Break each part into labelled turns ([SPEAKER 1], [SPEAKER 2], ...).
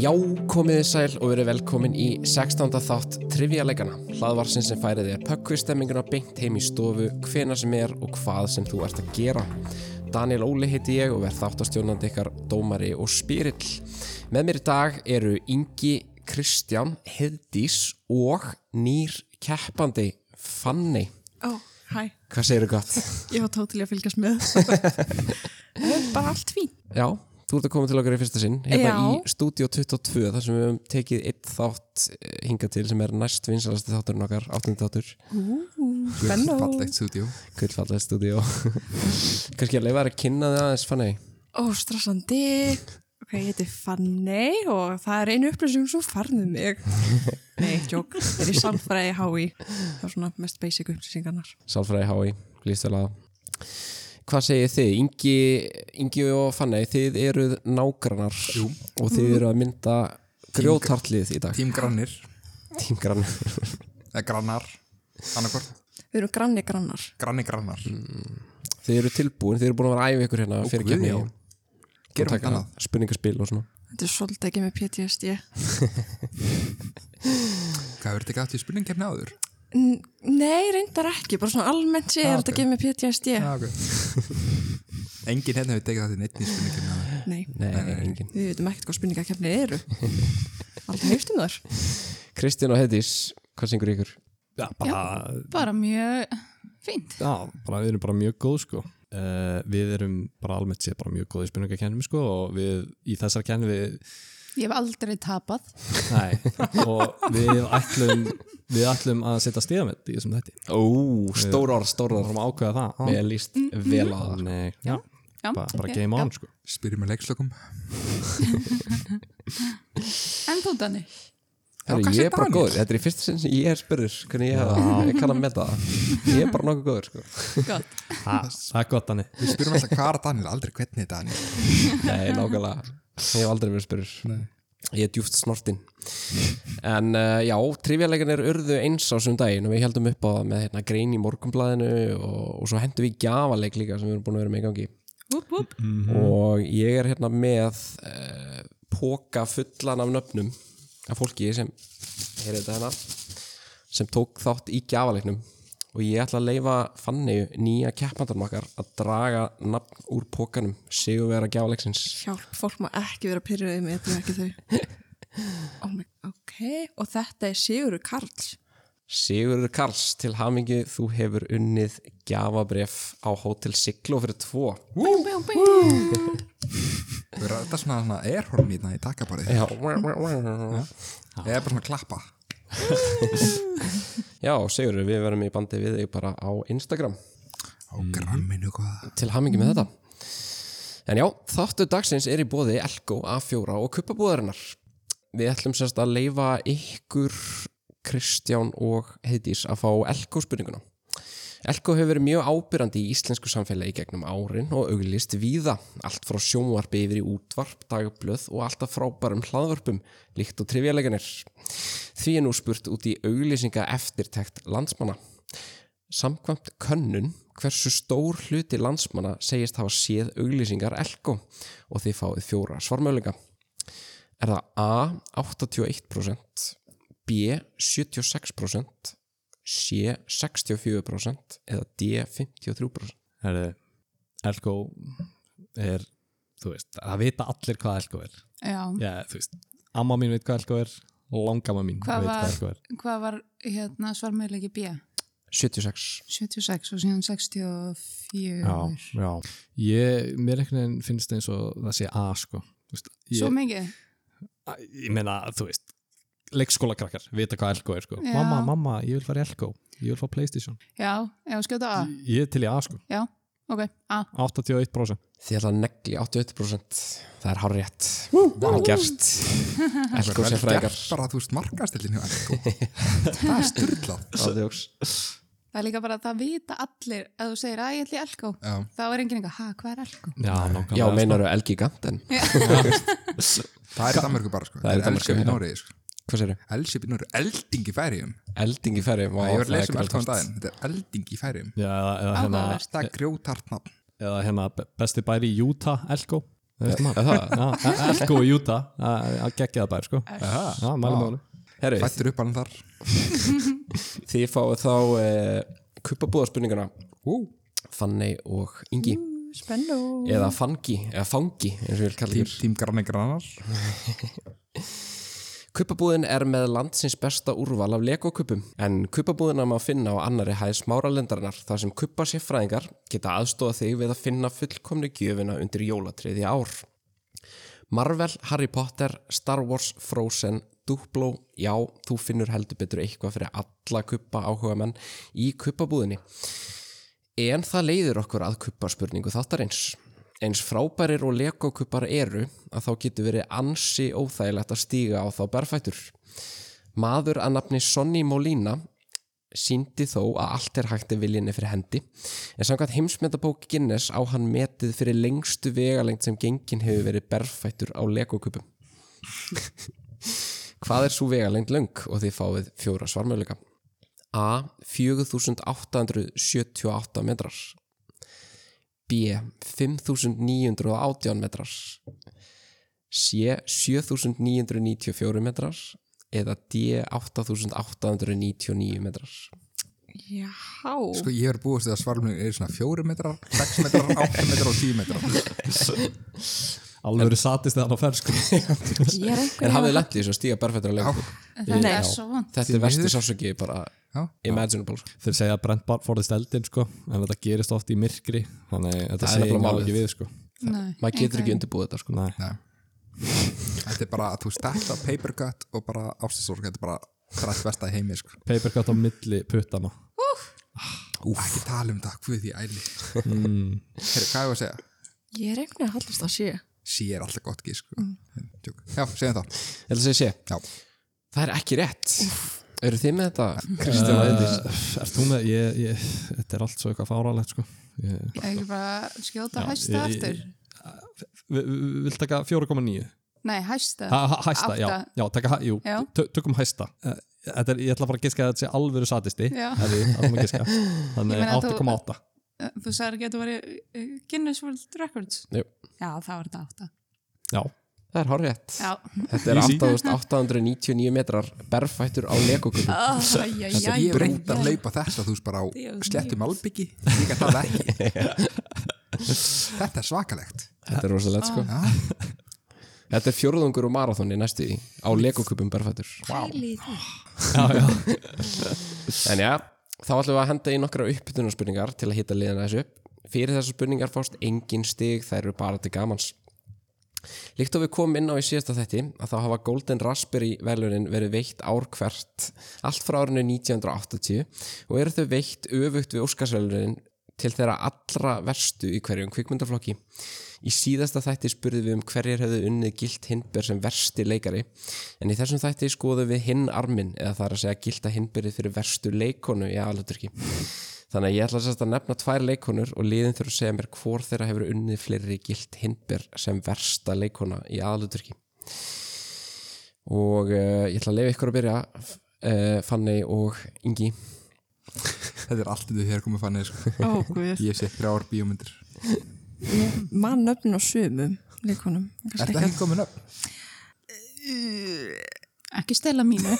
[SPEAKER 1] Já, komiði sæl og verið velkomin í 16. þátt Trivialegana, hlaðvarsinn sem færið þér pökkvistemminguna beint heim í stofu, hvena sem er og hvað sem þú ert að gera. Daniel Óli heiti ég og verð þáttastjónandi ykkar dómari og spyrill. Með mér í dag eru Ingi Kristján Heiðdís og nýr keppandi Fanny.
[SPEAKER 2] Ó, hæ,
[SPEAKER 1] Hvað segirðu gott?
[SPEAKER 2] ég var tótilega að fylgjast með Það er bara allt fín
[SPEAKER 1] Já, þú ert að koma til okkar í fyrsta sinn hérna
[SPEAKER 2] Já.
[SPEAKER 1] í Studio 22 þar sem við höfum tekið eitt þátt eh, hingað til sem er næst vinsalasti þátturinn okkar, áttundi þáttur
[SPEAKER 2] Bennó
[SPEAKER 3] Fallegt stúdíu
[SPEAKER 1] Gullfallega stúdíu Kannski að leifa þér að kynna þig aðeins fannig
[SPEAKER 2] Ó, strassandi Ok, ég heiti Fanny og það er einu upplýsing svo farnið mig Nei, tjók, ég er í salfræði HÍ Það er svona mest basic upplýsingarnar
[SPEAKER 1] Sálfræði Hái, lístælaða Hvað segir þið? Ingi, Ingi og Fanny, þið eruð nágrannar Jú. og þið eru að mynda grjótartlið í dag
[SPEAKER 3] Tím grannir,
[SPEAKER 1] Tímgrann
[SPEAKER 3] eða grannar annarkvort,
[SPEAKER 2] Við erum granni grannar
[SPEAKER 3] granni grannar
[SPEAKER 1] Þið eru tilbúin, þið eru búin að vera að æfa ykkur hérna fyrir
[SPEAKER 3] guð,
[SPEAKER 1] gefni
[SPEAKER 3] já. Gerum
[SPEAKER 1] og
[SPEAKER 3] þetta
[SPEAKER 1] taka
[SPEAKER 3] annað
[SPEAKER 1] spurningaspil og svona
[SPEAKER 2] Þetta er svolítið ekki með PTSD
[SPEAKER 3] Hvað verður þetta ekki átt í spurningkefni áður?
[SPEAKER 2] N- Nei, reyndar ekki, bara svona almennt sé
[SPEAKER 3] Já,
[SPEAKER 2] er þetta
[SPEAKER 3] ok. Ah.
[SPEAKER 2] ekki með PTSD
[SPEAKER 3] Já, ok Engin hérna hefur tekið það til neitt í spurningkefni áður
[SPEAKER 2] Nei,
[SPEAKER 1] Nei, engin
[SPEAKER 2] við veitum ekkert hvað spurningakefni eru Aldrei heyrt um þar
[SPEAKER 1] Kristján og Hedís, hvað syngur ykkur?
[SPEAKER 4] Já, bara,
[SPEAKER 5] bara mjög fínt
[SPEAKER 4] já, bara við erum bara mjög góð sko. Uh, við erum bara almennt séð bara mjög góð í spurningakennum sko og við í þessar kenni við,
[SPEAKER 5] ég hef aldrei tapað
[SPEAKER 4] nei, og við ætlum, við ætlum að setja stíðamett í þessum þetta.
[SPEAKER 1] Ó, stór orð, stór
[SPEAKER 4] Það vorum að ákveða það. Mm.
[SPEAKER 1] Mér líst vel á það
[SPEAKER 4] Nei,
[SPEAKER 5] Já, já,
[SPEAKER 4] bara, bara
[SPEAKER 5] ok,
[SPEAKER 4] game
[SPEAKER 5] já.
[SPEAKER 4] on sko.
[SPEAKER 3] Spyrjum með leikslokum
[SPEAKER 5] en þú Dani
[SPEAKER 1] Herru,
[SPEAKER 3] kannski
[SPEAKER 1] Ég er bara
[SPEAKER 3] Daniel.
[SPEAKER 1] góður, þetta er í fyrsta sinn sem ég er spurður hvernig ég, hef, ég kann að meta það Ég er bara nokkuð góður sko.
[SPEAKER 5] Gott.
[SPEAKER 4] Ha, það er gott þannig.
[SPEAKER 3] Við spyrjum alltaf hvað er Daniel, aldrei hvernig er Daniel
[SPEAKER 1] Nei, nákvæmlega Ég hef aldrei verið spurður Ég er djúft snortinn En uh, já, trivjaleganir urðu eins á sem daginn og við heldum upp á það með hérna, grein í morgunblæðinu og, og svo hendum við í gjafaleik líka sem við erum búin að vera með í gangi
[SPEAKER 5] Úp, úp.
[SPEAKER 1] og ég er hérna með uh, póka fullan af nöfnum af fólki sem heyrðu þetta hérna sem tók þátt í gjafaleiknum og ég ætla að leifa fannu nýja keppandarn okkar að draga nafn úr pókanum sigur vera gjafaleksins
[SPEAKER 2] Hjálp, fólk má ekki vera pyrraðið með þetta er ekki þau. oh my, ok, og þetta er Sigurður Karls.
[SPEAKER 1] Sigurður Karls til hamingi þú hefur unnið gjafabref á Hotel Siglo fyrir tvo
[SPEAKER 5] Bing, bing, bing.
[SPEAKER 3] Við erum alltaf svona, svona airhorn í þetta í takkabarið
[SPEAKER 1] Já, já
[SPEAKER 3] Eða bara svona klappa
[SPEAKER 1] Sigurður við verðum í bandi við þig bara á Instagram
[SPEAKER 3] Á
[SPEAKER 1] Mm.
[SPEAKER 3] gramminu góða
[SPEAKER 1] til hamingi með þetta En já, þáttu dagsins er í bóði Elko, A4 og kuppabúðarinnar Við ætlum sérst að leifa ykkur Kristján og Heidís að fá Elko spurninguna Elko hefur verið mjög ábyrrandi í íslensku samfélagi gegnum árin og auglist víða, allt frá sjónvarpi yfir í útvarp, dagblöð og alltaf frábærum hlaðvarpum, líkt og trivjaleganir. Því er nú spurt út í auglýsinga eftirtekt landsmanna. Samkvæmt könnun hversu stór hluti landsmanna segist hafa séð auglýsingar Elko og þið fáið fjóra svarmölinga. Er það A 81%, B 76%, C 64% eða D 53%?
[SPEAKER 4] Herðu, Elko er, þú veist, það vita allir hvað Elko er.
[SPEAKER 5] já,
[SPEAKER 4] Já, þú veist, amma mín veit hvað Elko er, langamma mín
[SPEAKER 5] Hvað
[SPEAKER 4] veit hvað
[SPEAKER 5] var-
[SPEAKER 4] Elko er.
[SPEAKER 5] hvað var hérna svarmælegi B
[SPEAKER 1] 76.
[SPEAKER 5] 76 og síðan 64
[SPEAKER 4] já, já. Ég, mér einhvern veginn finnst eins og það sé A sko Þú veist,
[SPEAKER 5] svo
[SPEAKER 4] ég,
[SPEAKER 5] mikið
[SPEAKER 4] að- ég meina, þú veist leikskóla krakkar, vita hvað Elko er sko
[SPEAKER 5] Já.
[SPEAKER 4] mamma, mamma, ég vil fara í Elko, ég vil fara Playstation
[SPEAKER 5] já, já, skjóta A,
[SPEAKER 4] ég er til í A sko,
[SPEAKER 5] já, ok, A
[SPEAKER 4] 81%
[SPEAKER 1] Þið ætla að negli 81%. Það er hár rétt. Vel gert. Elko
[SPEAKER 3] Vel
[SPEAKER 1] sem fræðingar.
[SPEAKER 3] gert bara, þú veist, markastillin hjá Elko Það er styrlað
[SPEAKER 1] Ádjóks.
[SPEAKER 5] það er líka bara að það vita allir að þú segir að ég ætli í Elko
[SPEAKER 3] Já,
[SPEAKER 5] þá er enginn eitthvað, ha, hvað er Elko?
[SPEAKER 4] já, nákvæmlega
[SPEAKER 1] Já,
[SPEAKER 4] sko.
[SPEAKER 1] meinaru Elgigant, en
[SPEAKER 3] það er í Danmarku bara sko
[SPEAKER 1] Það er í
[SPEAKER 3] Það er
[SPEAKER 1] Danmörku,
[SPEAKER 3] elsjöp
[SPEAKER 1] já.
[SPEAKER 3] í Nóri sko.
[SPEAKER 1] hvað séru?
[SPEAKER 3] Elsjöp í Nóri, elding í færiðum
[SPEAKER 1] Elding í ferri.
[SPEAKER 3] Ég var að lesa um Elko um daginn Þetta er elding í færiðum
[SPEAKER 4] já, eða hérna,
[SPEAKER 5] Áhugavert.
[SPEAKER 3] Það er grjótart nafn
[SPEAKER 4] eða hérna be- besti bæri í Utah Elko Það veist maður. Já, það er sko í Júta að gegja það bæri sko Já, mælum mánu
[SPEAKER 1] Herri,
[SPEAKER 3] Fættur upp hann þar
[SPEAKER 1] þið fáið þá uh, kuppabúðarspurninguna uh. Fanny og Ingi
[SPEAKER 2] Spennu.
[SPEAKER 1] eða Fangi, eða Fangi eins og ég vil kalla
[SPEAKER 3] Tím,
[SPEAKER 1] ykkur
[SPEAKER 3] tím granni grannar
[SPEAKER 1] Kuppabúðin er með landsins besta úrval af legokuppum en kuppabúðina má finna á annari hæð smáralendarinnar þar sem kuppaséfræðingar geta aðstóða þig við að finna fullkomni gjöfina undir jólatriði ár. Marvel, Harry Potter, Star Wars, Frozen, Duplo, já, þú finnur heldur betur eitthvað fyrir alla kuppa áhuga menn í kuppabúðinni. En það leiðir okkur að kupparspurningu þáttarins. Eins frábærir og legokuppar eru að þá getur verið ansi óþægilegt að stíga á þá berfættur. Maður að nafni Sonny Molina síndi þó að allt er hægt ef viljinni fyrir hendi en samkvæmt heimsmetabók Guinness á hann metið fyrir lengstu vegalengt sem gengin hefur verið berfættur á legokupum. Hvað er svo vegalengt löng og þið fáið fjóra svarmöðleika? A. 4878 metrar B. 5918 metrar C. 7994 metrar eða D. 8899 metrar
[SPEAKER 2] Já.
[SPEAKER 3] Sko ég verið búist við að svarlumning er svona 4 metrar, 6 metrar, 8 metrar og 10 metrar
[SPEAKER 4] Alveg verið satist þegar hann á ferð sko
[SPEAKER 2] Ég er einhver.
[SPEAKER 1] En hafið lent í þessu að stíga berfættur að leikum
[SPEAKER 5] Það
[SPEAKER 2] Nei.
[SPEAKER 5] er svo vond.
[SPEAKER 1] Þetta er versti sásöki bara
[SPEAKER 3] Já.
[SPEAKER 1] imaginable sko.
[SPEAKER 4] Þeir segja að brent bara forðist eldin sko en þetta gerist oft í myrkri þannig að þetta
[SPEAKER 1] Það er
[SPEAKER 4] segir
[SPEAKER 1] nefnilega
[SPEAKER 4] maður
[SPEAKER 1] málið.
[SPEAKER 4] ekki við sko
[SPEAKER 1] Maður getur ekki undirbúið þetta sko
[SPEAKER 4] Nei,
[SPEAKER 3] Nei. Þetta er bara, þú veist, þetta paper cut og bara ástæðsorg, þetta er bara þrætt besta í heimi, sko.
[SPEAKER 4] papercut á milli puttana
[SPEAKER 3] Ekki tala um það, hvað því æli. Mm. Herri, hvað er að segja?
[SPEAKER 2] Ég er einhver að hallast að sé.
[SPEAKER 3] Sí er alltaf gott gísk, sko. Mm. Já, segjum það.
[SPEAKER 1] Ég ætla að segja sé,
[SPEAKER 3] Já.
[SPEAKER 1] það er ekki rétt Eru þið með þetta,
[SPEAKER 4] Uh,
[SPEAKER 1] Kristján og Eindís?
[SPEAKER 4] Er þú með, ég, ég, þetta er allt svo eitthvað fáralegt sko Ég-
[SPEAKER 5] Ekki bara skjóta
[SPEAKER 4] Já,
[SPEAKER 5] hæsta
[SPEAKER 4] ég- ég-
[SPEAKER 5] aftur.
[SPEAKER 4] Vi- vi- Vilt taka 4,9
[SPEAKER 5] Nei, hæsta.
[SPEAKER 4] Ha- ha- Hæsta, já,
[SPEAKER 5] Átta.
[SPEAKER 4] já, taka, hæ- jú,
[SPEAKER 5] Já.
[SPEAKER 4] tö- tökum hæsta Eh, Þetta er, ég ætla bara að giska að þetta sé alvöru satisti
[SPEAKER 5] Já.
[SPEAKER 4] Ef við ætlum að giska Þannig
[SPEAKER 5] Ég meina, þú-
[SPEAKER 4] 8,8
[SPEAKER 5] Þú sagði ekki að þú væri uh, Guinness World Records.
[SPEAKER 1] Jú.
[SPEAKER 5] Já, það var þetta átta.
[SPEAKER 4] Já,
[SPEAKER 1] Það er horrið
[SPEAKER 5] Já.
[SPEAKER 1] Þetta er
[SPEAKER 4] Easy.
[SPEAKER 1] 8899 metrar berfættur á legokupu
[SPEAKER 5] Þetta
[SPEAKER 3] Ég hef reynd að laupa þetta, þú veist, bara á
[SPEAKER 5] Djöfull,
[SPEAKER 3] slettum
[SPEAKER 5] Níels.
[SPEAKER 3] albyggi. Ég gæti það ekki. þetta er svakalegt.
[SPEAKER 1] Þetta er rosalegt sko
[SPEAKER 3] Já.
[SPEAKER 1] Þetta er fjórðungur og marathoni næstu í á legokupum berfættur
[SPEAKER 4] já, já
[SPEAKER 1] En já, þá ætlum við að henda í nokkra uppbytunarspurningar til að hitta liðina þessu upp Fyrir þessar spurningar fást engin stig, þær eru bara til gamans Líkt og við komum inn á í síðasta þetti að þá hafa Golden Raspberry velunin verið veitt ár hvert allt frá árinu 1980 og eru þau veitt öfugt við Óskarsvelunin til þeirra allra verstu í hverjum kvikmyndaflokki. Í síðasta þætti spurðum við um hverjir hefðu unnið gilt hindber sem versti leikari en í þessum þætti skoðum við hinn armin eða það er að segja gilda hindberið fyrir verstu leikonu í aðluturki. Þannig að ég ætla sérst að nefna tvær leikonur og liðin þurfa að segja mér hvort þeirra hefur unnið fleiri gilt hindber sem versta leikona í aðluturki. Og uh, ég ætla að leifa ykkur að byrja, uh, Fanny og Ingi.
[SPEAKER 3] Þetta er allt þetta hér komið fannir, sko.
[SPEAKER 2] Ó, guð.
[SPEAKER 3] Ég sé þrjár bíómyndir.
[SPEAKER 2] Mann nöfn og sömum líkonum.
[SPEAKER 3] Er þetta ekki komin upp?
[SPEAKER 5] Ekki stela mínu.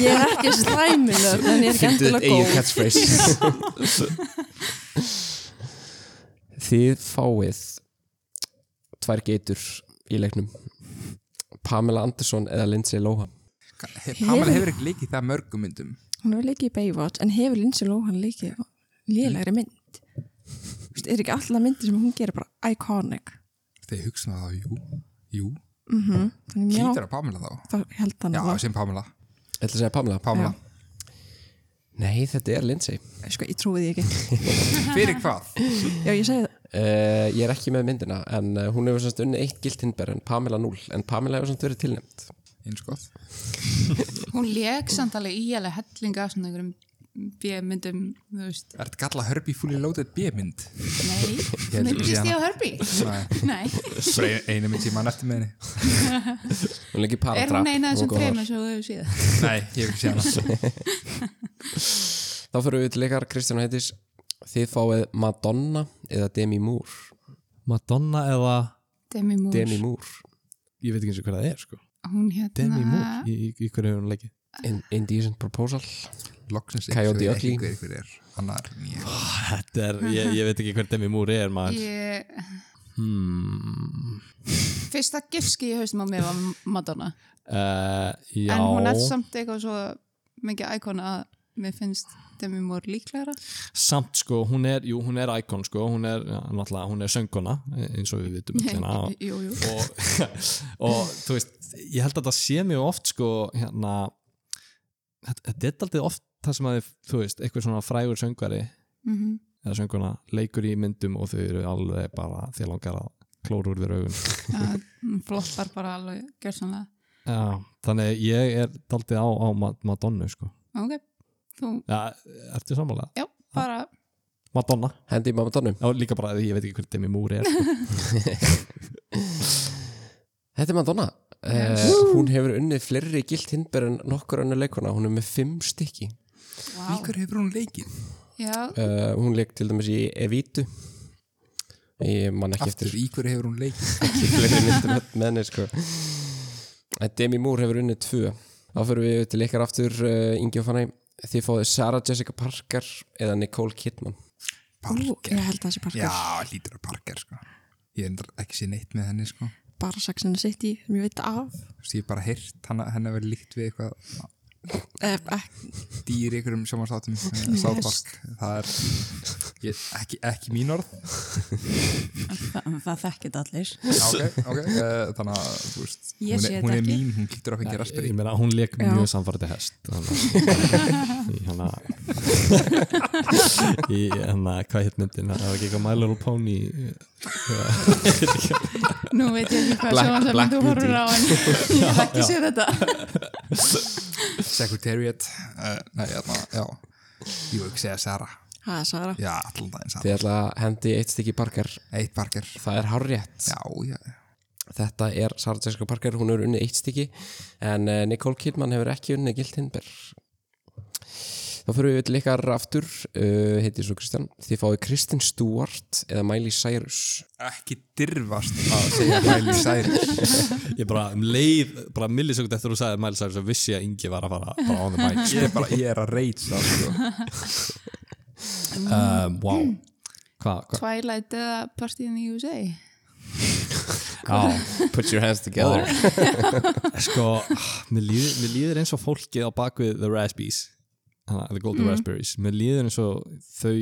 [SPEAKER 2] Ég er ekki slæmið nöfn en ég er ekki endilega
[SPEAKER 1] eigið
[SPEAKER 2] góð.
[SPEAKER 1] catchphrase. Þið fáið tvær geitur í leiknum. Pamela Anderson eða Lindsay Lohan.
[SPEAKER 3] He- Pamela hefur ekki leikið það mörgum myndum.
[SPEAKER 2] Hún hefur leikið í Baywatch en hefur Lindsay Lohan leikið lélægri mynd. Þú veist, er ekki alltaf myndir sem hún gerir bara iconic.
[SPEAKER 3] Þegar ég hugsa um það, jú, jú.
[SPEAKER 2] Þannig mér
[SPEAKER 3] Hlýtur að Pamela þá.
[SPEAKER 2] á þá held hann
[SPEAKER 3] Já,
[SPEAKER 2] að það.
[SPEAKER 3] sem Pamela.
[SPEAKER 1] Ég ætla að segja Pamela.
[SPEAKER 3] Pamela.
[SPEAKER 1] Nei, þetta er Lindsay.
[SPEAKER 2] Sko, ég trúi því ekki.
[SPEAKER 3] Fyrir hvað?
[SPEAKER 2] Já, ég segi það.
[SPEAKER 1] Uh, ég er ekki með myndina en uh, hún hefur semst unnið eitt gilt hindber en Pamela 0 en Pamela hefur semst verið tilnæmt
[SPEAKER 3] Eins gott.
[SPEAKER 5] Hún leik samt alveg í alveg hellinga af svona einhverjum bjömyndum, þú veist.
[SPEAKER 3] Er þetta kalla Herbie Fully Loaded B-mynd?
[SPEAKER 5] Nei,
[SPEAKER 3] held ég sé
[SPEAKER 5] myndist
[SPEAKER 3] hana.
[SPEAKER 5] ég á Herbie?
[SPEAKER 3] Nei,
[SPEAKER 5] Nei,
[SPEAKER 3] bara ein- einu mynd sem mann eftir með henni.
[SPEAKER 1] hún leikir
[SPEAKER 5] er
[SPEAKER 1] paratrap
[SPEAKER 5] hún eina
[SPEAKER 1] hún
[SPEAKER 5] af þessum
[SPEAKER 1] góð
[SPEAKER 5] trefum sem þú hefur síðan?
[SPEAKER 3] Nei, ég hef ekki séð hana.
[SPEAKER 1] þar. þá fyrir við til leikar Kristján Heitis þið fáið Madonna eða Demi Moore
[SPEAKER 4] Madonna eða
[SPEAKER 5] Demi Moore.
[SPEAKER 1] Demi Moore
[SPEAKER 4] ég veit ekki eins og hvað það er sko
[SPEAKER 5] Hún hérna...
[SPEAKER 4] Demi Moore, í, í, í hverju hefur hún leikið
[SPEAKER 1] In, Indecent Proposal
[SPEAKER 3] Loksins
[SPEAKER 1] Coyote
[SPEAKER 3] ég ekki
[SPEAKER 1] Ugly.
[SPEAKER 3] hver ykkur er Annar nýja
[SPEAKER 4] Þetta er, ég, ég veit ekki hver Demi Moore er maður
[SPEAKER 5] Ég,
[SPEAKER 4] hmm.
[SPEAKER 5] fyrsta gifski í haustum á mér var Madonna.
[SPEAKER 4] uh, Já
[SPEAKER 5] En hún er samt eitthvað svo mikið íkon að mér finnst Demi Moore líklegra.
[SPEAKER 4] samt sko, hún er, jú, hún er icon sko, hún er, já, náttúrulega, hún er söngona eins og við vitum öll hérna og,
[SPEAKER 5] jú, jú.
[SPEAKER 4] og, og þú veist ég held að það sé mjög oft sko hérna þetta þetta er aldrei oft það sem að þið, þú veist, eitthvað svona frægur söngari
[SPEAKER 5] Mm
[SPEAKER 4] eða sönguna leikur í myndum og þau eru alveg bara þér langar að klóra úr þér augun
[SPEAKER 5] -hmm. Floppar bara alveg gjörsanlega.
[SPEAKER 4] já, þannig að ég er daldið á, á Ma- Madonna sko
[SPEAKER 5] Ok, þú
[SPEAKER 4] já, ertu sammála?
[SPEAKER 5] Já, bara
[SPEAKER 4] Madonna,
[SPEAKER 1] Hendi í Mamadonum
[SPEAKER 4] já, líka bara ég veit ekki hvernig Demi Moore er sko.
[SPEAKER 1] Þetta er Madonna yes. Hún hefur unnið fleiri gilt hindber en nokkur önnu leikuna Hún er með fimm stykki
[SPEAKER 5] wow.
[SPEAKER 3] Hver hefur hún leikið?
[SPEAKER 5] Já,
[SPEAKER 1] uh, Hún leik til dæmis í Evitu Ég man ekki
[SPEAKER 3] Aftur,
[SPEAKER 1] eftir
[SPEAKER 3] í hverju hefur hún leikið?
[SPEAKER 1] ekki fleiri myndum með henni sko. En Demi Moore hefur unnið tvö Þá fyrir við til ykkar aftur uh, Ingi og Fanny Þið fáið Sarah Jessica Parker eða Nicole Kidman
[SPEAKER 2] Ú,
[SPEAKER 3] Parker
[SPEAKER 2] ég held að það sé Parker
[SPEAKER 3] Já, hlýtur að Parker sko Ég er endur ekki sér neitt með henni sko Þú
[SPEAKER 2] bara Saxon City sem ég veit af
[SPEAKER 3] veist, Ég hef bara heyrt hana, henni verið líkt við eitthvað
[SPEAKER 2] eh, ek,
[SPEAKER 3] dýr í einhverjum sjómanslátum South Park Það er ég, ekki, ekki mín orð
[SPEAKER 6] það, það þekkit allir
[SPEAKER 3] Já, ok, ok uh, Þannig að, þú veist
[SPEAKER 2] Ég
[SPEAKER 3] Hún
[SPEAKER 2] sé
[SPEAKER 3] er,
[SPEAKER 2] þetta
[SPEAKER 3] hún er
[SPEAKER 2] ekki.
[SPEAKER 3] mín, hún hlýtur að fengja raspir
[SPEAKER 4] ég meina hún leik
[SPEAKER 2] Já.
[SPEAKER 4] mjög samfarti hest þannig að- í hana í hana, hvað hétt myndin það var ekki eitthvað My Little Pony
[SPEAKER 5] nú veit ég ekki hvað
[SPEAKER 1] Black-
[SPEAKER 5] sjónvarpsefni
[SPEAKER 1] Black
[SPEAKER 5] þú horfur á en ég hef ekki séð þetta
[SPEAKER 3] Secretariat uh, Nei, þarna, já Jú, ekki segja Sarah
[SPEAKER 2] ha, Sara
[SPEAKER 3] Já, allan daginn Sarah
[SPEAKER 1] Þið ætla að hendi eitt stykki Parker
[SPEAKER 3] Eitt Parker
[SPEAKER 1] Það er hárétt
[SPEAKER 3] Já, já
[SPEAKER 1] Þetta er Sarah Jessica Parker, hún hefur unnið eitt stykki en eh, Nicole Kidman hefur ekki unnið gilt hindber Þá fyrir við til ykkar aftur uh, heiti svo Kristján, þið fáið Kristin Stewart eða Miley Cyrus
[SPEAKER 3] Ekki dyrfast að segja Miley Cyrus
[SPEAKER 4] ég bara um leið, bara millisekund eftir þú sagði Miley Cyrus og vissi að Ingi var að fara bara on the mic
[SPEAKER 3] Ég er bara, ég er að reyta sko.
[SPEAKER 4] um, wow hvað, hvað,
[SPEAKER 5] Twilight eða Party in the USA
[SPEAKER 4] já
[SPEAKER 1] Put your hands
[SPEAKER 4] sko, mér líður, mér líður eins og fólkið á bakvið The Raspberries hana, The
[SPEAKER 5] Mm.
[SPEAKER 4] Golden Raspberries, mér líður eins og þau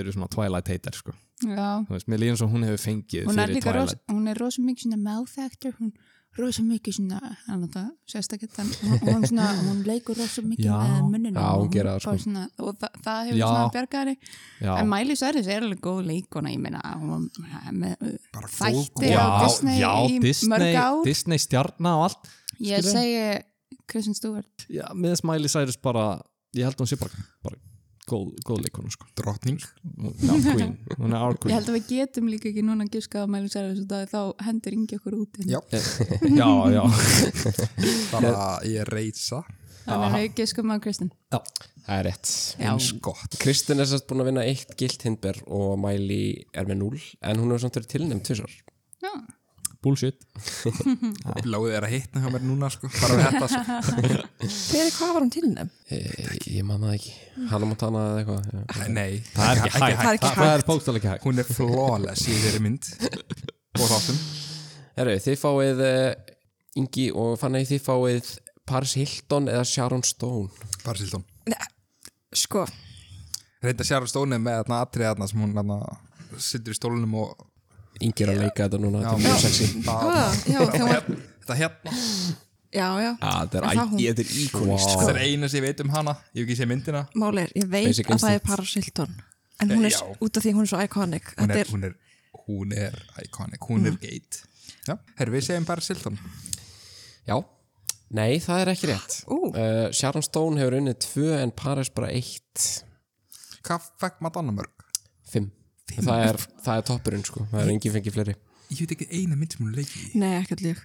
[SPEAKER 4] eru svona Twilight heitar sko.
[SPEAKER 5] Já,
[SPEAKER 4] Þú veist, mér líður eins og hún hefur fengið
[SPEAKER 5] hún er
[SPEAKER 4] fyrir
[SPEAKER 5] líka ros,
[SPEAKER 4] Twilight
[SPEAKER 5] hún er rosa mikið svona mouth actor hún rosa mikið svona hann þetta sérstakett hann hún, hún, svona, hún leikur rosa mikið
[SPEAKER 4] Já.
[SPEAKER 5] með munninu
[SPEAKER 1] Já, hún gerir það, sko.
[SPEAKER 5] svona, og þa það hefur
[SPEAKER 4] Já.
[SPEAKER 5] svona bjargari
[SPEAKER 4] Já.
[SPEAKER 5] en Miley Cyrus er alveg góð leikona ég meina hún var með
[SPEAKER 3] Bara góð
[SPEAKER 5] þætti
[SPEAKER 3] kona.
[SPEAKER 5] á Disney
[SPEAKER 4] já,
[SPEAKER 5] í
[SPEAKER 4] Disney,
[SPEAKER 5] mörg ár
[SPEAKER 4] Disney stjarnar og allt
[SPEAKER 5] ég
[SPEAKER 4] skilurðu?
[SPEAKER 5] segi Kristen Stewart
[SPEAKER 4] já, með þess Miley Cyrus bara ég held að hún sé bara, bara góð, góð leikonu sko.
[SPEAKER 3] Drottning
[SPEAKER 4] já, queen, hún er our
[SPEAKER 5] Ég
[SPEAKER 4] queen
[SPEAKER 5] held að við getum líka ekki núna að giska á Miley Cyrus og það þá hendur yngi okkur út hérna.
[SPEAKER 3] Já.
[SPEAKER 4] já, já,
[SPEAKER 3] Bara ég er reysa
[SPEAKER 5] Þannig að við giskum á Kristen
[SPEAKER 4] já.
[SPEAKER 1] Það er rétt
[SPEAKER 5] Já,
[SPEAKER 3] Eins gott
[SPEAKER 1] Kristin er sérst búin að vinna eitt gilt hindber og Miley er með 0 en hún hefur samt verið tilnæmt tvisar
[SPEAKER 5] já.
[SPEAKER 4] bullshit
[SPEAKER 3] Blóðið er að hitna hjá mér núna sko. Bara við þetta sko.
[SPEAKER 2] fyrir hvað var hún til nefn?
[SPEAKER 1] Ég, ég man það ekki, Hannah Montana eða eitthvað já.
[SPEAKER 3] Nei,
[SPEAKER 4] það er ekki
[SPEAKER 2] Það er
[SPEAKER 4] hægt
[SPEAKER 2] ekki
[SPEAKER 4] það er bókstæðlega ekki hægt
[SPEAKER 3] Hún er flawless í þeirri mynd og þáttum
[SPEAKER 1] Herru, þið fáið uh, Ingi og Fanny, þið fáið Paris Hilton eða Sharon Stone
[SPEAKER 3] Parsildón
[SPEAKER 2] sko,
[SPEAKER 3] Reynda Sjára Stóni með þarna atrið þarna sem hún þarna sittur í stólunum og
[SPEAKER 1] Ingi er að leika þetta núna, þetta er
[SPEAKER 3] Já.
[SPEAKER 1] mjög sexy
[SPEAKER 3] það,
[SPEAKER 2] ah, já, það var
[SPEAKER 3] þetta hérna
[SPEAKER 2] já, já,
[SPEAKER 1] Þetta
[SPEAKER 2] Er það hún?
[SPEAKER 1] þetta er sko. íkonist
[SPEAKER 3] Þetta er eina sem ég veit um hana Ég hef ekki séð myndina
[SPEAKER 2] máli er, ég veit
[SPEAKER 1] Basic
[SPEAKER 2] að það er
[SPEAKER 1] instinct.
[SPEAKER 2] Paris Hilton en hún er,
[SPEAKER 3] Já.
[SPEAKER 2] út af því Eh, hún er svo iconic
[SPEAKER 3] Hún
[SPEAKER 2] þetta
[SPEAKER 3] er,
[SPEAKER 2] er,
[SPEAKER 3] hún er, hún er iconic, hún er geit Já, herru við segjum Parsildón
[SPEAKER 1] Já, nei, það er ekki rétt
[SPEAKER 2] ú,
[SPEAKER 1] uh, Sharon Stone hefur unnið tvö en Paris bara eitt
[SPEAKER 3] Hvað fekk Madonna mörg?
[SPEAKER 1] Fimm Það er, það er toppurinn sko, það er engin fengið fleiri
[SPEAKER 3] Ég veit ekki eina mynd sem hún leiki
[SPEAKER 2] nei, ekkert líf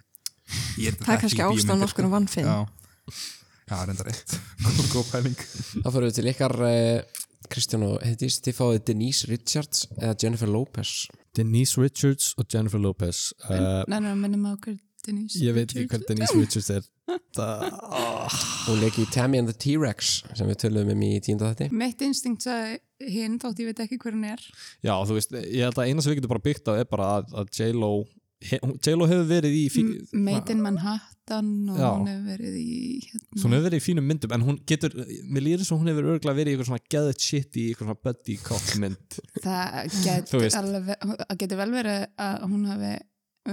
[SPEAKER 2] það er kannski ástæðan
[SPEAKER 3] sko.
[SPEAKER 2] okkur um vannfinn
[SPEAKER 3] Já, já reyndar eitt Góð pæling
[SPEAKER 1] Þá fyrir við til ykkar uh, Kristján og Heiðdís, þið fáið Denise Richards eða Jennifer Lopez
[SPEAKER 4] Denise Richards og Jennifer Lopez uh,
[SPEAKER 5] Nærmur að minna mig á hver Denise
[SPEAKER 4] Ég veit ekki hvað Denise Richards er Það
[SPEAKER 1] Hún leik í Tammy and the T-Rex sem við töluðum um í tínda þetta
[SPEAKER 5] Mitt instinkt sagði hinn þótt ég veit ekki hver hún er
[SPEAKER 4] Já, þú veist, ég held að eina sem við getum bara byggt á er bara að, að J-Lo he- hún- J-Lo hefur verið í fí-
[SPEAKER 5] M- Made in Manhattan og
[SPEAKER 4] Já.
[SPEAKER 5] hún hefur verið í
[SPEAKER 4] Svo
[SPEAKER 5] hérna.
[SPEAKER 4] hún hefur verið í fínum myndum en hún getur, mér líður svo hún hefur örgulega verið í eitthvað svona geðið shit í eitthvað svona buddy cop mynd
[SPEAKER 5] það
[SPEAKER 4] Þú
[SPEAKER 5] getur
[SPEAKER 4] veist.
[SPEAKER 5] hérna, alveg það getur vel verið að hún hafi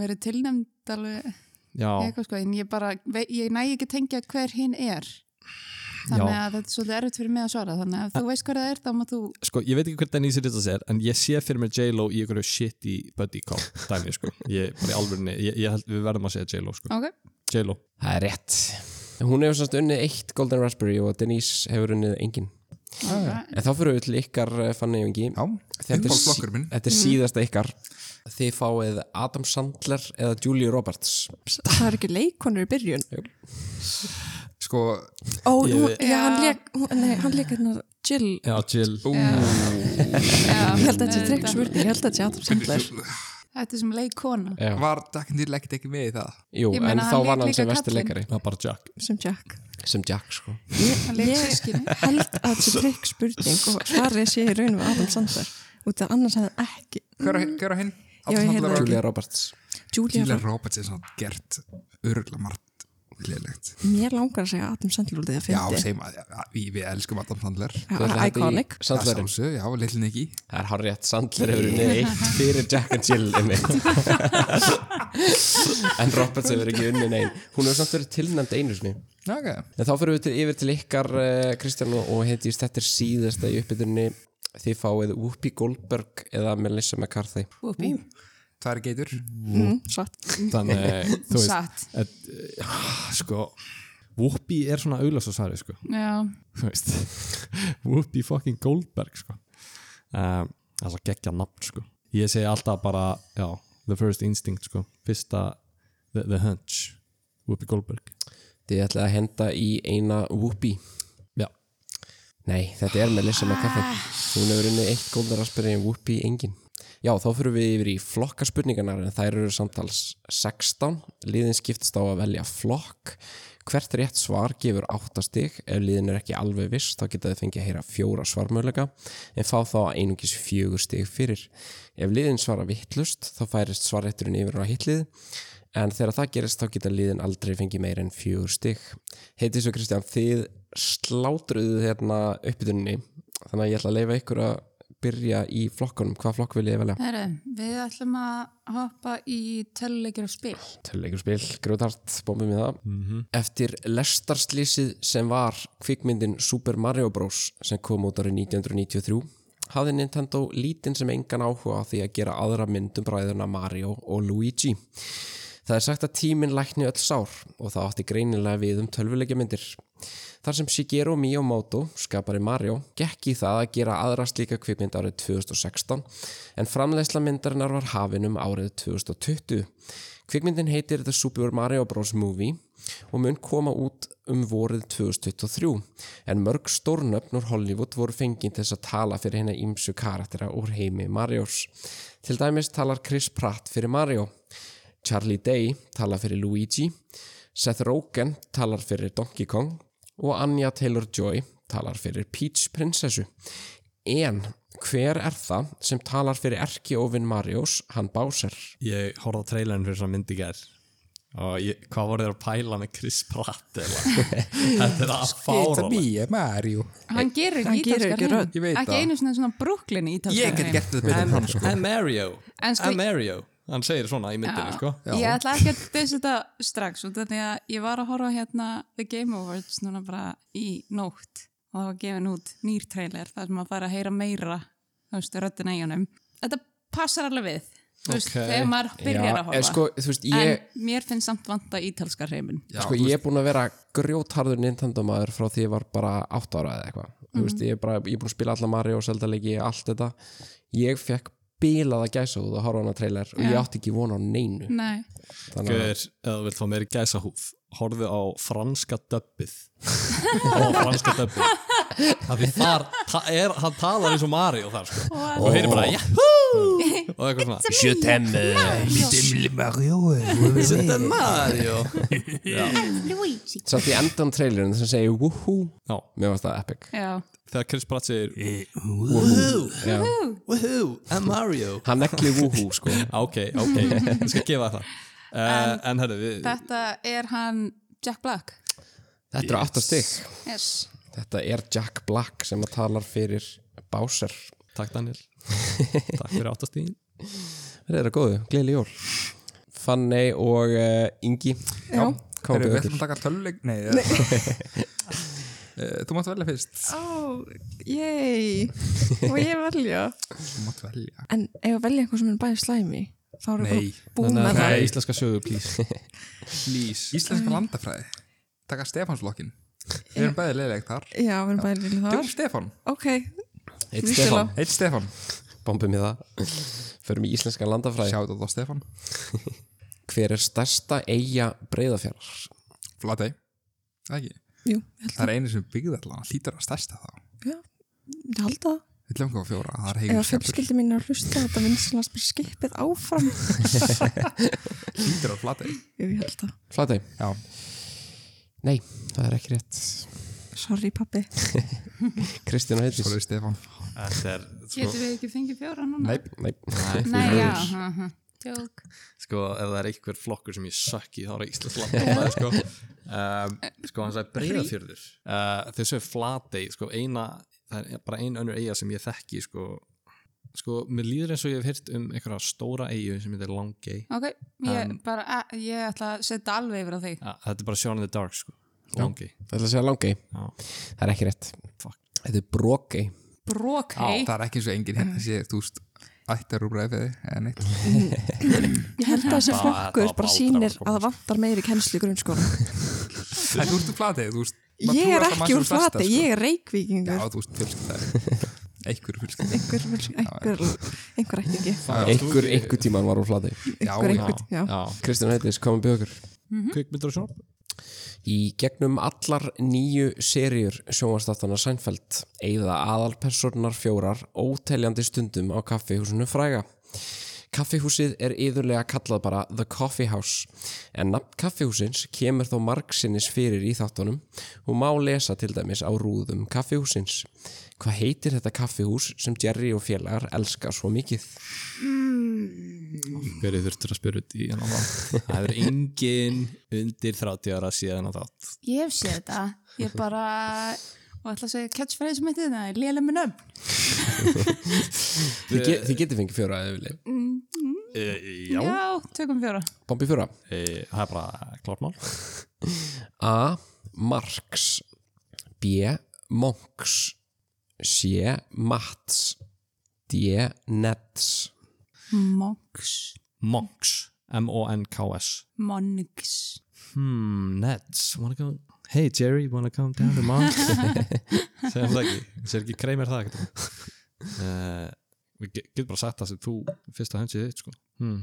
[SPEAKER 5] verið tilnæmd alveg
[SPEAKER 4] Já,
[SPEAKER 5] eitthvað sko, en ég bara vei- ég næ ekki tengja hver hinn er þannig
[SPEAKER 4] Já.
[SPEAKER 5] að þetta er svolítið erfitt fyrir mig að svara þannig að ef þú veist hvað það er þá má þú
[SPEAKER 4] sko, ég veit ekki hvernig Denise Richards er en ég sé fyrir mér J-Lo í eitthvað shit í buddy cop dæmi, sko ég, bara í alvörinni, ég, ég held við verðum að segja J-Lo, sko
[SPEAKER 5] ok,
[SPEAKER 4] J-Lo,
[SPEAKER 1] Það er rétt Hún hefur semst unnið eitt Golden Raspberry og Denise hefur unnið engin
[SPEAKER 5] alright.
[SPEAKER 1] En þá fyrir við til ykkar eh, Fanny og Ingi
[SPEAKER 3] Já,
[SPEAKER 1] Þetta er, sí-
[SPEAKER 3] uppáhaldsflokkur minn.
[SPEAKER 1] þetta
[SPEAKER 5] Mhm.
[SPEAKER 1] er síðasta ykkar Þið fáið Adam Sandler eða Julie Roberts
[SPEAKER 2] það er ekki leikonur í byrjun
[SPEAKER 3] Sko,
[SPEAKER 2] ó,
[SPEAKER 4] Ég-
[SPEAKER 2] hún, já, hann leik hún- nei, hann leik hérna Jill
[SPEAKER 4] já, Jill
[SPEAKER 3] ú,
[SPEAKER 2] ég held að þetta er tryggsvörði, ég held að þetta er Adam Sandler
[SPEAKER 5] þetta er sem leik kona
[SPEAKER 1] Já.
[SPEAKER 3] var Jack and Jill ekkert ekki með í það?
[SPEAKER 1] Jú,
[SPEAKER 5] Ég meina,
[SPEAKER 1] en
[SPEAKER 5] hann
[SPEAKER 1] þá
[SPEAKER 5] lék
[SPEAKER 1] var hann
[SPEAKER 5] líka
[SPEAKER 1] sem vesti
[SPEAKER 5] kallinn.
[SPEAKER 1] leikari
[SPEAKER 4] Já, bara Jack
[SPEAKER 2] sem Jack
[SPEAKER 1] sem Jack sko
[SPEAKER 5] hann leik sískinni
[SPEAKER 2] held að þetta er tryggsvörðing og svarið sé í raun við Adam Sandler út af annars hefði hann ekki
[SPEAKER 3] Hver er- hver er hinn?
[SPEAKER 2] Mm. Já, ég heyrði það.
[SPEAKER 1] Julia Roberts
[SPEAKER 2] Julia,
[SPEAKER 3] Tíla
[SPEAKER 2] Roberts.
[SPEAKER 3] Roberts er svona gert örgulega margt liðlegt.
[SPEAKER 2] mér langar að segja Adam Sandler út af
[SPEAKER 3] Já,
[SPEAKER 2] því að
[SPEAKER 3] segjum að já, við, við elskum Adam Sandler.
[SPEAKER 1] Þú ætlar
[SPEAKER 5] Ah,
[SPEAKER 2] fyndi
[SPEAKER 1] þetta í
[SPEAKER 2] iconic
[SPEAKER 3] Það
[SPEAKER 1] Sandlerinn
[SPEAKER 3] sjálfsög, já, litlinn ekki.
[SPEAKER 1] Það er hár rétt, Sandler hefur unnið eitt fyrir Jack and Jill einmitt. en Roberts hefur ekki unnið neinn hún hefur samt verið tilnæmt einu sinni en
[SPEAKER 3] Já, ok.
[SPEAKER 1] þá fyrir við til, yfir til ykkar eh, Kristján og- og heitist þetta er síðasta í uppbytunni þið fáið Whoopi Goldberg eða Melissa McCarthy
[SPEAKER 6] Whoopi.
[SPEAKER 3] Tvær geitur.
[SPEAKER 2] Mm, satt.
[SPEAKER 4] þannig, þú veist
[SPEAKER 5] satt
[SPEAKER 4] et, eh, sko Whoopi er svona auðlösa svari, sko
[SPEAKER 5] já,
[SPEAKER 4] þú veist Whoopi fucking Goldberg sko. um, það er svo geggja nafn sko. ég segi alltaf bara já, the first instinct sko. fyrsta the, the hunch Whoopi Goldberg
[SPEAKER 1] þið ætlaði að henda í eina Whoopi
[SPEAKER 4] já.
[SPEAKER 1] nei, þetta er Melissa McCarthy hún hefur unnið eitt Golden Raspberry en Whoopi engin já, þá fyrir við yfir í flokkaspurningarnar en þær eru samtals 16 liðin skiptast á að velja flokk hvert rétt svar gefur 8 stig ef liðin er ekki alveg viss þá geta þið fengið að heyra fjóra svarmöðlega en fá þá einungis fjögur stig fyrir ef liðin svara vittlust þá færist svarrétturinn yfir á hitlið en þegar það gerist þá geta liðin aldrei fengið meir en fjögur stig heiti svo Kristján, þið slátruðu hérna uppbytunni þannig að ég ætla að leifa ykkur að byrja í flokkunum, hvað flokk vil ég velja?
[SPEAKER 5] herru, við ætlum að hoppa í töluleikir og spil
[SPEAKER 1] Töluleikurspil, grjótart, bombum í það Eftir lestarslýsið sem var kvikmyndin Super Mario Bros. sem kom út árið 1993 hafði Nintendo lítinn sem engan áhuga á því að gera aðra myndum bræðuna Mario og Luigi Það er sagt að tíminn lækni öll sár og það átti greinilega við um tölvuleikja myndir Þar sem Shigeru Miyamoto, skapari Mario, gekk í það að gera aðra slíka kvikmynd árið 2016 en framleiðsla myndarinnar var hafin um árið 2020. Kvikmyndin heitir The Super Mario Bros. Movie og mun koma út um vorið 2023 en mörg stórnöfn úr Hollywood voru fengið til þess að tala fyrir hennar ímsu karaktera úr heimi Marios. Til dæmis talar Chris Pratt fyrir Mario. Charlie Day talar fyrir Luigi, Seth Rogen talar fyrir Donkey Kong og Anya Taylor-Joy talar fyrir Peach prinsessu. En hver er það sem talar fyrir erkiófin Marios, hann Bowser?
[SPEAKER 4] ég horfði á trailerin fyrir svona myndi gær og ég, hvað voru þeir að pæla með Chris Pratt eða? þetta er að
[SPEAKER 3] It's a
[SPEAKER 4] fára
[SPEAKER 3] me, Mario.
[SPEAKER 5] hann gerir
[SPEAKER 2] Hann
[SPEAKER 5] ekki
[SPEAKER 2] gerir
[SPEAKER 5] ítalskar
[SPEAKER 2] ekki
[SPEAKER 5] hreim.
[SPEAKER 2] rödd.
[SPEAKER 3] Ég veit
[SPEAKER 5] ekki
[SPEAKER 3] það.
[SPEAKER 5] einu svona svona brúklin ítalskar
[SPEAKER 3] Ég get
[SPEAKER 5] hreim.
[SPEAKER 3] gett þetta betur en hann, sko.
[SPEAKER 4] I'm Mario
[SPEAKER 5] En sko-
[SPEAKER 4] I'm Mario hann segir svona í myndinni
[SPEAKER 5] Já.
[SPEAKER 4] sko.
[SPEAKER 5] Ég ætla ekki að dösa þetta strax út af því að ég var að horfa á hérna The Game Awards núna bara í nótt og það var gefin út nýr trailer þar sem maður fær að heyra meira þú veist, röddina í honum Þetta passar alveg við þú veist,
[SPEAKER 4] Ókei.
[SPEAKER 5] þegar maður byrjar að horfa
[SPEAKER 1] en sko, þú veist,
[SPEAKER 5] en
[SPEAKER 1] ég,
[SPEAKER 5] mér finnst samt vanta ítalska hreimin
[SPEAKER 1] sko, ég er búin að vera grjótharður Nintendo maður frá því ég var bara 8 ára eða eitthvað.
[SPEAKER 5] Mhm.
[SPEAKER 1] Þú veist, ég er, bara, ég er búin að spila alla Mario, Zelda leiki, allt þetta. Ég fekk bilaða gæsahúð
[SPEAKER 5] Mhm.
[SPEAKER 1] að horfa á hana trailer og ég átti ekki von á neinu.
[SPEAKER 5] Nei,
[SPEAKER 1] Þannig að
[SPEAKER 4] Gaur, ef þú vilt fá meiri gæsa húf horfðu á franska döbbið og franska döbbið af því þar, það er, hann talar eins og Mario þar sko og heyri bara jahú og eitthvað svona
[SPEAKER 1] Je t'aime
[SPEAKER 4] Þetta er Mario
[SPEAKER 1] Satt í endan trailerinn sem segir woohoo
[SPEAKER 4] Já,
[SPEAKER 1] Mér varst það epic
[SPEAKER 5] Já,
[SPEAKER 4] þegar Chris Pratt segir
[SPEAKER 1] Já.
[SPEAKER 4] Woohoo, I'm Mario
[SPEAKER 1] Hann negli woohoo sko
[SPEAKER 4] "Ah, Ok, ok, ég skal gefa það uh, En herru, við
[SPEAKER 5] þetta er hann Jack Black
[SPEAKER 1] Þetta eru aftar stygg
[SPEAKER 5] yes.
[SPEAKER 1] Þetta er Jack Black sem að talar fyrir Bowser
[SPEAKER 4] Takk Daniel Takk fyrir áttastíðin
[SPEAKER 1] Þetta er að góðu, gleyli jól Fanny og uh, Ingi Já,
[SPEAKER 3] Heyrðu,
[SPEAKER 1] komum
[SPEAKER 3] við
[SPEAKER 1] við ykkur
[SPEAKER 3] ætlum að taka töluleik Nei, nei. Þú mátt velja fyrst
[SPEAKER 2] Ó, yey Og ég velja
[SPEAKER 3] Þú mátt velja
[SPEAKER 2] En ef ég velja eitthvað sem er bæði slæmi Þá erum
[SPEAKER 3] Nei.
[SPEAKER 2] við bara búin með það
[SPEAKER 4] íslenska sögu, please Please
[SPEAKER 2] Mm.
[SPEAKER 3] Íslenska landafræði Taka Stefánslokkin
[SPEAKER 2] Eh.
[SPEAKER 3] Við erum bæði leiðilegt þar
[SPEAKER 2] Já, við erum bæði lillið
[SPEAKER 3] Djúl
[SPEAKER 2] þar
[SPEAKER 3] Stefán
[SPEAKER 2] Ok,
[SPEAKER 1] Eitt
[SPEAKER 2] Víslega.
[SPEAKER 1] Stefán,
[SPEAKER 3] Eitt Stefán
[SPEAKER 1] bombum í það Förum í íslenska landafræði
[SPEAKER 3] Sjáðu þetta á Stefán
[SPEAKER 1] Hver er stærsta eiga breyðafjörðar?
[SPEAKER 3] Flatei Það ekki
[SPEAKER 2] jú, ég held
[SPEAKER 3] Það er einu sem byggði allan Hlýtur að stærsta þá
[SPEAKER 2] ég held að
[SPEAKER 3] Við ætlum ekki á fjóra Það er
[SPEAKER 2] Ef
[SPEAKER 3] heigur
[SPEAKER 2] að fjölskyldi mín er að hlusta Þetta vinsanast bara skipið áfram
[SPEAKER 3] Hlýtur að Flatei
[SPEAKER 2] Jú, ég held að
[SPEAKER 1] Flatei
[SPEAKER 3] Já
[SPEAKER 1] Nei, það er ekki rétt
[SPEAKER 2] Sorry pappi
[SPEAKER 1] Kristín og Heiðís
[SPEAKER 3] Sorry Stefán
[SPEAKER 4] Þetta er, sko,
[SPEAKER 5] Getum við ekki fengið fjóra núna?
[SPEAKER 1] Nei,
[SPEAKER 5] Nei, já ha, ha. Tjók.
[SPEAKER 4] sko, ef það er einhver flokkur sem ég sökki þá er það íslenska landafræði sko. Um, sko, hann sagði breyðafjörður uh, Þau sögðu flatei, sko, eina það er bara ein önnur eiga sem ég þekki sko, sko, mér líður eins og ég hef heyrt um einhverja stóra eigu sem heitir Langey
[SPEAKER 5] Ok, ég, bara, eh, ég ætla að setja alveg yfir á því
[SPEAKER 4] Ah, Þetta er bara Shaun in the Dark, sko Langey
[SPEAKER 1] það ætla að segja langi
[SPEAKER 4] Já.
[SPEAKER 1] Það er ekki rétt
[SPEAKER 4] Fuck.
[SPEAKER 1] Þetta er brókei
[SPEAKER 5] Brókei
[SPEAKER 3] Það er ekki eins og enginn hérna sé Þú veist Ættar úr breyðið Eða neitt
[SPEAKER 2] Ég held að þessi
[SPEAKER 4] Bara-
[SPEAKER 2] flokkur
[SPEAKER 4] þetta var
[SPEAKER 2] bara
[SPEAKER 4] bara
[SPEAKER 2] sýnir
[SPEAKER 4] aldrei að
[SPEAKER 2] að það vantar meiri kennslu í grunnskóla
[SPEAKER 3] En þú ert úr Flatey Þú veist maður
[SPEAKER 2] Ég
[SPEAKER 3] trúir
[SPEAKER 2] er
[SPEAKER 3] alltaf mann
[SPEAKER 2] ekki
[SPEAKER 3] sem
[SPEAKER 2] úr
[SPEAKER 3] stærsta,
[SPEAKER 2] flati,
[SPEAKER 3] sko.
[SPEAKER 2] ég er reykvíkingur
[SPEAKER 3] Já, þú veist fjölskylda Einhver fjölskylda
[SPEAKER 2] einhver, einhver, einhver ekki ekki
[SPEAKER 1] Einhver, einhver tíman var hún flatei
[SPEAKER 2] einhver, einhver, já,
[SPEAKER 4] Já,
[SPEAKER 1] Kristín og Heiðís, komum við ykkur
[SPEAKER 4] kvikmyndur og sjónvarp
[SPEAKER 1] Í gegnum allar nýju seríur sjónvarstáttana Sænfeld eigða aðalpersonar fjórar óteljandi stundum á kaffihúsinu fræga. Kaffihúsið er yðurlega kallað bara The Coffee House en nafn kaffihúsins kemur þó margsinnis fyrir í þáttunum og má lesa til dæmis á rúðum kaffihúsins. Hvað heitir þetta kaffihús sem Jerry og félagar elska svo mikið?
[SPEAKER 4] Hverju þurftur að spyrja út í hennan þátt? Það er engin undir 30 ára síðan á þátt.
[SPEAKER 5] Ég hef séð þetta Ég bara, og ætla að segja catchphrase sem heitir þetta, lélega minn upp
[SPEAKER 1] Þið, ge þið getið fengið fjóra eða vilja.
[SPEAKER 4] E, já.
[SPEAKER 5] Já, tökum fjóra
[SPEAKER 1] Bombi fjóra.
[SPEAKER 4] E, það er bara klármál.
[SPEAKER 1] A. Marx B. Monks C. Mats D. Nets
[SPEAKER 5] Monks,
[SPEAKER 4] Monks. M-O-N-K-S.
[SPEAKER 5] monks
[SPEAKER 4] Hmm, Nets. Wanna go... Hey Jerry, wanna come down to Monks? Segðu það ekki. Segðu ekki kreimir það ekki. Uh, við ge- getum bara sagt það sem þú fyrsta hönsið þitt, sko. Hmm.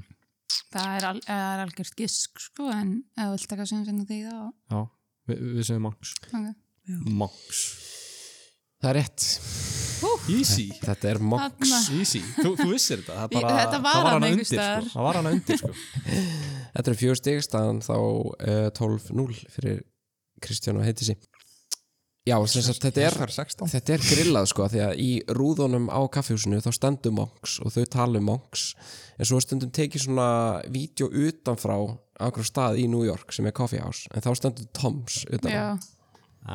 [SPEAKER 5] Það er, al, það er algjört gisk sko, en ef þú vilt taka sem sinna því þá
[SPEAKER 4] Já, við, við segjum Monks.
[SPEAKER 5] okay.
[SPEAKER 4] Monks.
[SPEAKER 1] Það er rétt,
[SPEAKER 4] Easy.
[SPEAKER 1] þetta er Monks
[SPEAKER 5] Þarna.
[SPEAKER 4] Easy, þú, þú vissir þetta það,
[SPEAKER 5] Í-
[SPEAKER 4] bara,
[SPEAKER 5] þetta var
[SPEAKER 4] það
[SPEAKER 5] hann
[SPEAKER 4] hana
[SPEAKER 5] einhvers
[SPEAKER 4] undir,
[SPEAKER 5] staðar.
[SPEAKER 4] sko. það var hana undir sko.
[SPEAKER 1] Þetta er fjögur stig staðan þá uh, 12-0 fyrir Kristján og heitisi Já, sem sagt, þetta er
[SPEAKER 3] er 16
[SPEAKER 1] Þetta er grillað sko, því að í rúðunum á kaffihúsinu þá stendur monks og þau tala um monks en svo er stundum tekið svona vídeo utanfrá á einhverjum stað í New York sem er Coffee House en þá stendur Toms utanfrá
[SPEAKER 5] Já,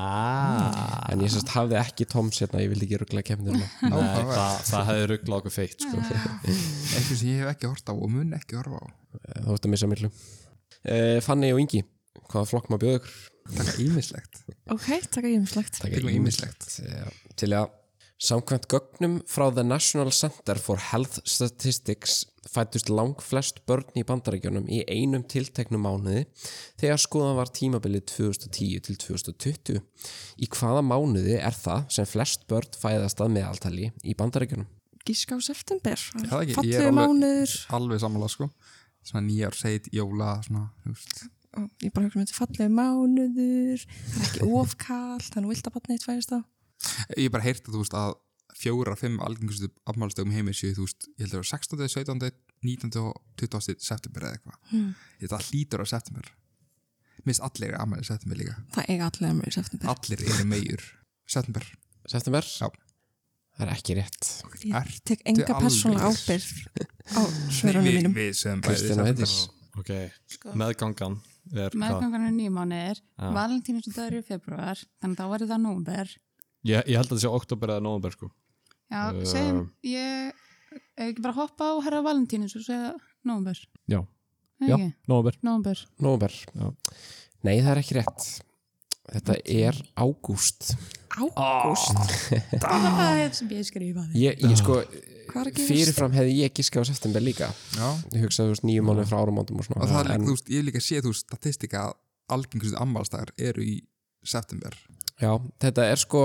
[SPEAKER 4] ah,
[SPEAKER 1] En ég sérst hafði ekki Toms hérna, ég vildi ekki ruggla kemdurna.
[SPEAKER 4] nei, Eh, það, það hefði rugglað okkur feitt sko.
[SPEAKER 3] Eitthvað sem ég hef ekki hort á og mun ekki horfa á
[SPEAKER 1] Eh, Þú veist að missa millu. Uh, Fanny og Ingi, hvaða flokk maður bjóðu ykkur?
[SPEAKER 3] Takk ímislegt
[SPEAKER 2] ok, taka ég umslagt
[SPEAKER 1] Takk
[SPEAKER 3] Til og ýmislegt.
[SPEAKER 1] Já, Til að samkvæmt gögnum frá The National Center for Health Statistics fættust langflest börn í bandarækjunum í einum tilteknum mánuði þegar skoðan var tímabilið 2010 til 2020. Í hvaða mánuði er það sem flest börn fæðast að meðaltali í bandarækjunum?
[SPEAKER 2] gíska á september
[SPEAKER 3] það ekki, ég
[SPEAKER 2] fallegu
[SPEAKER 3] er alveg-
[SPEAKER 2] mánuður
[SPEAKER 3] Alveg sammála sko Svona nýjar seit, jóla, svona þú veist.
[SPEAKER 2] og ég bara hugsa mér þetta er fallega mánuður það er ekki ofkalt, þannig vilt að batna eitt fæðist á
[SPEAKER 3] Ég hef bara heyrt að þú veist að fjóra, fimm algengustu afmálstöðum heimi séu þú veist, ég held að það var 16., 17., 19. og 20. september eða eitthvað. Hmm. Þetta hlýtur á september. Mist allir afmæli september líka.
[SPEAKER 2] það eiga allir að mér í september
[SPEAKER 3] Allir eru meir september.
[SPEAKER 1] September?
[SPEAKER 3] Já.
[SPEAKER 1] Það er ekki rétt.
[SPEAKER 2] ég
[SPEAKER 3] Ertu
[SPEAKER 2] tek enga
[SPEAKER 3] alveg-
[SPEAKER 2] persónlega ábyrð á svörunum
[SPEAKER 3] Við,
[SPEAKER 2] mínum
[SPEAKER 3] við sem
[SPEAKER 1] Kristján og Heiðís.
[SPEAKER 4] Ok,
[SPEAKER 5] Sko.
[SPEAKER 4] meðgangan er hvað?
[SPEAKER 5] meðgangan er nýjum mánuðir valentínus og dagur í februar þannig að þá verður það nómber
[SPEAKER 4] Ég, ég held að það sé oktober eða november sko
[SPEAKER 5] já, segjum, ég ef ekki bara hoppa á herra valentínus og segja nómber
[SPEAKER 4] Já, já, november
[SPEAKER 5] nómber,
[SPEAKER 1] Nómber.
[SPEAKER 4] Já.
[SPEAKER 1] Nei, það er ekki rétt. Þetta er ágúst.
[SPEAKER 2] ágúst,
[SPEAKER 5] það var það sem ég skrifaði
[SPEAKER 1] Ég, ég sko,
[SPEAKER 2] hvað er að gerast?
[SPEAKER 1] fyrirfram hefði ég giskað á september líka.
[SPEAKER 3] Já.
[SPEAKER 1] Ég hugsaði, þú veist, nýjum mánuði frá árumóndum og svona.
[SPEAKER 3] Og það er líka,
[SPEAKER 1] en,
[SPEAKER 3] þú veist, ég hef líka séð þú veist, statistika að algengustu afmálstöðar eru í september.
[SPEAKER 1] já, þetta er sko,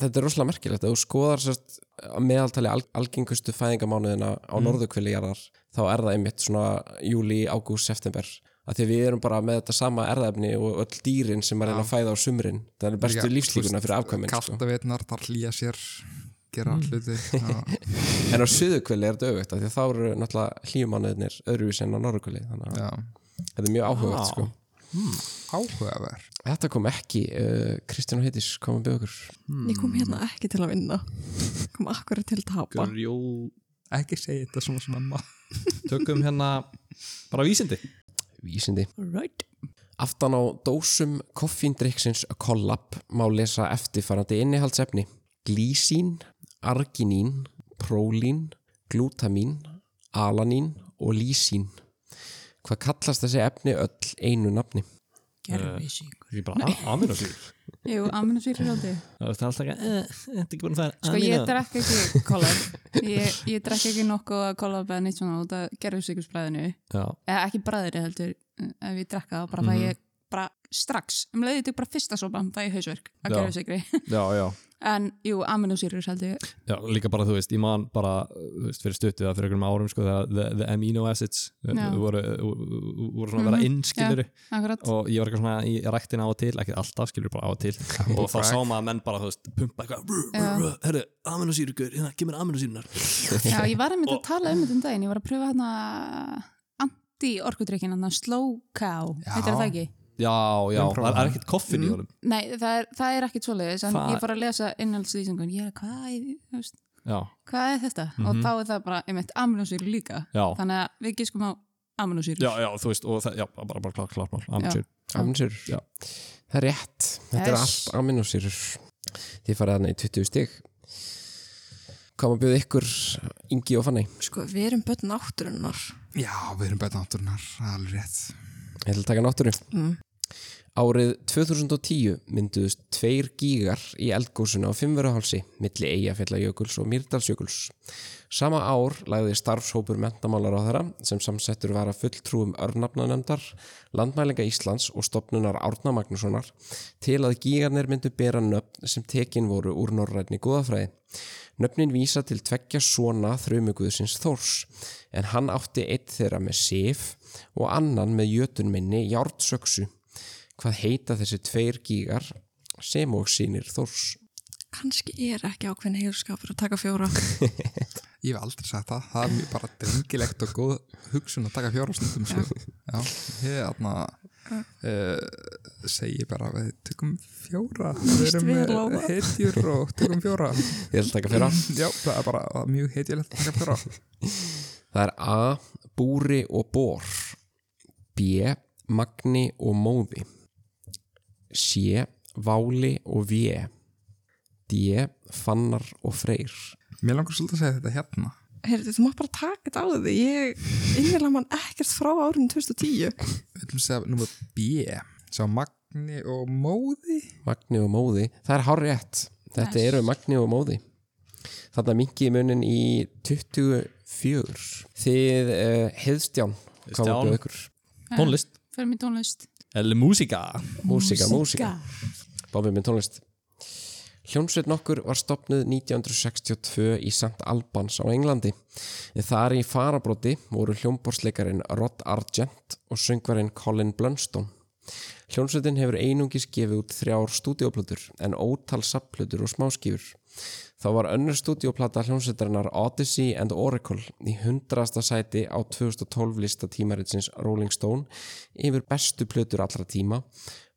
[SPEAKER 1] þetta er rosalega merkilegt. Ef þú skoðar sérst að meðaltali al, algengustu fæðingamánuðina á mm. norðukvillijarðar, þá er það einmitt svona júli, ágúst, september. Af því að við erum bara með þetta sama erðaefni og öll dýrin sem er að reyna að fæða á sumrin. Það er bestu lífslíkuna fyrir afkvæmin. Sko. Mm.
[SPEAKER 3] Kaltavetnar, þar hlýja sér, gera hluti. Já.
[SPEAKER 1] En á suðukvöli er þetta auðvitað því að þá eru náttúrulega hlýjumanniðnir öðruvísi en á norðukvöli þannig að
[SPEAKER 3] Já.
[SPEAKER 1] þetta er mjög áhugavert
[SPEAKER 4] Já.
[SPEAKER 1] sko.
[SPEAKER 3] Áhugaverð.
[SPEAKER 1] Þetta kom ekki, uh, Kristján og Heitis kom að byggja okkur
[SPEAKER 3] Ah,
[SPEAKER 2] ég kom hérna
[SPEAKER 3] mm.
[SPEAKER 2] ekki til að vinna kom akkurat til að tapa
[SPEAKER 4] Grjó
[SPEAKER 3] Ekki segja þetta svona svona maður.
[SPEAKER 4] Tökum hérna bara vísindi
[SPEAKER 1] vísindi.
[SPEAKER 2] right.
[SPEAKER 1] Aftan á dósum koffíndrykksins kollab má lesa eftirfarandi innihaldsefni glísín, arginín, prólín, glútamín, alanín og lísín. Hvað kallast þessi efni öll einu nafni?
[SPEAKER 6] Gerfisíkur.
[SPEAKER 4] Ég bara aminosýr
[SPEAKER 5] jú, aminosýrfrjóti
[SPEAKER 4] Það er alltaf ekki, eh, þetta er ekki búin að færa
[SPEAKER 5] sko ég drekk ekki kollab ég, ég drekk ekki nokkuð að kollab eða neitt svona út að gerðu sigursbræðinu
[SPEAKER 4] Já,
[SPEAKER 5] eða ekki bræðir heldur ef ég drekka þá bara mm
[SPEAKER 4] Mhm.
[SPEAKER 5] ég bara strax, um leiðið til bara fyrsta sopan það ég hausverk að
[SPEAKER 4] Já.
[SPEAKER 5] gerðu sigri
[SPEAKER 4] já, já
[SPEAKER 5] en jú, aminosýrur heldur ég
[SPEAKER 4] Já, líka bara, þú veist, ég man bara þú veist, fyrir stuttu eða fyrir einhverjum árum sko, þegar the, the amino acids uh,
[SPEAKER 5] Já. Mhm,
[SPEAKER 4] voru, uh, voru svona að vera innskilur
[SPEAKER 5] akkurat,
[SPEAKER 4] og ég var eitthvað svona í ræktina á og til, ekki alltaf skilur bara á og til og þá sá maður að menn bara, þú veist, pumpa eitthvað rr, rr, rr, herru, aminosýrugur, hérna, kemur aminosýrunar
[SPEAKER 5] já, ég var einmitt að tala um þetta um daginn ég var að pröfa hérna anti-orkudrykkin, hérna slow cow heitir það ekki?
[SPEAKER 4] Já, já,
[SPEAKER 3] Ég prófa
[SPEAKER 4] það
[SPEAKER 3] það.
[SPEAKER 4] er ekkert koffin í honum
[SPEAKER 5] Nei, það er, það er ekkit svoleiðis en
[SPEAKER 4] Það-
[SPEAKER 5] ég fór að lesa innhaldslýsingun ég er hvað, ég- þú veist,
[SPEAKER 4] Já,
[SPEAKER 5] hvað er þetta? og þá er það bara einmitt aminosýru líka
[SPEAKER 4] já,
[SPEAKER 5] þannig að við giskum á aminosýru
[SPEAKER 4] já, já, þú veist, og það, já, bara, bara klart, klart mál, aminosýr
[SPEAKER 1] Aminosýrur?
[SPEAKER 4] Já.
[SPEAKER 1] Það er rétt. Þetta er
[SPEAKER 5] Yes.
[SPEAKER 1] allt aminosýrur. Þið farið þarna í 20 stig. Kom að bjóða ykkur Ingi og Fanny.
[SPEAKER 2] sko, við erum börn náttúrunnar
[SPEAKER 3] Já, við erum bæta náttúrunar, það er alveg rétt.
[SPEAKER 1] Ég ætla að taka náttúru.
[SPEAKER 2] Mm.
[SPEAKER 1] Árið 2010 mynduðust tveir gígar í eldgósuna á Fimmverðahálsi, milli Eyjafjallajökuls og Mýrdalsjökuls. Sama ár lagði starfshópur mentamálar á þeirra sem samsettur var að fulltrúum örnafnanemdar, landmælinga Íslands og stopnunar Árna Magnússonar til að gígarnir myndu bera nöfn sem tekin voru úr norrænni góðafræði. Nöfnin vísa til tveggja svona þrjumuguðsins Þórs en hann átti eitt þeirra með Sif og annan með jötunminni Jártsöksu. Hvað heita þessi tveir gígar sem og sínir Þórs?
[SPEAKER 2] kannski er ekki ákveðin heilskapur að taka fjóra
[SPEAKER 3] Ég hef aldrei sagt það, það er mjög bara drengilegt og góð hugsun að taka fjóra stundum sko. Já, ég er þarna uh, segi bara við tökum fjóra, við
[SPEAKER 2] Líst
[SPEAKER 3] erum
[SPEAKER 2] vel á
[SPEAKER 3] eh,
[SPEAKER 2] það.
[SPEAKER 3] hetjur og tökum fjóra
[SPEAKER 1] Ég ætla að taka fyrra.
[SPEAKER 3] Já, það er bara það er mjög hetjulegt að taka fjóra
[SPEAKER 1] Það er A. Búri og Bór B. Magni og Móði C. Váli og Vé D. Fannar og Freyr
[SPEAKER 3] Mér langar svolítið að segja þetta hérna
[SPEAKER 2] Heyrðu, þú mátt bara taka þetta á því ég innlega mann ekkert frá árinu 2010
[SPEAKER 3] Við viljum segja nummer B Sá Magni og Móði
[SPEAKER 1] Magni og Móði, það er hárétt þetta eru Magni og Móði þarna mingi munin í 24 þið uh, heiðstján hvað
[SPEAKER 4] Heiðstján.
[SPEAKER 1] var bjóð ykkur?
[SPEAKER 4] Tónlist,
[SPEAKER 5] fyrir mér tónlist
[SPEAKER 4] el músika
[SPEAKER 1] Músika, músika Bobby minn tónlist Hljómsveit nokkur var stopnuð 1962 í St. Albans á Englandi. En Þar í farabróti voru hljómborsleikarin Rod Argent og söngvarinn Colin Blunstone. Hljónsveitin hefur einungis gefið út þrjár stúdíoplötur en ótal sapplötur og smáskífur. Þá var önnur stúdíoplata hljónsveitarinnar Odyssey and Oracle í 100. sæti á 2012 lista tímaritsins Rolling Stone yfir bestu plötur allra tíma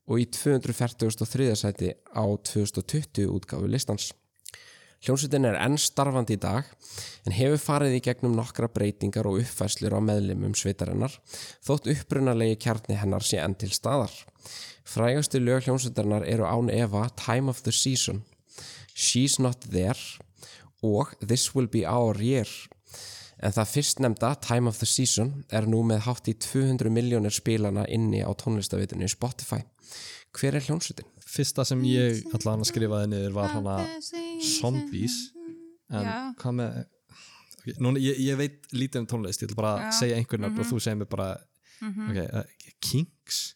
[SPEAKER 1] og í 243. sæti á 2020 útgáfu listans. Hljómsveitin er enn starfandi í dag en hefur farið í gegnum nokkra breytingar og uppfæslur á meðlimum sveitarinnar þótt upprunalegi kjarni hennar sé enn til staðar. Frægastu lög hljómsveitarinnar eru án Eva Time of the Season, She's Not There og This Will Be Our Year. En það fyrstnefnda Time of the Season er nú með hátt í 200 miljónir spilana inni á tónlistavitinu Spotify. Hver er hljómsveitin?
[SPEAKER 4] Fyrsta sem ég allan að skrifaði niður var hana Zombies En
[SPEAKER 5] Já.
[SPEAKER 4] hvað með okay, núna, ég, ég veit lítið um tónlist Ég ætla bara að segja einhvern nöfn og
[SPEAKER 5] Mhm.
[SPEAKER 4] þú segir mér bara mm Kinks,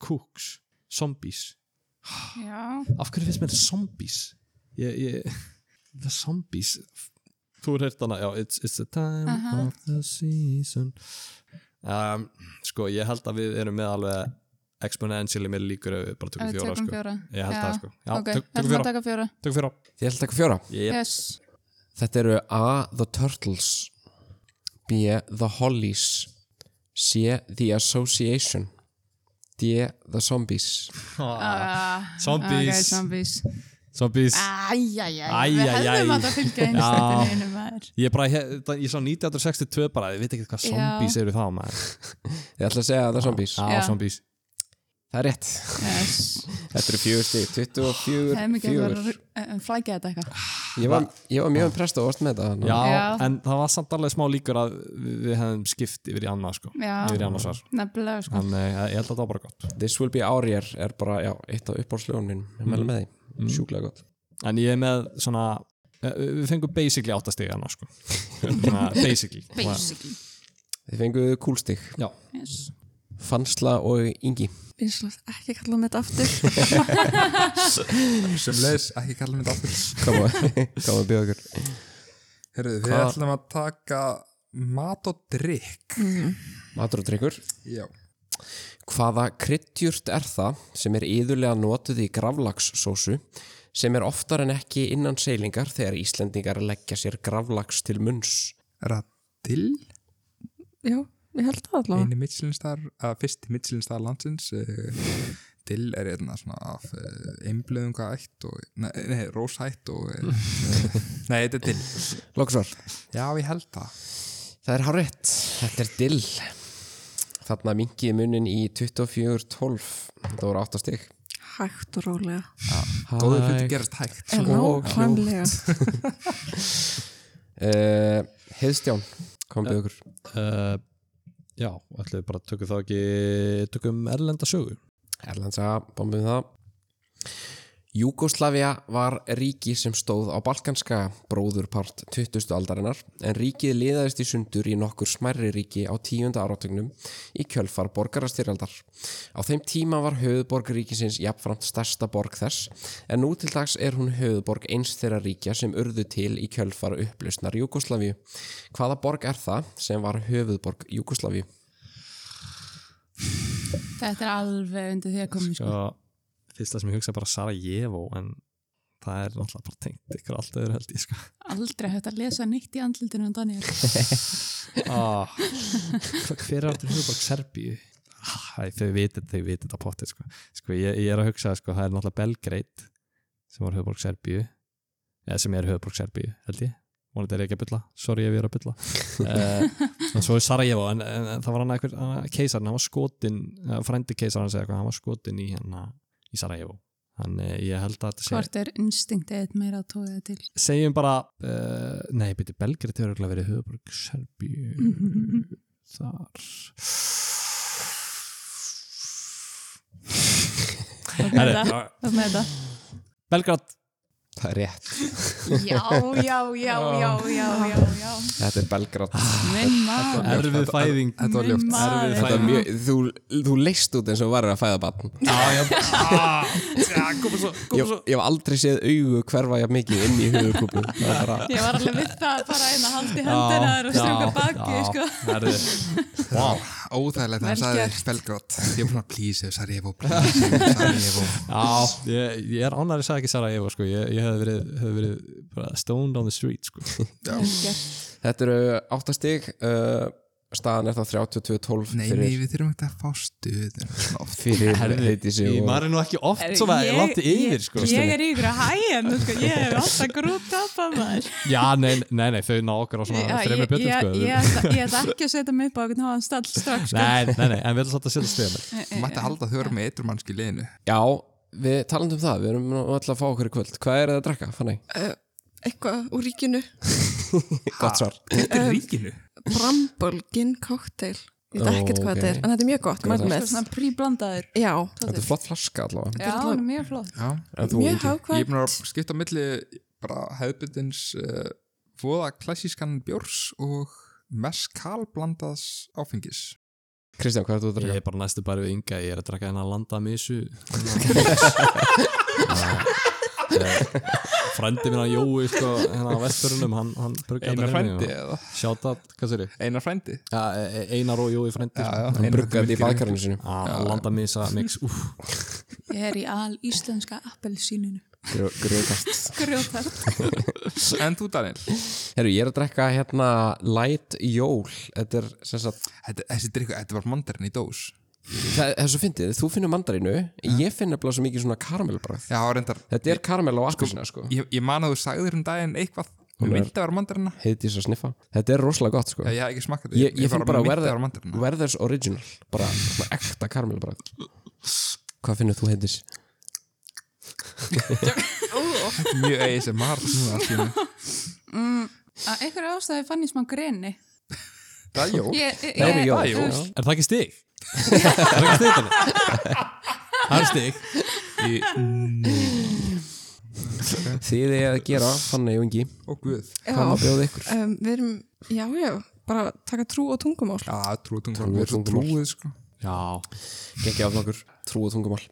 [SPEAKER 4] Cooks, Zombies
[SPEAKER 5] Já,
[SPEAKER 4] Af hverju finnst mér Zombies? Ég, ég, the Zombies Þú er heyrt hana, já It's, it's the time of the season um, Sko, ég held að við erum með alveg exponentially með líkur ef við bara tökum
[SPEAKER 5] við
[SPEAKER 4] fjóra,
[SPEAKER 5] tökum
[SPEAKER 4] sko.
[SPEAKER 5] fjóra.
[SPEAKER 4] Ég held
[SPEAKER 5] Já.
[SPEAKER 4] það sko Já,
[SPEAKER 5] ok,
[SPEAKER 4] tök, tökum
[SPEAKER 5] ætlum að
[SPEAKER 4] fjóra,
[SPEAKER 5] taka fjóra.
[SPEAKER 4] tökum fjóra
[SPEAKER 1] Þið held ekki fjóra?
[SPEAKER 4] Ég
[SPEAKER 5] Yes.
[SPEAKER 1] Þetta eru A. The Turtles B. The Hollies C. The Association D. The Zombies
[SPEAKER 5] Ah,
[SPEAKER 4] Zombies.
[SPEAKER 5] ok, zombies.
[SPEAKER 4] Zombies
[SPEAKER 5] Æjæjæj,
[SPEAKER 4] Æ,
[SPEAKER 5] við
[SPEAKER 4] æ, æ.
[SPEAKER 5] hefðum að það fylgja
[SPEAKER 4] Já.
[SPEAKER 5] einstaklega einu maður.
[SPEAKER 4] Ég, bara, ég, það- ég sá 1962 bara, ég veit ekki hvað
[SPEAKER 5] Já.
[SPEAKER 4] zombies eru þá maður
[SPEAKER 1] Ég ætla að segja The Zombies
[SPEAKER 4] Já,
[SPEAKER 5] Já.
[SPEAKER 4] zombies
[SPEAKER 1] Það er rétt
[SPEAKER 5] Yes.
[SPEAKER 1] Þetta eru fjögur stig,
[SPEAKER 5] Það er
[SPEAKER 1] 24
[SPEAKER 5] mikið að
[SPEAKER 1] fjögur.
[SPEAKER 5] vera að flækja þetta eitthvað.
[SPEAKER 1] Ég var, ég var mjög impressed og vart með þetta þannig
[SPEAKER 4] Já,
[SPEAKER 1] að-
[SPEAKER 5] Já.
[SPEAKER 4] en það var samt alveg smá líkur að við, við hefum skipt yfir í annað sko
[SPEAKER 5] Já.
[SPEAKER 4] Yfir í annað svar
[SPEAKER 5] Nefnilega, sko.
[SPEAKER 4] Þannig eh, ég held að það var bara gott
[SPEAKER 1] This Will Be Our Year er bara já, eitt af uppáhaldslögunum mínum Ég meðla með því, sjúklega gott
[SPEAKER 4] En ég er með svona eh, Við fengum basically áttastiga annað sko Svona Basically
[SPEAKER 5] Basically.
[SPEAKER 1] Þið fenguðu kúlstig
[SPEAKER 4] Já,
[SPEAKER 5] Yes.
[SPEAKER 1] Fansla og Ingi
[SPEAKER 2] Vinslóð, ekki kalla með þetta aftur.
[SPEAKER 3] sem leis, ekki kalla mér þetta aftur
[SPEAKER 1] Gáðum að bjóða ykkur
[SPEAKER 3] Herruðu, við
[SPEAKER 1] Hvað?
[SPEAKER 3] ætlum að taka mat og drikk
[SPEAKER 1] Matur og drikkur
[SPEAKER 3] Já
[SPEAKER 1] Hvaða kryddjurt er það sem er yðurlega notuð í gravlagssósu sem er oftar en ekki innan seilingar þegar Íslendingar leggja sér gravlags til munns?
[SPEAKER 3] Radil,
[SPEAKER 2] Já, ég held það allavega.
[SPEAKER 3] eini mittsilinstar uh, fyrsti mittsilinstar landsins uh, Dill er einna svona af uh, einblöðunga ætt og, nei, nei rósa ætt og uh, nei, þetta er dill
[SPEAKER 1] Lóksvar,
[SPEAKER 3] Já, ég held það
[SPEAKER 1] það er hárétt. Þetta er dill. Þarna minkiði munin í 24.12. Þetta voru 8 stygg.
[SPEAKER 2] Hægt og rólega.
[SPEAKER 3] Góður hluti gerast hægt
[SPEAKER 2] En
[SPEAKER 1] og
[SPEAKER 2] nákvæmlega.
[SPEAKER 1] Uh, Heiðstján, kom við ykkur.
[SPEAKER 4] uh, já ætlum við bara tökum þá ekki Tökum erlenda sögu
[SPEAKER 1] Erlandsa, bombum það. Júgoslavia var ríki sem stóð á Balkanska bróðurpart 20. aldarinnar en ríkið liðaðist í sundur í nokkur smærri ríki á 10. áratugnum í kjölfar borgarastyrjaldar. Á þeim tíma var höfuborg ríkisins jafnframt stærsta borg þess en nú til dags er hún höfuborg eins þeirra ríkja sem urðu til í kjölfar upplausnar Júgoslaviu. Hvaða borg er það sem var höfuborg Júgoslaviu?
[SPEAKER 5] Þetta er alveg undir því að koma, sko.
[SPEAKER 4] sko, fyrsta sem ég hugsa er bara Sarajevo en það er náttúrulega bara tengt ykkur allt öðru held ég sko
[SPEAKER 5] Aldrei hægt að lesa neitt í andlutinu á Daniel.
[SPEAKER 4] ah, hver er aftur höfuborg Serbíu ah, þau vitið, þau vitið þetta potið sko, sko ég, ég er að hugsa sko, það er náttúrulega Belgrade sem var höfuborg Serbíu eða sem er höfuborg Serbíu held ég vonandi er ég ekki að bylla, sorry ef ég er að bylla uh, en svo er Sarajevo en, en, en það var hann eitthvað, hann- keisarinn hann var skotin, frændi keisarinn segja eitthvað hann var skotin í hérna í Sarajevo þannig eh, ég held að þetta sé
[SPEAKER 5] Hvort er instinktið eitt meira að tóða til?
[SPEAKER 4] segjum bara uh, nei, byrju, Belgrið hefur örugglega verið höfuborg Serbíu
[SPEAKER 5] mhm.
[SPEAKER 4] Mm, þar
[SPEAKER 5] Ok,
[SPEAKER 4] Herri,
[SPEAKER 5] það- það með þetta.
[SPEAKER 4] Belgrad
[SPEAKER 1] það er rétt
[SPEAKER 5] Já, já, já, já, já, já, já.
[SPEAKER 1] Þetta er Belgrad
[SPEAKER 5] Ah. Minn maður.
[SPEAKER 4] Erfið fæðing
[SPEAKER 3] Þetta var ljótt.
[SPEAKER 5] Minn maður.
[SPEAKER 1] Þetta er mjög, þú, þú leist út eins og varir að fæða barn ég, ég hef aldrei séð augu hverfa jafn mikið inn í höfukúpu Það er bara-
[SPEAKER 5] Ég var alveg við það að fara inn að haldi hendina þér og strjúka baki, sko.
[SPEAKER 4] sko Vá,
[SPEAKER 3] Óþægilegt að
[SPEAKER 5] Vel
[SPEAKER 3] hann sagði
[SPEAKER 5] gert.
[SPEAKER 3] Belgrad Ég var svona please, Sarajevo, please, Sarajevo
[SPEAKER 4] Já, ég, ég er ánæri sagði ekki Sarajevo sko. ég, ég hefði verið, hef verið bara stoned on the street sko.
[SPEAKER 1] Þetta eru áttastig uh, staðan er það 32-12
[SPEAKER 3] Nei, nei,
[SPEAKER 1] fyrir,
[SPEAKER 3] við þurfum ekki að fá stuð
[SPEAKER 1] fyrir heitísi
[SPEAKER 4] Ég
[SPEAKER 1] og
[SPEAKER 4] maður er nú ekki oft
[SPEAKER 5] Herri,
[SPEAKER 4] svo að ég langt yfir
[SPEAKER 5] ég,
[SPEAKER 4] sko.
[SPEAKER 5] ég er yfir að hæja nú sko, ég hef alltaf grúta upp að maður
[SPEAKER 4] Já, nei, nei, nei, þau ná okkur á svona
[SPEAKER 5] ég,
[SPEAKER 4] þreymur
[SPEAKER 5] ég,
[SPEAKER 4] pjötum sko.
[SPEAKER 5] ég, ég ætla- ég ætla ekki að setja mig upp á einhvern háan stall strax sko.
[SPEAKER 4] Nei, nei, nei, en við erum svolítið að setja stegum
[SPEAKER 3] Þú mætti að halda að þau eru með eitrum mannski í liðinu
[SPEAKER 1] Já, við talandum um það, við erum nú alltaf að fá okkur í kvöld Hvað er það að drakka, Fanny?
[SPEAKER 2] Eitthvað úr ríkinu
[SPEAKER 1] Gott svar
[SPEAKER 3] Þetta er ríkinu
[SPEAKER 2] Bramble Gin Cocktail Ég veit
[SPEAKER 1] Ó,
[SPEAKER 2] ekkert
[SPEAKER 1] ok.
[SPEAKER 2] hvað þetta er, en þetta er mjög
[SPEAKER 1] Hvað
[SPEAKER 2] gott,
[SPEAKER 1] er það?
[SPEAKER 2] mælum
[SPEAKER 5] Sko,
[SPEAKER 2] með.
[SPEAKER 5] svona príblandaður
[SPEAKER 2] Já,
[SPEAKER 1] Þetta er flott flaska allavega
[SPEAKER 5] Já, hún er mjög flott
[SPEAKER 3] Já,
[SPEAKER 1] En þú,
[SPEAKER 2] mjög
[SPEAKER 1] Ingi?
[SPEAKER 3] ég er
[SPEAKER 2] hákvæmt.
[SPEAKER 3] búin að skipta á milli bara hefðbundins uh, voða klassískan bjórs og meskal blandaðs áfengis
[SPEAKER 1] Kristján, hvað er þú að
[SPEAKER 4] Ég
[SPEAKER 1] drakka?
[SPEAKER 4] er bara næstu bara við ynga, ég er að draka hennar að landa misu Eh, Frendi minna Jói sko, hennar á vesturunum hann, hann bruggaði
[SPEAKER 3] Einar
[SPEAKER 4] þetta fyrir mig
[SPEAKER 3] frændi
[SPEAKER 4] og-
[SPEAKER 3] eða?
[SPEAKER 4] Sjáta, hvað sér ég?
[SPEAKER 3] Einar frændi?
[SPEAKER 4] Ja, e- e- Einar og Jói frendi
[SPEAKER 3] Já,
[SPEAKER 4] sko.
[SPEAKER 3] já,
[SPEAKER 1] Hann
[SPEAKER 3] Einar
[SPEAKER 1] bruggaði þetta í
[SPEAKER 3] myrkir.
[SPEAKER 1] baðkarinu sinu
[SPEAKER 4] ah, Landa misa mix, úf
[SPEAKER 5] Ég er í al íslenska appelsíninu
[SPEAKER 1] Grjótast
[SPEAKER 5] Grjótar
[SPEAKER 3] En þú Daniel,
[SPEAKER 1] Herru, ég er að drekka hérna Light Jól Þetta er sem sagt
[SPEAKER 3] þetta, þessi drikku, þetta var mandarinn í dós
[SPEAKER 1] Það, það er svo fyndið, þú finnur mandarinu ég finn nefnilega svo mikið svona karamelbröð
[SPEAKER 3] Já, reyndar,
[SPEAKER 1] þetta er karamel á appelsina sko
[SPEAKER 3] ég, ég man að þú sagðir um daginn eitthvað
[SPEAKER 1] Hún
[SPEAKER 3] Hún
[SPEAKER 1] er-
[SPEAKER 3] myndi að vera mandarina
[SPEAKER 1] heiti þess að sniffa, þetta er rosalega gott sko
[SPEAKER 3] Já, ég hef ekki smakkað
[SPEAKER 1] ég, ég finn bara
[SPEAKER 3] myndi að vera
[SPEAKER 1] verða-
[SPEAKER 3] mandarina
[SPEAKER 1] verðers original bara svona ekta karamelbröð hvað finnur þú heitis?
[SPEAKER 3] Mjög ASMR núna allt í einu.
[SPEAKER 5] Að einhverju ástæði fann ég smá greni
[SPEAKER 3] Það er jól
[SPEAKER 5] Ég, ég,
[SPEAKER 1] það er
[SPEAKER 5] ég,
[SPEAKER 1] jól,
[SPEAKER 3] það er jól.
[SPEAKER 4] Er það ekki stig? er það ekki stig þannig? Það er stig
[SPEAKER 1] þið er að gera, fann ég ungi
[SPEAKER 3] Ó guð
[SPEAKER 1] hvað má
[SPEAKER 2] Já,
[SPEAKER 1] bjóða ykkur?
[SPEAKER 2] um, við erum, já, já, bara taka trú og tungumál.
[SPEAKER 3] Já, trú og tungumál, við erum svo
[SPEAKER 1] tungumál.
[SPEAKER 3] trúið sko
[SPEAKER 4] Já,
[SPEAKER 1] Gekki af nokkur trú og tungumál.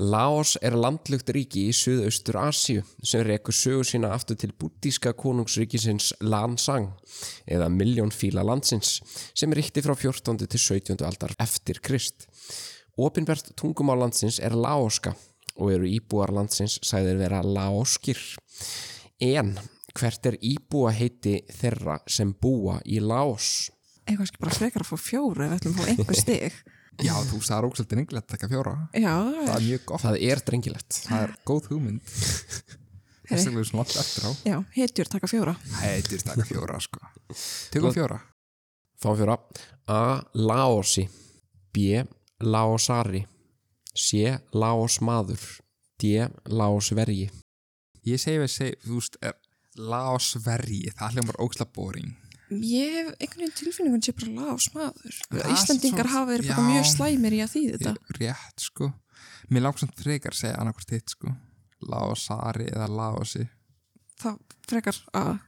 [SPEAKER 1] Laos er landlugt ríki í Suðaustur Asíu sem rekur sögu sína aftur til búddíska konungsríkisins Lansang eða milljónfíla landsins sem ríkti frá 14. til 17. aldar eftir Krist. Opinbert tungumál landsins er laoska og eru íbúar landsins sæðir vera laoskir. En hvert er íbúa heiti þeirra sem búa í Laos?
[SPEAKER 2] Eitthvað ekki bara frekar að fá fjóru ef við ætlum að fá einhver stig.
[SPEAKER 3] Já, þú sagði ógsaldin englega að taka fjóra
[SPEAKER 2] Já,
[SPEAKER 3] Það er mjög gott,
[SPEAKER 1] Það er drengilegt.
[SPEAKER 3] það er góð hugmynd Þess vegna er svona langt eftir á
[SPEAKER 2] já, hetjur taka fjóra.
[SPEAKER 3] Heitir taka fjóra sko Tökum fjóra
[SPEAKER 1] Fáum fjóra A. Laosi B. Laosari C. Laosmaður D. Laosvergi
[SPEAKER 3] Ég segi við segi, þú veist er Laosvergi, það hljómar ógsla boring
[SPEAKER 2] Ég hef einhvern veginn tilfinningun sé bara lás maður.
[SPEAKER 3] Það er
[SPEAKER 2] Íslendingar
[SPEAKER 3] Ah, svo-
[SPEAKER 2] hafa verið
[SPEAKER 3] já.
[SPEAKER 2] bara mjög slæmir í að þýða þetta.
[SPEAKER 3] Rétt sko Mér langt samt frekar að segja annarkvort hitt sko Laosari eða Laosi
[SPEAKER 2] Þá frekar að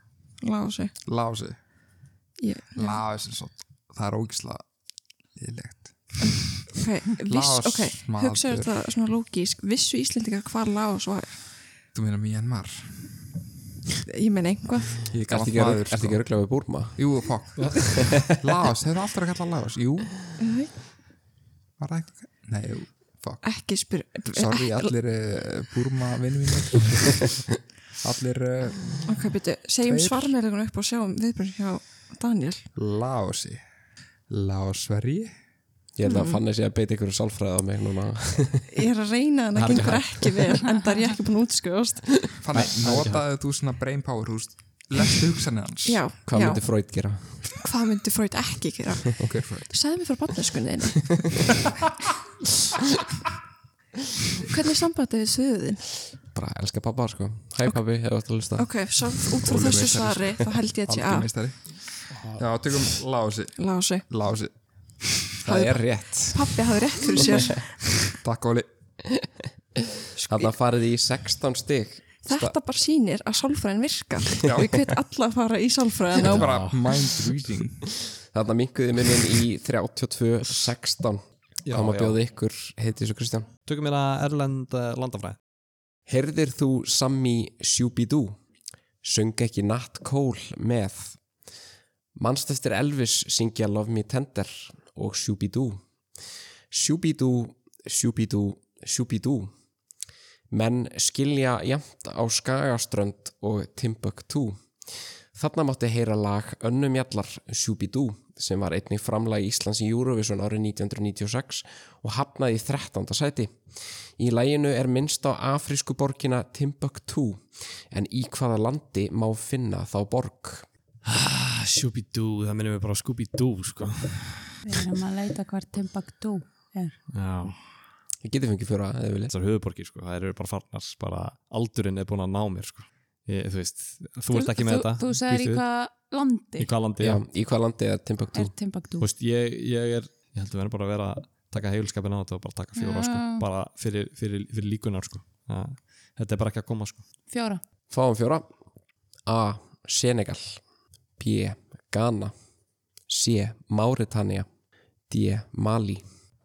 [SPEAKER 2] lási.
[SPEAKER 3] Laosi,
[SPEAKER 2] Ég,
[SPEAKER 3] Laosi svo, það er ógisla liðlegt
[SPEAKER 2] ok, viss,
[SPEAKER 3] Lás
[SPEAKER 2] ok,
[SPEAKER 3] maður.
[SPEAKER 2] hugsaður þetta svona lógísk. Vissu Íslendingar hvað lás var?
[SPEAKER 3] Þú meina Myanmar
[SPEAKER 2] Ég meina einhvað.
[SPEAKER 3] Ég
[SPEAKER 1] Ertu ekki að rugla- ertu
[SPEAKER 4] sko.
[SPEAKER 1] ekki að ruggla við Búrma?
[SPEAKER 3] Jú, fokk Laos, hefur alltaf að kalla Laos Jú, var það eitthvað Nei, jú, fokk
[SPEAKER 2] Ekki spyr...
[SPEAKER 3] Sorry, allir uh, búrma vinnu mínir Allir uh,
[SPEAKER 2] Ok, byrju, segjum
[SPEAKER 3] Tveir.
[SPEAKER 2] svarmeðlegun upp og sjáum viðbjörn hjá Daniel.
[SPEAKER 3] Laosi Laosveri
[SPEAKER 1] Ég held
[SPEAKER 2] Mm.
[SPEAKER 1] að fann þessi að beita ykkur sálfræði á mig núna
[SPEAKER 2] Ég er að reyna þannig að gengur ekki vel, en það er ég ekki búin að útskjóðast.
[SPEAKER 3] Þannig, notaðu þú svona brain power húst Lestu hugsanir hans
[SPEAKER 2] Já,
[SPEAKER 1] Hvað
[SPEAKER 2] já.
[SPEAKER 1] myndi Freud gera?
[SPEAKER 2] Hvað myndi Freud ekki gera?
[SPEAKER 3] okay, Freud.
[SPEAKER 2] Segðu mér frá botneskunni þinni. Hvernig er sambandið við sviðin?
[SPEAKER 1] Bara elska pappa sko Hæ pappi, hefur þetta að hlusta
[SPEAKER 2] Ok, svo út frá þessu svari, þá held ég að ég
[SPEAKER 3] Algjör
[SPEAKER 2] að
[SPEAKER 3] meistari Já, tökum Laosi
[SPEAKER 2] lási.
[SPEAKER 3] Laosi,
[SPEAKER 1] Það er rétt
[SPEAKER 2] Pappi hafði rétt fyrir sér.
[SPEAKER 3] takk Óli
[SPEAKER 2] Sko,
[SPEAKER 1] Þannig að farið í 16 stig
[SPEAKER 2] Þetta bara sýnir að sálfræðin virkar
[SPEAKER 3] Já.
[SPEAKER 2] og ég hvet alla að fara í sálfræðin
[SPEAKER 3] Þetta er
[SPEAKER 2] og
[SPEAKER 3] bara mind reading
[SPEAKER 1] Þarna minguði minnin í 32.16
[SPEAKER 4] Já,
[SPEAKER 1] Kom að
[SPEAKER 4] já.
[SPEAKER 1] bjóða ykkur, heiti svo Kristján
[SPEAKER 4] Tökum mér að Erlend uh, landafræði
[SPEAKER 1] Herðir þú Sammy Shubidú? Söng ekki Nat Cole með Manst eftir Elvis syngja Love Me Tender og Shubidú Shubidú, Shubidú, Shubidú Menn skilja jæmt á Skagaströnd og Timbuktu Þarna mátti heyra lag Önnum Jallar Shubidú sem var einnig framlag Íslands í Eurovision árið 1996 og hafnaði í 13. sæti. Í læginu er minnst á afrísku borgina Timbuktu en í hvaða landi má finna þá borg?
[SPEAKER 4] ah, Shubidoo, það minnum við bara á Scooby-Doo sko.
[SPEAKER 5] Við erum að leita hvar Timbuktu er.
[SPEAKER 4] Já,
[SPEAKER 1] Ég geti fengið fjóra eða vilja.
[SPEAKER 4] þessar höfuborgir sko, það eru bara farnar bara aldurinn er búin að ná mér sko. ég, þú veist, þú ert ekki með þetta
[SPEAKER 5] Þú sagðir
[SPEAKER 4] býst
[SPEAKER 5] í
[SPEAKER 4] við.
[SPEAKER 5] hvað landi
[SPEAKER 4] í hvað landi
[SPEAKER 1] Já,
[SPEAKER 4] já.
[SPEAKER 1] í hvaða landi er Timbuktu?
[SPEAKER 5] er Timbuktu?
[SPEAKER 4] Þú veist, ég, ég er, ég held að vera bara að vera að taka heilskapin á þetta og bara taka fjóra
[SPEAKER 5] Já.
[SPEAKER 4] sko. bara fyrir, fyrir, fyrir líkunar sko. ja, þetta er bara ekki að koma sko.
[SPEAKER 5] Fjóra.
[SPEAKER 1] Fáum fjóra A. Senegal B. Ghana C. Mauritania D. Mali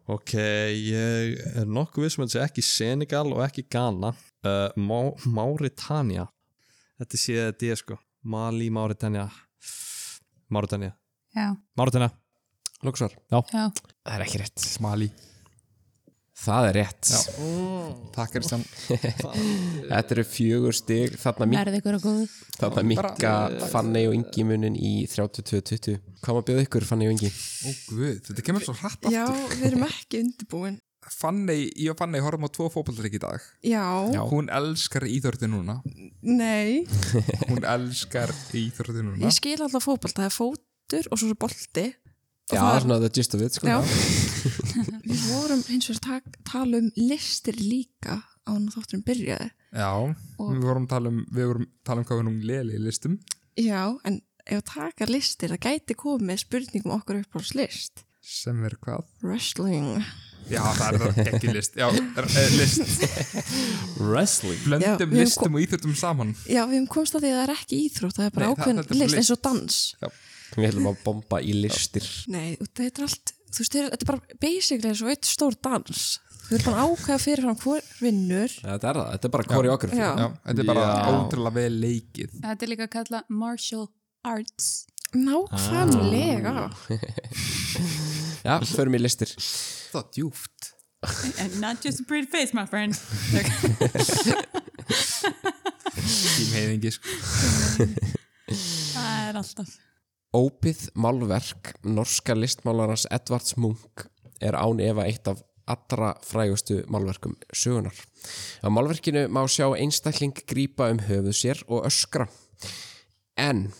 [SPEAKER 4] ok, ég er nokkuð vissum að þetta sé ekki Senegal og ekki Ghana uh, Má, Mauritania þetta sé þetta ég sko Mali, Mauritania Mauritania,
[SPEAKER 5] Já.
[SPEAKER 4] Mauritania
[SPEAKER 1] Lóksvar
[SPEAKER 5] Já.
[SPEAKER 1] Það er ekki rétt
[SPEAKER 3] Smali
[SPEAKER 1] Það er rétt
[SPEAKER 3] Takk Kristján
[SPEAKER 1] Þetta eru fjögur stig Þarna, mink,
[SPEAKER 5] Nærði ykkur að góðu.
[SPEAKER 1] þarna minka Fanny og Ingi munin í 32-20 Hvað maður bjóð ykkur Fanny og Ingi?
[SPEAKER 3] Ó guð, þetta kemur svo hratt
[SPEAKER 2] Já,
[SPEAKER 3] aftur
[SPEAKER 2] við erum ekki undirbúin
[SPEAKER 3] Fanny, ég og Fanny horfum á tvo fótballleik í dag
[SPEAKER 2] Já,
[SPEAKER 3] Hún elskar íþórti núna
[SPEAKER 2] nei
[SPEAKER 3] Hún elskar íþórti núna
[SPEAKER 2] Ég skil alltaf fótbolt, það er fótur og svo er bolti
[SPEAKER 1] Já,
[SPEAKER 2] það er-
[SPEAKER 1] svona the gist of it sko.
[SPEAKER 2] Já Við vorum eins og tak, tala um listir líka á hann að þátturinn byrjaði
[SPEAKER 3] Já,
[SPEAKER 2] Og-
[SPEAKER 3] við vorum tala um, við vorum tala um hvað við erum léli í listum
[SPEAKER 2] Já, en ef að taka listir það gæti komið spurningum um okkur upp á list
[SPEAKER 3] sem er hvað
[SPEAKER 2] Wrestling
[SPEAKER 3] Já, það er það ekki list Já, er- eh, list,
[SPEAKER 4] Wrestling
[SPEAKER 2] Já, við
[SPEAKER 3] blöndum
[SPEAKER 2] kom-
[SPEAKER 3] listum og íþórtum saman
[SPEAKER 2] Já, við hefum komst að því að það er ekki íþrótt það er bara
[SPEAKER 3] Nei, það-
[SPEAKER 2] ákveðin
[SPEAKER 3] þetta er bara
[SPEAKER 2] list eins
[SPEAKER 3] list.
[SPEAKER 2] og dans
[SPEAKER 1] Við ætlum að bomba í listir
[SPEAKER 2] Nei, og þetta er allt þú veist, þetta er bara basically eins og eitt stór dans Þú erum bara að ákveða fyrirfram hver vinnur
[SPEAKER 1] Þetta er það, þetta er bara koreografi
[SPEAKER 2] Já.
[SPEAKER 3] Já, þetta er bara
[SPEAKER 4] Já.
[SPEAKER 3] ótrúlega vel leikið
[SPEAKER 5] Þetta er líka að kalla martial arts.
[SPEAKER 2] Nákvæmlega
[SPEAKER 1] Já, förum í listir
[SPEAKER 3] Það er djúft
[SPEAKER 5] And not just a pretty face, my friend.
[SPEAKER 3] Tímheiðingi sko.
[SPEAKER 5] það er alltaf.
[SPEAKER 1] Ópið málverk norska listmálarans Edvards Munk er án efa eitt af allra frægustu málverkum sögunar. Á málverkinu má sjá einstakling grípa um höfuð sér og öskra. En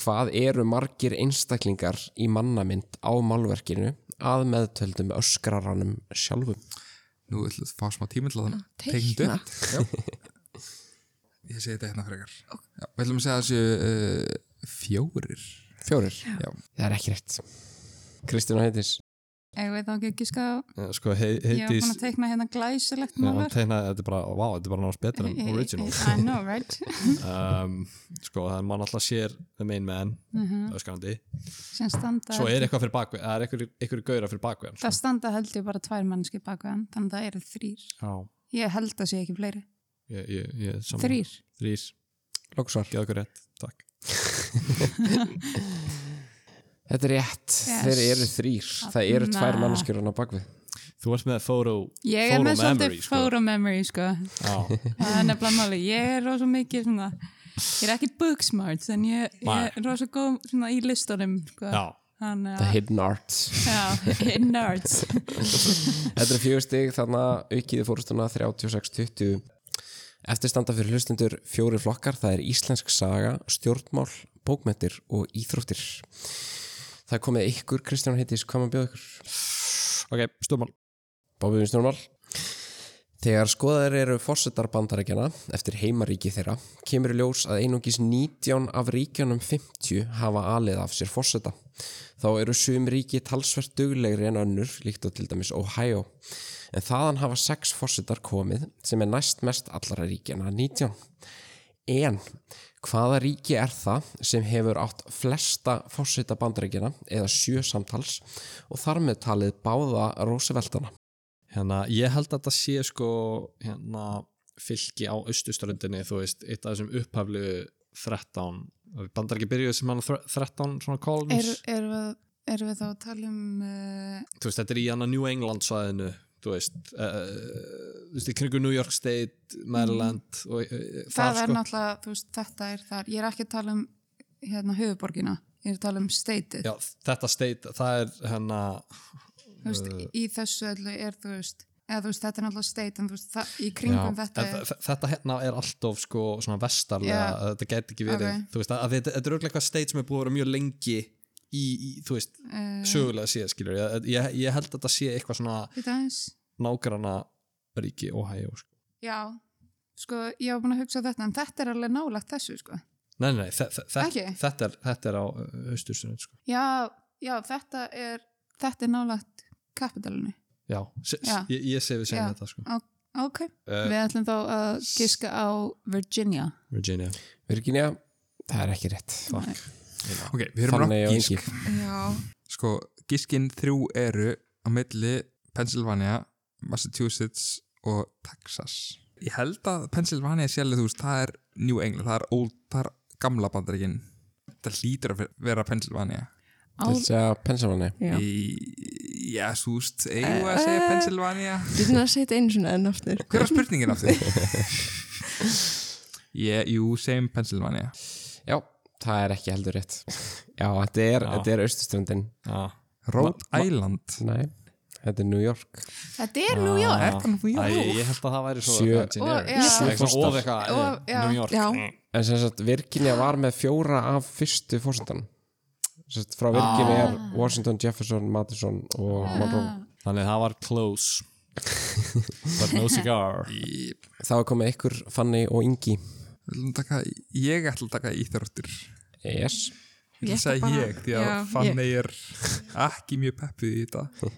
[SPEAKER 1] hvað eru margir einstaklingar í mannamynd á málverkinu að meðtöldum öskraranum sjálfum?
[SPEAKER 3] Nú ætlum við að fá smá tíma til að
[SPEAKER 2] Teikna.
[SPEAKER 3] teikna upp. Já. Ég segi þetta hérna frekar Já, Við ætlum að segja þessu uh, fjórir
[SPEAKER 1] Fjórir?
[SPEAKER 3] Já.
[SPEAKER 1] Það er ekki rétt. Kristina Heitis.
[SPEAKER 5] Ég veit þá ekki ekki ská.
[SPEAKER 4] Eh, sko, hei,
[SPEAKER 5] Ég var
[SPEAKER 4] heitís
[SPEAKER 5] búin að teikna hérna glæsilegt
[SPEAKER 4] Já, hann
[SPEAKER 5] málverk.
[SPEAKER 4] teiknaði, þetta er bara, vá, þetta er bara náttúrulega betra
[SPEAKER 5] Eh,
[SPEAKER 4] en original
[SPEAKER 5] I know, right?
[SPEAKER 4] um, sko, það er mann alltaf sér the main man,
[SPEAKER 5] Mhm.
[SPEAKER 4] öskarandi
[SPEAKER 5] Sem standa...
[SPEAKER 4] svo er eitthvað fyrir bakvið, það er eitthvað, eitthvað gauðra fyrir bakvið
[SPEAKER 5] Það standa held ég bara tvær mannski baka hann, þannig að það eru þrýr.
[SPEAKER 4] já,
[SPEAKER 5] Ég held að sé ekki fleiri.
[SPEAKER 4] ég, ég, ég saman
[SPEAKER 5] Þrýr.
[SPEAKER 4] þrýr,
[SPEAKER 1] Lóksvar.
[SPEAKER 4] geða okkur rétt, takk
[SPEAKER 1] Þetta er rétt.
[SPEAKER 5] Yes.
[SPEAKER 1] Þeir eru þrýr. Það eru tvær
[SPEAKER 5] Þarna.
[SPEAKER 1] manneskjur hann á bakvið.
[SPEAKER 4] þú varst með photo,
[SPEAKER 5] Ég
[SPEAKER 4] photo
[SPEAKER 5] er með
[SPEAKER 4] memory
[SPEAKER 5] svolítið photo memory, sko.
[SPEAKER 4] já,
[SPEAKER 5] Það er nefnilega máli. Ég er rosa mikið svona... Ég er ekki book smart, en ég, ég er rosa góð svona í listunum, sko.
[SPEAKER 4] já,
[SPEAKER 5] Þannig
[SPEAKER 1] The
[SPEAKER 5] að...
[SPEAKER 1] Hidden Arts.
[SPEAKER 5] Já, nerds.
[SPEAKER 1] Þetta er fjögur stig, þannig að aukiði fórustuna 36-20. Eftir standa fyrir hlustendur fjóri flokkar, það er íslensk saga, stjórnmál, bókmentir og íþróttir. Það er komið ykkur, Kristján Hittis, hvað maður bjóð ykkur?
[SPEAKER 4] ok, stórmál
[SPEAKER 1] Bábið við stjórnmál. Þegar skoðaðir eru fórsetar bandarækjana eftir heimaríki þeirra kemur í ljós að einungis 19 af ríkjunum 50 hafa alið af sér fórseta. Þá eru sum ríki talsvert duglegri en önnur líkt og til dæmis Ohio. En þaðan hafa 6 fórsetar komið sem er næst mest allara ríkjana 19. En hvaða ríki er það sem hefur átt flesta fórseta bandarækjana eða 7 samtals og þar með talið báða Rooseveltana?
[SPEAKER 4] hérna, ég held að þetta sé sko hérna, fylki á austurströndinni þú veist, eitt af þessum upphaflu 13, bandar ekki byrjuð sem hann 13 svona
[SPEAKER 5] Er,
[SPEAKER 4] colonies
[SPEAKER 5] er, við, er við þá að tala um uh,
[SPEAKER 4] þú veist, þetta er í hann New England svæðinu þú veist, uh, þú veist, í kringu New York State, Maryland og uh,
[SPEAKER 5] Mm. það
[SPEAKER 4] þar
[SPEAKER 5] er
[SPEAKER 4] sko
[SPEAKER 5] náttúrulega, þú veist, þetta er þar ég er ekki að tala um hérna höfuborgina ég er að tala um stateið
[SPEAKER 4] Já, þetta state, það er hérna
[SPEAKER 5] þú veist, í- í þessu öllu er þú veist eða þú veist, þetta er náttúrulega state en þú veist, það, í kringum þetta
[SPEAKER 4] en
[SPEAKER 5] er,
[SPEAKER 4] þ- þetta hérna er alltof sko svona vestarlega,
[SPEAKER 5] Já.
[SPEAKER 4] þetta gæti ekki verið
[SPEAKER 5] Ok.
[SPEAKER 4] þú veist, að, að þetta, þetta er auðvitað eitthvað state sem er búið að vera mjög lengi í, í þú veist,
[SPEAKER 5] Mm. eh,
[SPEAKER 4] sögulega séð skilur ég, ég, ég held að þetta sé eitthvað svona
[SPEAKER 5] þetta aðeins
[SPEAKER 4] nágrana ríki Ohio sko.
[SPEAKER 5] já, sko, ég var búin að hugsa þetta en þetta er alveg nálagt þessu, sko
[SPEAKER 4] nei, nei, nei, þe- þe- þe-
[SPEAKER 5] Ekki?
[SPEAKER 4] þetta, er, þetta er á austurstunni sko.
[SPEAKER 5] já, já, þetta er þetta er nálagt kapitalinu
[SPEAKER 4] já, s- s-
[SPEAKER 5] Já.
[SPEAKER 4] ég, ég sé við segja
[SPEAKER 5] Já.
[SPEAKER 4] þetta sko.
[SPEAKER 5] ok,
[SPEAKER 4] uh,
[SPEAKER 5] við ætlum þá að giska á Virginia
[SPEAKER 4] Virginia
[SPEAKER 1] Virginia, það er ekki rétt.
[SPEAKER 3] Ok, við erum
[SPEAKER 1] Þannig og
[SPEAKER 3] rátt gísk.
[SPEAKER 1] Ingi.
[SPEAKER 5] já,
[SPEAKER 3] Sko, gískin þrjú eru á milli Pennsylvania, Massachusetts og Texas. Ég held að Pennsylvania sjálf, þú veist, það er New England, það er, old, það er gamla bandaríkin. Það hlýtur að vera Pennsylvania.
[SPEAKER 1] Þú vilt segja Pennsylvania?
[SPEAKER 2] Já.
[SPEAKER 3] Í- Já, þú veist, eigum við að segja Pennsylvania?
[SPEAKER 2] Ég finna að segja þetta einu svona enn aftur.
[SPEAKER 3] Hver er spurningin aftur? Ég, jú, segjum Pennsylvania.
[SPEAKER 1] Já, það er ekki heldur rétt Já, þetta er, þetta er austuströndin
[SPEAKER 4] ah.
[SPEAKER 3] Rhode Island.
[SPEAKER 1] Nei, þetta er New York
[SPEAKER 5] þetta er
[SPEAKER 4] Ah.
[SPEAKER 5] New York
[SPEAKER 3] Er það nú
[SPEAKER 4] Æ,
[SPEAKER 3] New York?
[SPEAKER 4] ég held að það væri svo
[SPEAKER 1] Sjö-
[SPEAKER 5] Og- já.
[SPEAKER 4] Virginia
[SPEAKER 1] Fórstar.
[SPEAKER 4] of eitthvað
[SPEAKER 5] Og-
[SPEAKER 4] eh,
[SPEAKER 5] já.
[SPEAKER 4] New York
[SPEAKER 2] Já.
[SPEAKER 1] En sem sagt, Virginia var með fjóra af fyrstu fórsendan Sem sagt, frá Virginia er Washington, Jefferson, Madison og Monroe
[SPEAKER 4] þannig að það var close but no cigar
[SPEAKER 3] Ég-
[SPEAKER 1] Þá er komið ykkur Fanny og Ingi
[SPEAKER 3] við ætlum að taka, ég ætla að taka íþróttir.
[SPEAKER 1] Yes
[SPEAKER 3] Ég
[SPEAKER 2] Ég
[SPEAKER 3] ætla að
[SPEAKER 2] ætla
[SPEAKER 3] segja
[SPEAKER 2] bara-
[SPEAKER 3] ég, því að
[SPEAKER 2] já,
[SPEAKER 3] Fanny er ekki mjög peppið í þetta.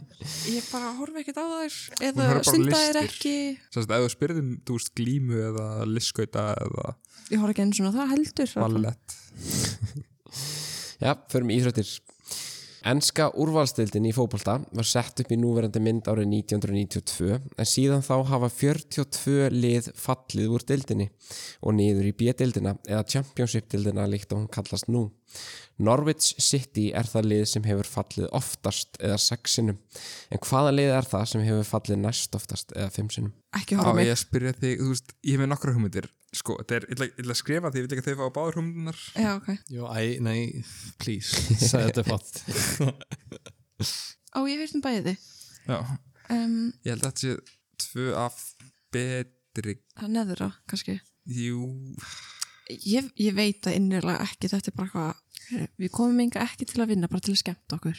[SPEAKER 2] Ég bara horfi ekkert á þær
[SPEAKER 3] Hún
[SPEAKER 2] eða
[SPEAKER 3] horfir bara á
[SPEAKER 2] stunda þær
[SPEAKER 3] listir.
[SPEAKER 2] ekki.
[SPEAKER 3] Sérst, ef þú spyrðum, þú veist, glímu eða lisskauta eða
[SPEAKER 2] Ég horfi ekki einu svona það heldur.
[SPEAKER 3] ballett.
[SPEAKER 1] Já, förum í íþróttir Enska úrvalstildin í fótbolta var sett upp í núverandi mynd árið 1992 en síðan þá hafa 42 lið fallið úr dildinni og niður í B-dildina eða Championship-dildina líkt og hún kallast nú. Norwich City er það lið sem hefur fallið oftast eða sexinum en hvaða lið er það sem hefur fallið næst oftast eða fimmsinum?
[SPEAKER 2] Ekki
[SPEAKER 3] Á
[SPEAKER 2] horfa
[SPEAKER 3] ég
[SPEAKER 2] mig.
[SPEAKER 3] að spyrja þig, þú veist, ég hef með nokkra hugmyndir. Sko, þetta er, ég ætla- ég ætla að skrifa því, ég vil ekki að þau fá báður hugmyndunar.
[SPEAKER 2] Já, ok.
[SPEAKER 4] Jó, æ, nei, please Sæði þetta fótt
[SPEAKER 2] Ó, ég hef heyrt um bæði.
[SPEAKER 3] Já,
[SPEAKER 2] Um,
[SPEAKER 3] ég held að þetta sé tvö af betri,
[SPEAKER 2] það er neðra, kannski.
[SPEAKER 3] jú,
[SPEAKER 2] Ég, ég veit að innirlega ekki, þetta er bara eitthvað, við komum enga ekki til að vinna, bara til að skemmta okkur.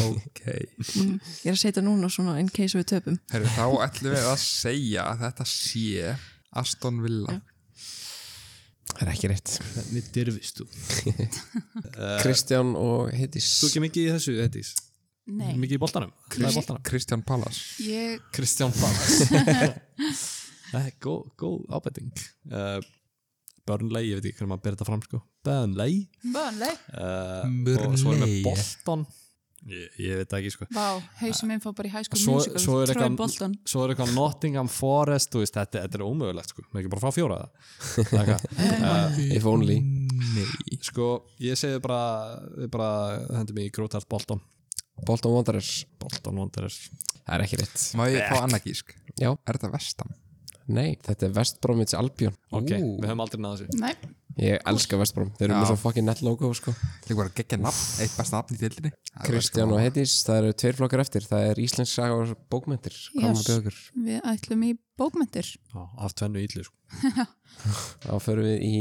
[SPEAKER 2] Mm.
[SPEAKER 3] ok.
[SPEAKER 2] Ég er að setja núna svona in case við töpum.
[SPEAKER 3] Herru, þá ætlum við að segja að þetta sé Aston Villa.
[SPEAKER 1] Það er ekki rétt.
[SPEAKER 4] Hvernig dyrfist þú?
[SPEAKER 1] Kristján og Hittis
[SPEAKER 4] Þú ekki mikið í þessu, Edís?
[SPEAKER 5] nei,
[SPEAKER 4] Mikið í boltanum? Nei, boltanum
[SPEAKER 3] Kristján Pallas.
[SPEAKER 5] ég
[SPEAKER 4] Kristján Pallas Það er góð, góð ábæting uh, Burnley, ég veit ekki hvernig maður ber þetta fram sko Burnley
[SPEAKER 5] Burnley
[SPEAKER 4] uh, Og svo er með
[SPEAKER 3] Burnley.
[SPEAKER 4] boltan ég, ég veit það ekki sko
[SPEAKER 5] Vá, hausum minn fór bara í hæsku
[SPEAKER 4] Svo-
[SPEAKER 5] musical
[SPEAKER 4] svo er
[SPEAKER 5] Troy
[SPEAKER 4] eitthvað-
[SPEAKER 5] Bolton
[SPEAKER 4] Svo er eitthvað Nottingham Forest þú veist, þetta, þetta er ómögulegt sko, maður ekki bara fá fjóra það Það er eitthvað. Eh,
[SPEAKER 1] If only.
[SPEAKER 3] Nei.
[SPEAKER 4] Sko, ég segi bara, við bara hendum í grótart boltan
[SPEAKER 1] Bolton Wanderers.
[SPEAKER 4] Boltan Wanderers
[SPEAKER 1] Það er ekki rétt.
[SPEAKER 3] Má ég fá annað gísk?
[SPEAKER 1] Já.
[SPEAKER 3] Er þetta Vestam?
[SPEAKER 1] Nei, þetta er West Bromwich Albion.
[SPEAKER 4] Ok, við höfum aldrei náða þessu
[SPEAKER 5] Nei,
[SPEAKER 1] Ég elska Vestbrom, þeir eru
[SPEAKER 3] Já.
[SPEAKER 1] með svo fucking nett logo sko.
[SPEAKER 3] Ég var að gegja nafn, eitt besta nafn í deildinni. Það er
[SPEAKER 1] Kristján
[SPEAKER 3] Vestam.
[SPEAKER 1] og Hedís, það eru tveir flokkar eftir það er Íslensk saga og bókmyndir hvað
[SPEAKER 5] Yes.
[SPEAKER 1] maður bjóður
[SPEAKER 5] við ætlum í bókmyndir
[SPEAKER 4] Já, Af tvennu íllu sko
[SPEAKER 1] þá förum við í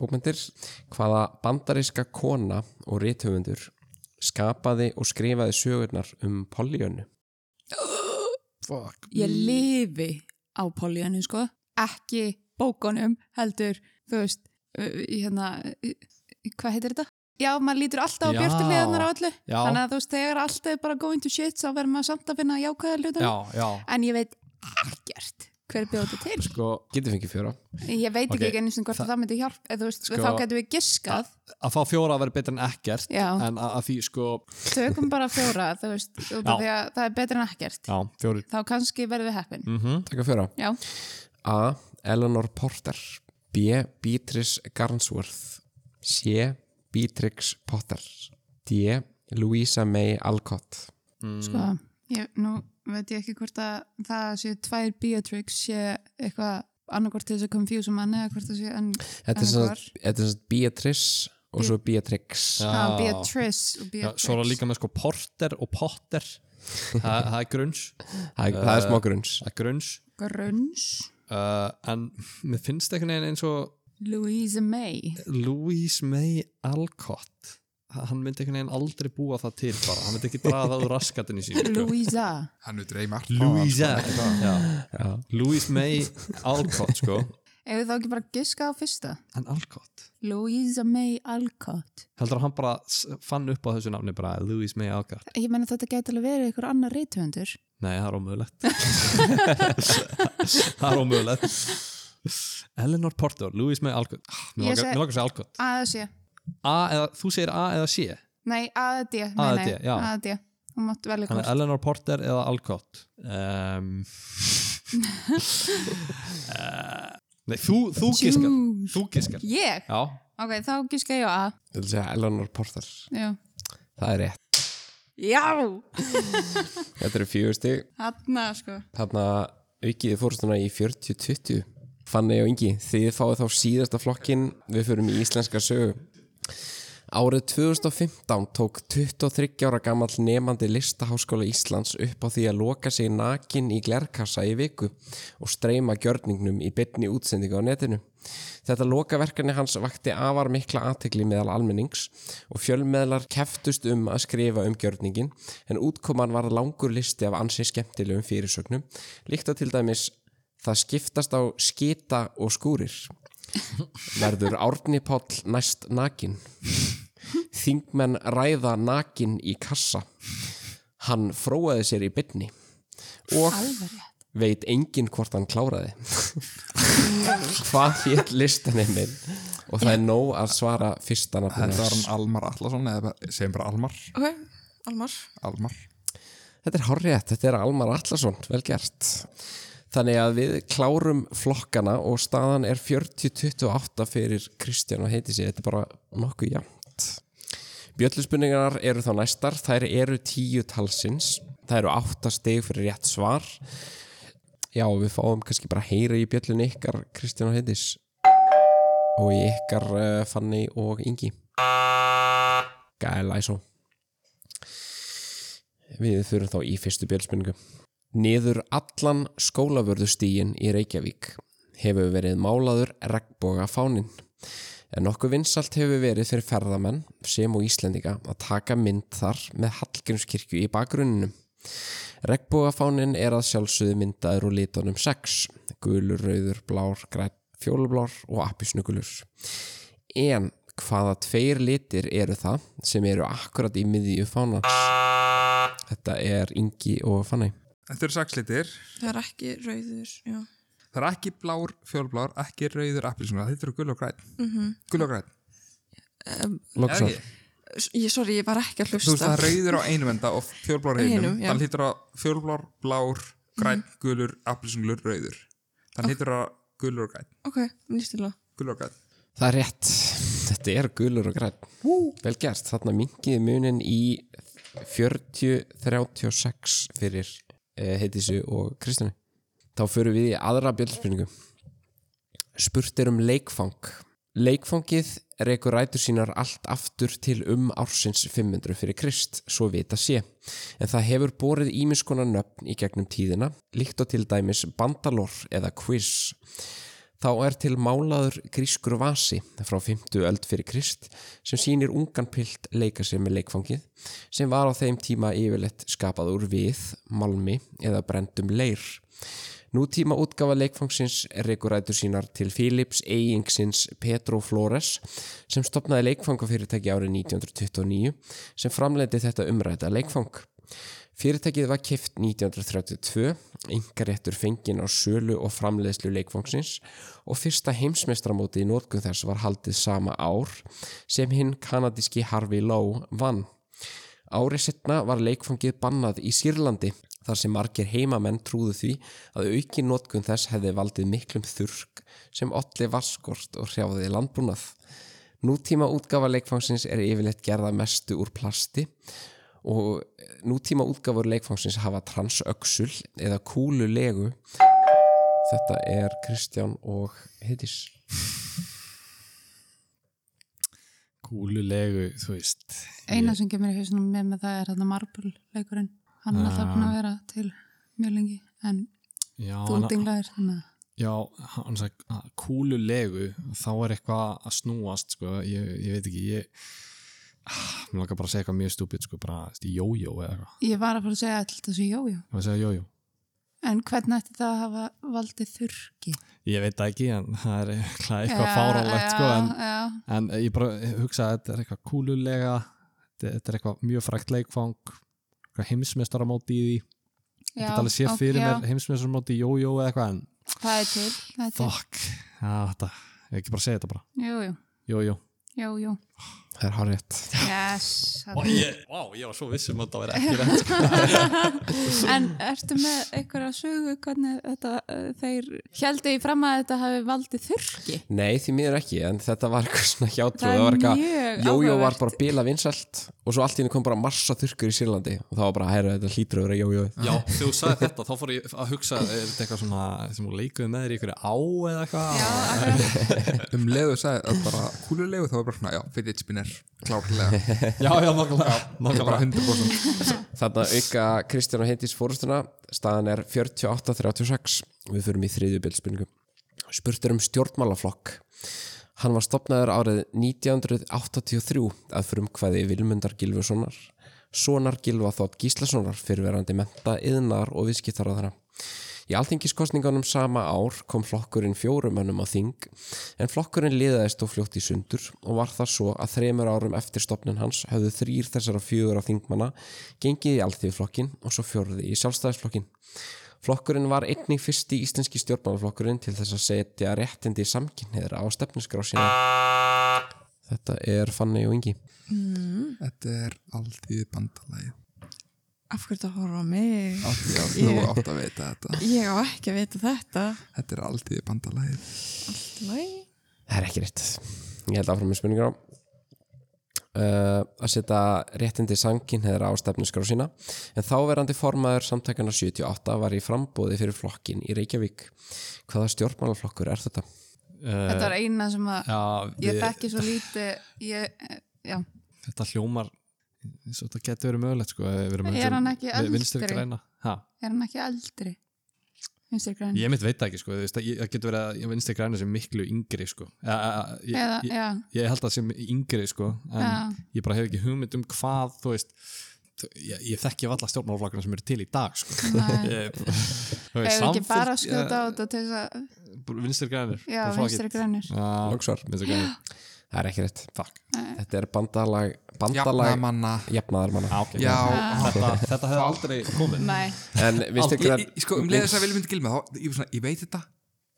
[SPEAKER 1] bókmyndir hvaða bandaríska kona og rithöfundur skapaði og skrifaði sögurnar um Pollyönnu
[SPEAKER 4] fuck
[SPEAKER 5] ég lifi á políunum sko ekki bókunum heldur þú veist uh, hérna, uh, hvað heitir þetta? Já, maður lítur alltaf á
[SPEAKER 4] Já.
[SPEAKER 5] björtuleganar á öllu
[SPEAKER 4] Já.
[SPEAKER 5] þannig að þú veist, þegar allt er bara going to shit þá verður maður samt að finna jákvæða hlutum
[SPEAKER 4] já, já,
[SPEAKER 5] en ég veit ekkert hver bjóti til sko.
[SPEAKER 4] sko
[SPEAKER 1] Getið fengið fjóra
[SPEAKER 5] ég veit
[SPEAKER 4] Ok,
[SPEAKER 5] ekki ekki einu sinni hvort
[SPEAKER 4] það-
[SPEAKER 5] það, það myndi hjálp eða þú veist,
[SPEAKER 4] Sko-
[SPEAKER 5] þá getum við giskað
[SPEAKER 4] að fá fjóra að vera betra en ekkert
[SPEAKER 5] Já.
[SPEAKER 4] en að, að því sko
[SPEAKER 5] tökum bara fjóra, þú veist út
[SPEAKER 4] Já.
[SPEAKER 5] af því að það er betra en ekkert
[SPEAKER 4] já, fjóri
[SPEAKER 5] þá kannski verðum við heppin
[SPEAKER 4] mm
[SPEAKER 1] Takk að fjóra
[SPEAKER 5] já,
[SPEAKER 1] A. Eleanor Porter B. Beatrice Garnsworth C. Beatrix Potter D. Louisa May Alcott
[SPEAKER 5] sko ég, nú veit ég ekki hvort að það sé tvær Beatrix sé eitthvað annarkvort til þess að confuse mann eða hvort það sé en
[SPEAKER 1] Þetta er
[SPEAKER 5] Annar
[SPEAKER 1] sem sagt- þetta er sem sagt Beatrice og svo Beatrix
[SPEAKER 4] Já.
[SPEAKER 5] ah, Beatrice og
[SPEAKER 4] já,
[SPEAKER 5] Beatrix
[SPEAKER 4] svo er það líka með sko porter og potter það, það er grunns
[SPEAKER 1] Það er- það er smá grunns
[SPEAKER 4] það er grunns
[SPEAKER 5] Gruns
[SPEAKER 4] uh, en mér finnst einhvern veginn eins og
[SPEAKER 5] Louisa May
[SPEAKER 4] Louise May Alcott hann myndi einhvern veginn aldrei búa það til bara, hann myndi ekki draga það úr raskatinn í sín sko.
[SPEAKER 5] Louisa
[SPEAKER 3] Hann er dreymar
[SPEAKER 4] Louisa Já. Louise May Alcott sko
[SPEAKER 5] Ef við þá ekki bara giska á fyrsta
[SPEAKER 4] en Alcott
[SPEAKER 5] Louisa May Alcott
[SPEAKER 4] heldur að hann bara s- fann upp á þessu nafni bara Louise May Alcott
[SPEAKER 5] Ég meina þetta gæti alveg verið ykkur annar reythundur
[SPEAKER 4] Nei, það er ómögulegt Það er ómögulegt Eleanor Porter, Louis May Alcott ah, Mér langar
[SPEAKER 5] Ég seg-
[SPEAKER 4] mér langar að segja Alcott
[SPEAKER 5] A eða sé
[SPEAKER 4] A eða, Þú segir A eða C
[SPEAKER 5] Nei, A eða D
[SPEAKER 4] A eða
[SPEAKER 5] nei, nei,
[SPEAKER 4] D, já.
[SPEAKER 5] A eða D Þú mátt velja
[SPEAKER 4] Þannig
[SPEAKER 5] hvort
[SPEAKER 4] Eleanor Porter eða Alcott um, Nei, þú, þú giskar Þú giskar
[SPEAKER 5] Ég?
[SPEAKER 4] Já,
[SPEAKER 5] Ok, þá giska ég á A
[SPEAKER 1] Ég vil segja Eleanor Porter
[SPEAKER 5] Já
[SPEAKER 1] Það er rétt
[SPEAKER 5] Já
[SPEAKER 1] Þetta eru fjögusti
[SPEAKER 5] Hanna sko
[SPEAKER 1] Þarna aukiði fórstuna í 40-20 Fanni og Ingi, þið fáið þá síðasta flokkin Við förum í íslenska sögu Árið 2015 tók 23 ára gamall nefandi listaháskóla Íslands upp á því að loka sig nakin í glerkassa í viku og streyma gjörningnum í byrni útsendingu á netinu. Þetta lokaverkani hans vakti afar mikla aðtekli meðal almennings og fjölmeðlar keftust um að skrifa um gjörningin en útkoman var langur listi af ansi skemmtilegum fyrirsögnum líkt að til dæmis það skiptast á skita og skúrir verður Árni Páll næst nakin Þingmenn ræða nakin í kassa Hann fróaði sér í bytni og veit enginn hvort hann kláraði Hvað hétt listaneminn og það er nóg að svara fyrsta nafnum
[SPEAKER 3] Þetta var
[SPEAKER 1] hans.
[SPEAKER 3] hann Almar Allarsson eða bara- segjum bara Almar
[SPEAKER 2] Ok, Almar.
[SPEAKER 3] Almar
[SPEAKER 1] Þetta er horrið, þetta er Almar Allarsson, vel gert Þannig að við klárum flokkana og staðan er 40-28 fyrir Kristján og heiti sér, þetta er bara nokkuð jæmt Bjölluspunningar eru þá næstar, þær eru tíu talsins, þær eru átta stig fyrir rétt svar. Já, við fáum kannski bara að heyra í bjöllun ykkar Kristján og Heiðis og í ykkar uh, Fanny og Ingi. Gæla, æsó. Við þurfum þá í fyrstu bjöllspunningu. Niður allan skólavörðustígin í Reykjavík hefur verið málaður regnboga fáninn. En nokkuð vinsalt hefur verið fyrir ferðamenn sem og Íslendinga að taka mynd þar með Hallgrímskirkju í bakgrunninu. Regnbógafáninn er að sjálfsögðu myndaður úr litunum 6, gulur, rauður, blár, græn, fjólublár og appisnugulur. En hvaða tveir litir eru það sem eru akkurat í miðju fánans? Þetta er Ingi og Fanny.
[SPEAKER 3] Þetta eru sex litir
[SPEAKER 2] Það er ekki rauður, já.
[SPEAKER 3] Það er ekki blár, fjólblár, ekki rauður appilsuna Þetta eru gul og græn mm
[SPEAKER 1] Mhm.
[SPEAKER 3] -hmm. Gul og græn
[SPEAKER 1] Lóksar,
[SPEAKER 3] Eða ekki?
[SPEAKER 2] S- Ég, sorry, ég var ekki að
[SPEAKER 3] Þú veist
[SPEAKER 2] hlusta.
[SPEAKER 3] það er rauður á einum enda og fjólblár á
[SPEAKER 2] Hinum, já.
[SPEAKER 3] einum
[SPEAKER 2] Mhm.
[SPEAKER 3] Þannig hlýtur að fjólblár, blár, græn, gulur, appilsunglur, rauður Þannig hlýtur að gulur og græn
[SPEAKER 2] Ok, nýstilega.
[SPEAKER 3] Gulur og græn
[SPEAKER 1] það er rétt. Þetta er gulur og græn. Vel gert, þarna mingiði munin í 40-36 fyrir eh, Heitísu og Kristjáni. Þá förum við í aðra bjöldspurningu. Spurt er um leikfang. Leikfangið rekur rætur sínar allt aftur til um ársins 500 fyrir Krist, svo vita sé. En það hefur borið ímiskona nöfn í gegnum tíðina, líkt og til dæmis bandalor eða quiz. Þá er til málaður grískur vasi frá 50 öld fyrir krist sem sýnir ungan pilt leika sér með leikfangið sem var á þeim tíma yfirleitt skapað úr við, malmi eða brendum leir. Nútíma útgafa leikfangsins reykur rætur sínar til Philips eigingsins Petro Flores sem stopnaði leikfangafyrirtæki árið 1929 sem framleiti þetta umræta leikfang. Fyrirtækið var kift 1932, yngaréttur fenginn á sölu og framleiðslu leikfangsins og fyrsta heimsmeistramótið í nótgun þess var haldið sama ár sem hinn kanadíski Harvey Lowe vann. Árið setna var leikfangið bannað í Sýrlandi þar sem margir heimamenn trúðu því að aukin nótgun þess hefði valdið miklum þurrk sem olli vaskort og hrjáði landbúnað. Nútíma útgafa leikfangsins er yfirleitt gerða mestu úr plasti og eh, nútíma útgafur leikfangsins hafa transöksul eða kúlulegu. Þetta er Kristján og Heitis.
[SPEAKER 4] Kúlulegu, þú veist
[SPEAKER 5] Eina sem kemur í hausnum mér með það er þarna marble leikurinn. Hann er alltaf búin að vera til mjög lengi en
[SPEAKER 4] Já,
[SPEAKER 5] þú
[SPEAKER 4] hann-
[SPEAKER 5] dinglaðir þannig að
[SPEAKER 4] Já, hann sagði að kúlulegu þá er eitthvað að snúast sko. ég, ég veit ekki ég ah, mér langar bara að segja eitthvað mjög stúpid sko, bara þú veist, jójó eða eitthvað
[SPEAKER 5] ég var að fara að segja alltaf þessu jójó.
[SPEAKER 4] Ég var að segja jójó.
[SPEAKER 5] En hvernig ætti það að hafa valdið þurrki?
[SPEAKER 4] Ég veit það ekki en það er eitthvað, eitthvað fáránlegt sko, en,
[SPEAKER 5] Já, já.
[SPEAKER 4] en ég bara hugsa að þetta er eitthvað kúlulega þetta- þetta er eitthvað mjög frækt leikfang eitthvað heimsmestaramóti í því ég
[SPEAKER 5] já,
[SPEAKER 4] get alveg séð
[SPEAKER 5] ok,
[SPEAKER 4] fyrir
[SPEAKER 5] já,
[SPEAKER 4] mér heimsmestaramóti í jójó eða eitthvað en
[SPEAKER 5] Það er til, það er til.
[SPEAKER 4] fuck, já, þetta, ég ekki bara segja þetta bara
[SPEAKER 5] Jújú,
[SPEAKER 4] jójó
[SPEAKER 5] jújú.
[SPEAKER 1] Það er hárétt.
[SPEAKER 5] Yes.
[SPEAKER 4] Vá, ég, vá, ég var svo vissum að þetta væri ekki rétt sko.
[SPEAKER 5] En ertu með einhverja sögu hvernig þetta, uh, þeir heldu í fram að þetta hafi valdið þurrki?
[SPEAKER 1] Nei, því miður ekki, en þetta var eitthvað svona hjátrú
[SPEAKER 5] Það er
[SPEAKER 1] það var
[SPEAKER 5] mjög
[SPEAKER 1] eitthvað, jójó var
[SPEAKER 5] áhugavert.
[SPEAKER 1] bara bila vinsælt og svo allt í henni kom bara massa þurrkur í Sýrlandi og það var bara, herra, þetta hlýtur að vera jójó
[SPEAKER 4] Já, þegar þú sagði þetta, þá fór ég að hugsa er þetta eitthvað svona sem hún leikuði með þér í einhverju á eða eitthvað?
[SPEAKER 5] Já, akkurat.
[SPEAKER 3] um leiðu sagði að bara kúlulegu þá var bara svona, já, fidget spinner klárlega,
[SPEAKER 4] já, já, nákvæmlega.
[SPEAKER 3] það er bara 100%
[SPEAKER 1] Þarna auka Kristján og Heitís fórustuna staðan er 48-36 við förum í þriðju bylspunningu Spurt er um stjórnmálaflokk Hann var stopnaður árið 1983 að fyrir um hvaði Vilmundar Gilvussonar Sonar Gilva Þótt Gíslasonar fyrirverandi menta, yðnar og viðskiptaráðara Í alþingiskostningunum sama ár kom flokkurinn fjórumönnum á þing en flokkurinn liðaðist og fljótt í sundur og var það svo að þremur árum eftir stopnin hans höfðu þrýr þessara fjögur á þingmanna gengið í alþjóðflokkin og svo fjórði í sjálfstæðisflokkin. Flokkurinn var einnig fyrsti íslenski stjórnmálaflokkurinn til þess að setja réttindi samkynniðra á stefnusgrá sína. Þetta er Fanni og Ingi.
[SPEAKER 3] þetta er alltíð bandalagi
[SPEAKER 2] Af hverju þetta horfa á mig?
[SPEAKER 3] alltíð að þú
[SPEAKER 2] Ég-
[SPEAKER 3] átt að veita þetta
[SPEAKER 2] Ég á ekki að vita þetta.
[SPEAKER 3] þetta er alltíð bandalagi
[SPEAKER 2] Læ.
[SPEAKER 1] Það er ekki rétt. Ég held áfram með spurningar á. Uh, að setja réttindi samkynniðra á stefnusgrá sína en þáverandi formaður samtækana 78 var í frambóði fyrir flokkin í Reykjavík. Hvaða stjórnmálaflokkur er þetta?
[SPEAKER 5] Þetta var eina sem að
[SPEAKER 4] Eh, Já,
[SPEAKER 5] ég
[SPEAKER 4] við,
[SPEAKER 5] þekki svo lítið, ég, eh, já.
[SPEAKER 4] þetta hljómar, eins og þetta getur verið mögulegt, sko. ef við erum að hugsa
[SPEAKER 5] Er hann
[SPEAKER 4] um
[SPEAKER 5] ekki
[SPEAKER 4] vi- vinstri
[SPEAKER 5] eldri?
[SPEAKER 4] græna. Ha,
[SPEAKER 5] Er hann ekki eldri? Vinstri græn?
[SPEAKER 4] ég mitt veit það ekki, sko. þú veist, Það ég- það getur verið að vinstri græna sem miklu yngri, sko. Ég, ég,
[SPEAKER 5] Eða,
[SPEAKER 4] ég,
[SPEAKER 5] já,
[SPEAKER 4] ég held það sem yngri, sko, en
[SPEAKER 5] Já.
[SPEAKER 4] ég bara hef ekki hugmynd um hvað, þú veist, þú- ég, ég þekki valla stjórnmálaflokkarna sem eru til í dag, sko.
[SPEAKER 5] næ.
[SPEAKER 4] Ég- þú veist,
[SPEAKER 5] Ef ekki
[SPEAKER 4] Samfylk-
[SPEAKER 5] bara að skjóta á þetta til þess að,
[SPEAKER 4] vinstri grænir
[SPEAKER 5] já, vinstri grænir.
[SPEAKER 1] Lóksvar.
[SPEAKER 4] vinstri grænir
[SPEAKER 1] Það er ekki rétt.
[SPEAKER 4] Fuck.
[SPEAKER 1] Þetta er bandalag,
[SPEAKER 3] jafna
[SPEAKER 1] bandalag
[SPEAKER 3] manna
[SPEAKER 1] jafnaðarmanna.
[SPEAKER 4] ah, okay,
[SPEAKER 3] já,
[SPEAKER 4] þetta, þetta hefði aldrei komið
[SPEAKER 5] Nei,
[SPEAKER 1] En vinstri
[SPEAKER 3] ég,
[SPEAKER 1] græn...
[SPEAKER 3] ég- sko um leiðu sagði Vilmund Gilma þá, ég, var svona, ég veit þetta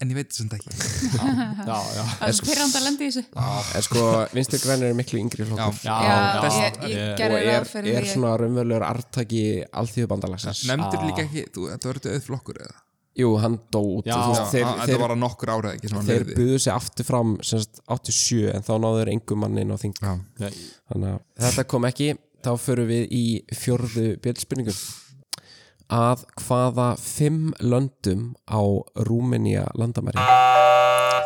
[SPEAKER 3] en ég veit þetta samt ekki
[SPEAKER 4] já, já,
[SPEAKER 5] það er svo pyrrandi að lenda í þessu.
[SPEAKER 1] En sko, vinstri græn eru miklu yngri flokkur.
[SPEAKER 3] já,
[SPEAKER 5] Já,
[SPEAKER 4] já,
[SPEAKER 5] ég, ég
[SPEAKER 1] Og
[SPEAKER 5] gerði
[SPEAKER 1] er,
[SPEAKER 5] ráð fyrir
[SPEAKER 1] er
[SPEAKER 5] því.
[SPEAKER 1] svona raunverulegur artaki alþjóðbandalagsins.
[SPEAKER 3] nefndir líka ekki, þú, þetta verður auð flokkur eða
[SPEAKER 1] Jú, hann dó út.
[SPEAKER 4] Já.
[SPEAKER 1] Þú
[SPEAKER 3] Já,
[SPEAKER 1] veist, þeir,
[SPEAKER 3] að- þetta
[SPEAKER 1] þeir,
[SPEAKER 3] var að nokkur ára ekki sem hann
[SPEAKER 1] þeir
[SPEAKER 3] lifði.
[SPEAKER 1] buðu sig aftur fram semst 87 en þá náðu þeir engum mannin á þing.
[SPEAKER 3] Já.
[SPEAKER 4] já.
[SPEAKER 1] Þannig að þetta kom ekki. Þá förum við í fjörðu bjöldspurningu. Að hvaða fimm löndum á Rúmenía landamæri?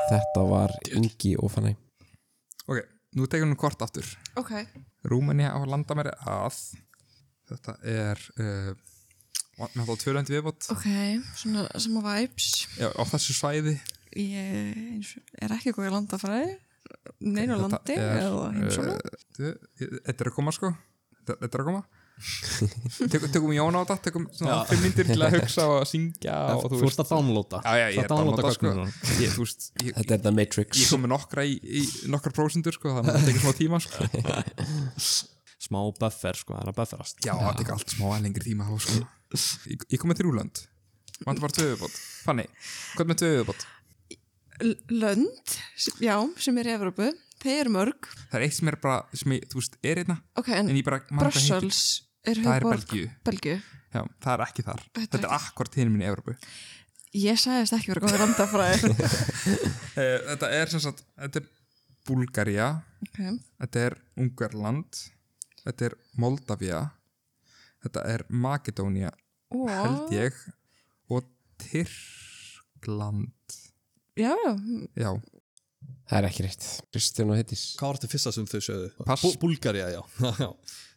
[SPEAKER 1] Þetta var Ingi og Fannæ.
[SPEAKER 3] ok, nú tekur hann kort aftur
[SPEAKER 2] Ok.
[SPEAKER 3] Rúmenia á landamæri að þetta er uh, náttúrulega tvölöndi viðbót
[SPEAKER 2] Ok, svona sem að vibes.
[SPEAKER 3] Já, á þessu svæði
[SPEAKER 2] ég eins og- er ekki góð í landafræði neina
[SPEAKER 3] Þetta
[SPEAKER 2] landi
[SPEAKER 3] er,
[SPEAKER 2] eða heimsóna
[SPEAKER 3] eh, þe- Þetta er að koma sko Þetta þetta er að koma Tökum, tökum Jón á þetta, tökum svona fimm myndir til að hugsa og að syngja og
[SPEAKER 4] þú ert að downloada
[SPEAKER 3] Já, já, ég er
[SPEAKER 4] Það
[SPEAKER 3] að downloada sko
[SPEAKER 4] gögnin núna.
[SPEAKER 3] ég, Þú veist, ég,
[SPEAKER 1] Þetta er The Matrix
[SPEAKER 3] ég kom með nokkra í, í nokkra prósendur sko, þannig að það tekur smá tíma sko
[SPEAKER 4] smá buffer sko, það er að bufferast
[SPEAKER 3] Já, það tekur allt smá en lengri tíma að hafa sko Ég, ég kom með þrjúland Vantar bara tvöðubót Fanny, hvað er með tvöðubót?
[SPEAKER 2] lönd, s- já, sem er í Evrópu þeir eru mörg
[SPEAKER 3] Það er eitt sem er bara, sem ég, þú veist, er einna
[SPEAKER 2] ok, en,
[SPEAKER 3] En ég bara, man hvað heitir.
[SPEAKER 2] Mm, Brussels er
[SPEAKER 3] Það er
[SPEAKER 2] höfuborg
[SPEAKER 3] Belgíu
[SPEAKER 2] Belgíu
[SPEAKER 3] Já, það er ekki þar
[SPEAKER 2] Þetta er
[SPEAKER 3] Þetta er
[SPEAKER 2] ekki-
[SPEAKER 3] akkord hinn minn í Evrópu
[SPEAKER 2] ég sagðist ekki verið góð í landafræði
[SPEAKER 3] Eh, Þetta er sem sagt, þetta er Búlgaría,
[SPEAKER 2] ok,
[SPEAKER 3] þetta er Ungarland, þetta er Moldavia, þetta er Makedónia,
[SPEAKER 2] og
[SPEAKER 3] held ég, og Tyrkland,
[SPEAKER 2] já, já,
[SPEAKER 3] já,
[SPEAKER 1] Það er ekki rétt Kristján og Hittis
[SPEAKER 4] Hvað var þetta fyrsta sem þau sögðu?
[SPEAKER 3] Pass.
[SPEAKER 4] Bú- Búlgaría, já. já.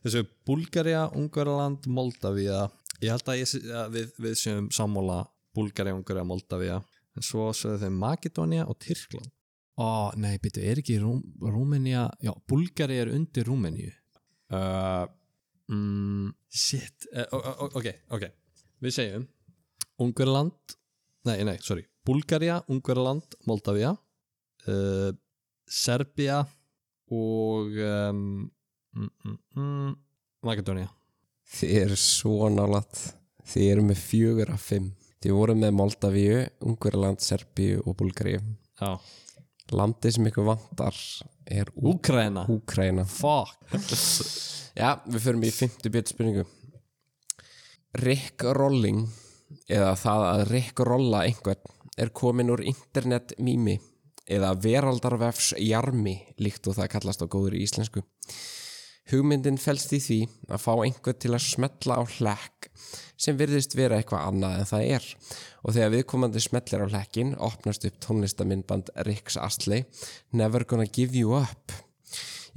[SPEAKER 4] Þau sögðu Búlgaría, Ungarland, Moldavía. Ég held að, ég, sé- að við, við séum sammála Búlgaría, Ungarija, Moldavía. En svo sögðu þau Makedónia og Tyrkland. Ó, nei, byrju, er ekki Rú, Rúmenía, já, Búlgaría er undir Rúmeníu. Uh, mm, shit, uh, ok, ok. Við segjum Ungarland, nei, nei, sorry, Búlgaría, Ungarland, Moldavía. Uh, Serbia og um, mm, mm, mm, Makedónia
[SPEAKER 1] Þið eru svo nálat Þið eru með fjögur af fimm Þið voru með Moldavíu, Ungverland, Serbíu og Búlgaríu
[SPEAKER 4] Já.
[SPEAKER 1] Landið sem ykkur vantar er Úk
[SPEAKER 4] Úkraina
[SPEAKER 1] Úkraina
[SPEAKER 4] Fuck
[SPEAKER 1] Já, við förum í fymtu björn spurningu Rick Rolling eða það að Rick Rolla einhvern er komin úr internet mými eða veraldarvefs jarmi líkt og það kallast á góður í íslensku Hugmyndin felst í því að fá einhvern til að smetla á hlekk sem virðist vera eitthvað annað en það er og þegar viðkomandi smetlir á hlekkin opnast upp tónlistaminband Ricks Astley Never Gonna Give You Up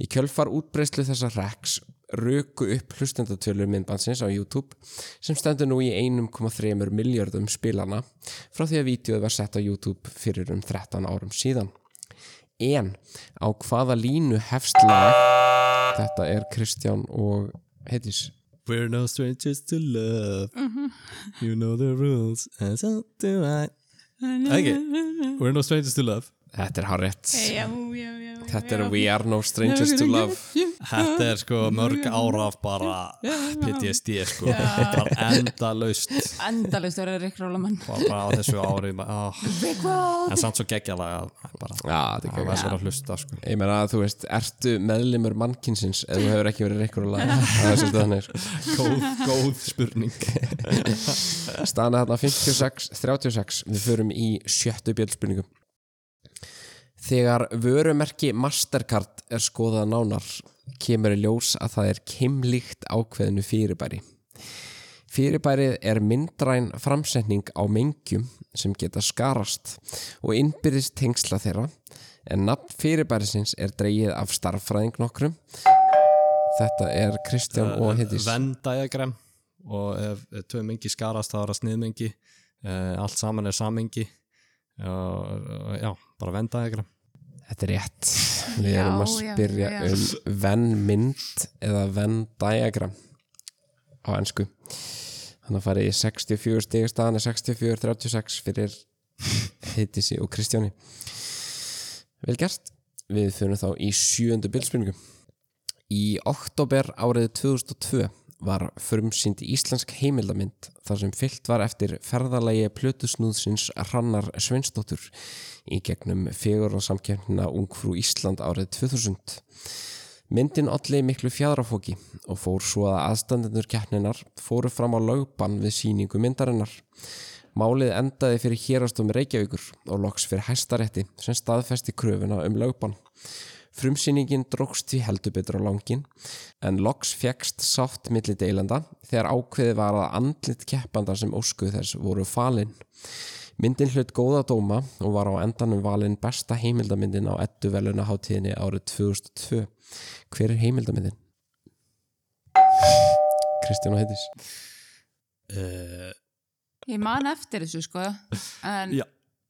[SPEAKER 1] Í kjölfar útbreyslu þessa reks röku upp hlustendatölur myndbansins á YouTube sem stendur nú í 1,3 miljardum spilana frá því að vídeoð var sett á YouTube fyrir um 13 árum síðan. En á hvaða línu hefst lag þetta er Kristján og heitis
[SPEAKER 4] We're no strangers to love You know the rules And so do I okay. We're no strangers to love
[SPEAKER 1] Þetta er hárétt.
[SPEAKER 5] Já, já, já.
[SPEAKER 1] Þetta er We Are No Strangers to Love.
[SPEAKER 4] Þetta er sko mörg ára af bara PTSD sko Það er enda laust
[SPEAKER 5] Endalist verður Rick Rólamann.
[SPEAKER 4] bara á þessu ári oh. En samt svo geggjalega bara,
[SPEAKER 1] Já, þetta er
[SPEAKER 4] Það
[SPEAKER 1] ekki.
[SPEAKER 4] verður að hlusta sko
[SPEAKER 1] Ég meina að þú veist, ertu meðlimur mannkinsins eða þú hefur ekki verið reykur og lag. Það er svolítið þannig. sko.
[SPEAKER 4] Góð, góð spurning
[SPEAKER 1] Staðan er þarna 56, 36 Við förum í sjöttu bjöldspurningu Þegar vörumerki Mastercard er skoðað nánar kemur í ljós að það er kimlíkt ákveðinu fyrirbæri Fyrirbærið er myndræn framsetning á mengjum sem geta skarast og innbyrðist tengsla þeirra en nafn fyrirbærisins er dreigið af starffræðing nokkrum Þetta er Kristján og Hittis
[SPEAKER 4] Venn diagram og ef tvei mengi skarast þá er það sniðmengi uh, allt saman er samengi uh, já, bara Venn diagram
[SPEAKER 1] Þetta er rétt. Við
[SPEAKER 5] Já,
[SPEAKER 1] erum að
[SPEAKER 5] já,
[SPEAKER 1] spyrja
[SPEAKER 5] já.
[SPEAKER 1] um vennmynd eða venndiagram á ennsku. Þannig að farið í 64 stigastæðan er 64-36 fyrir Heitisi og Kristjáni. Vel gert. Við fyrir þá í sjöundu bylspilningu. Í oktober árið 2002 var frumsýnd íslensk heimildamynd þar sem fyllt var eftir ferðalagi plötusnúðsins Hrannar Sveinsdóttur í gegnum fegur og samkeppnina Ungfrú Ísland árið 2000. Myndin olli miklu fjadrafóki og fór svo að aðstandinur keppninar fóru fram á lögbann við síningu myndarinnar. Málið endaði fyrir hérastum Reykjavíkur og loks fyrir hæstarétti sem staðfesti kröfuna um lögbann. Frumsýningin drókst því heldur betur á langin en loks fjekst sátt milli deilanda þegar ákveðið var að andlit keppanda sem óskuð þess voru falinn. Myndin hlut góða dóma og var á endanum valinn besta heimildamyndin á ettu velunaháttíðinni árið 2002. Hver er heimildamyndin? Kristján og Heitis.
[SPEAKER 4] uh,
[SPEAKER 5] Eh, Ég man eftir þessu, sko. En
[SPEAKER 4] Já.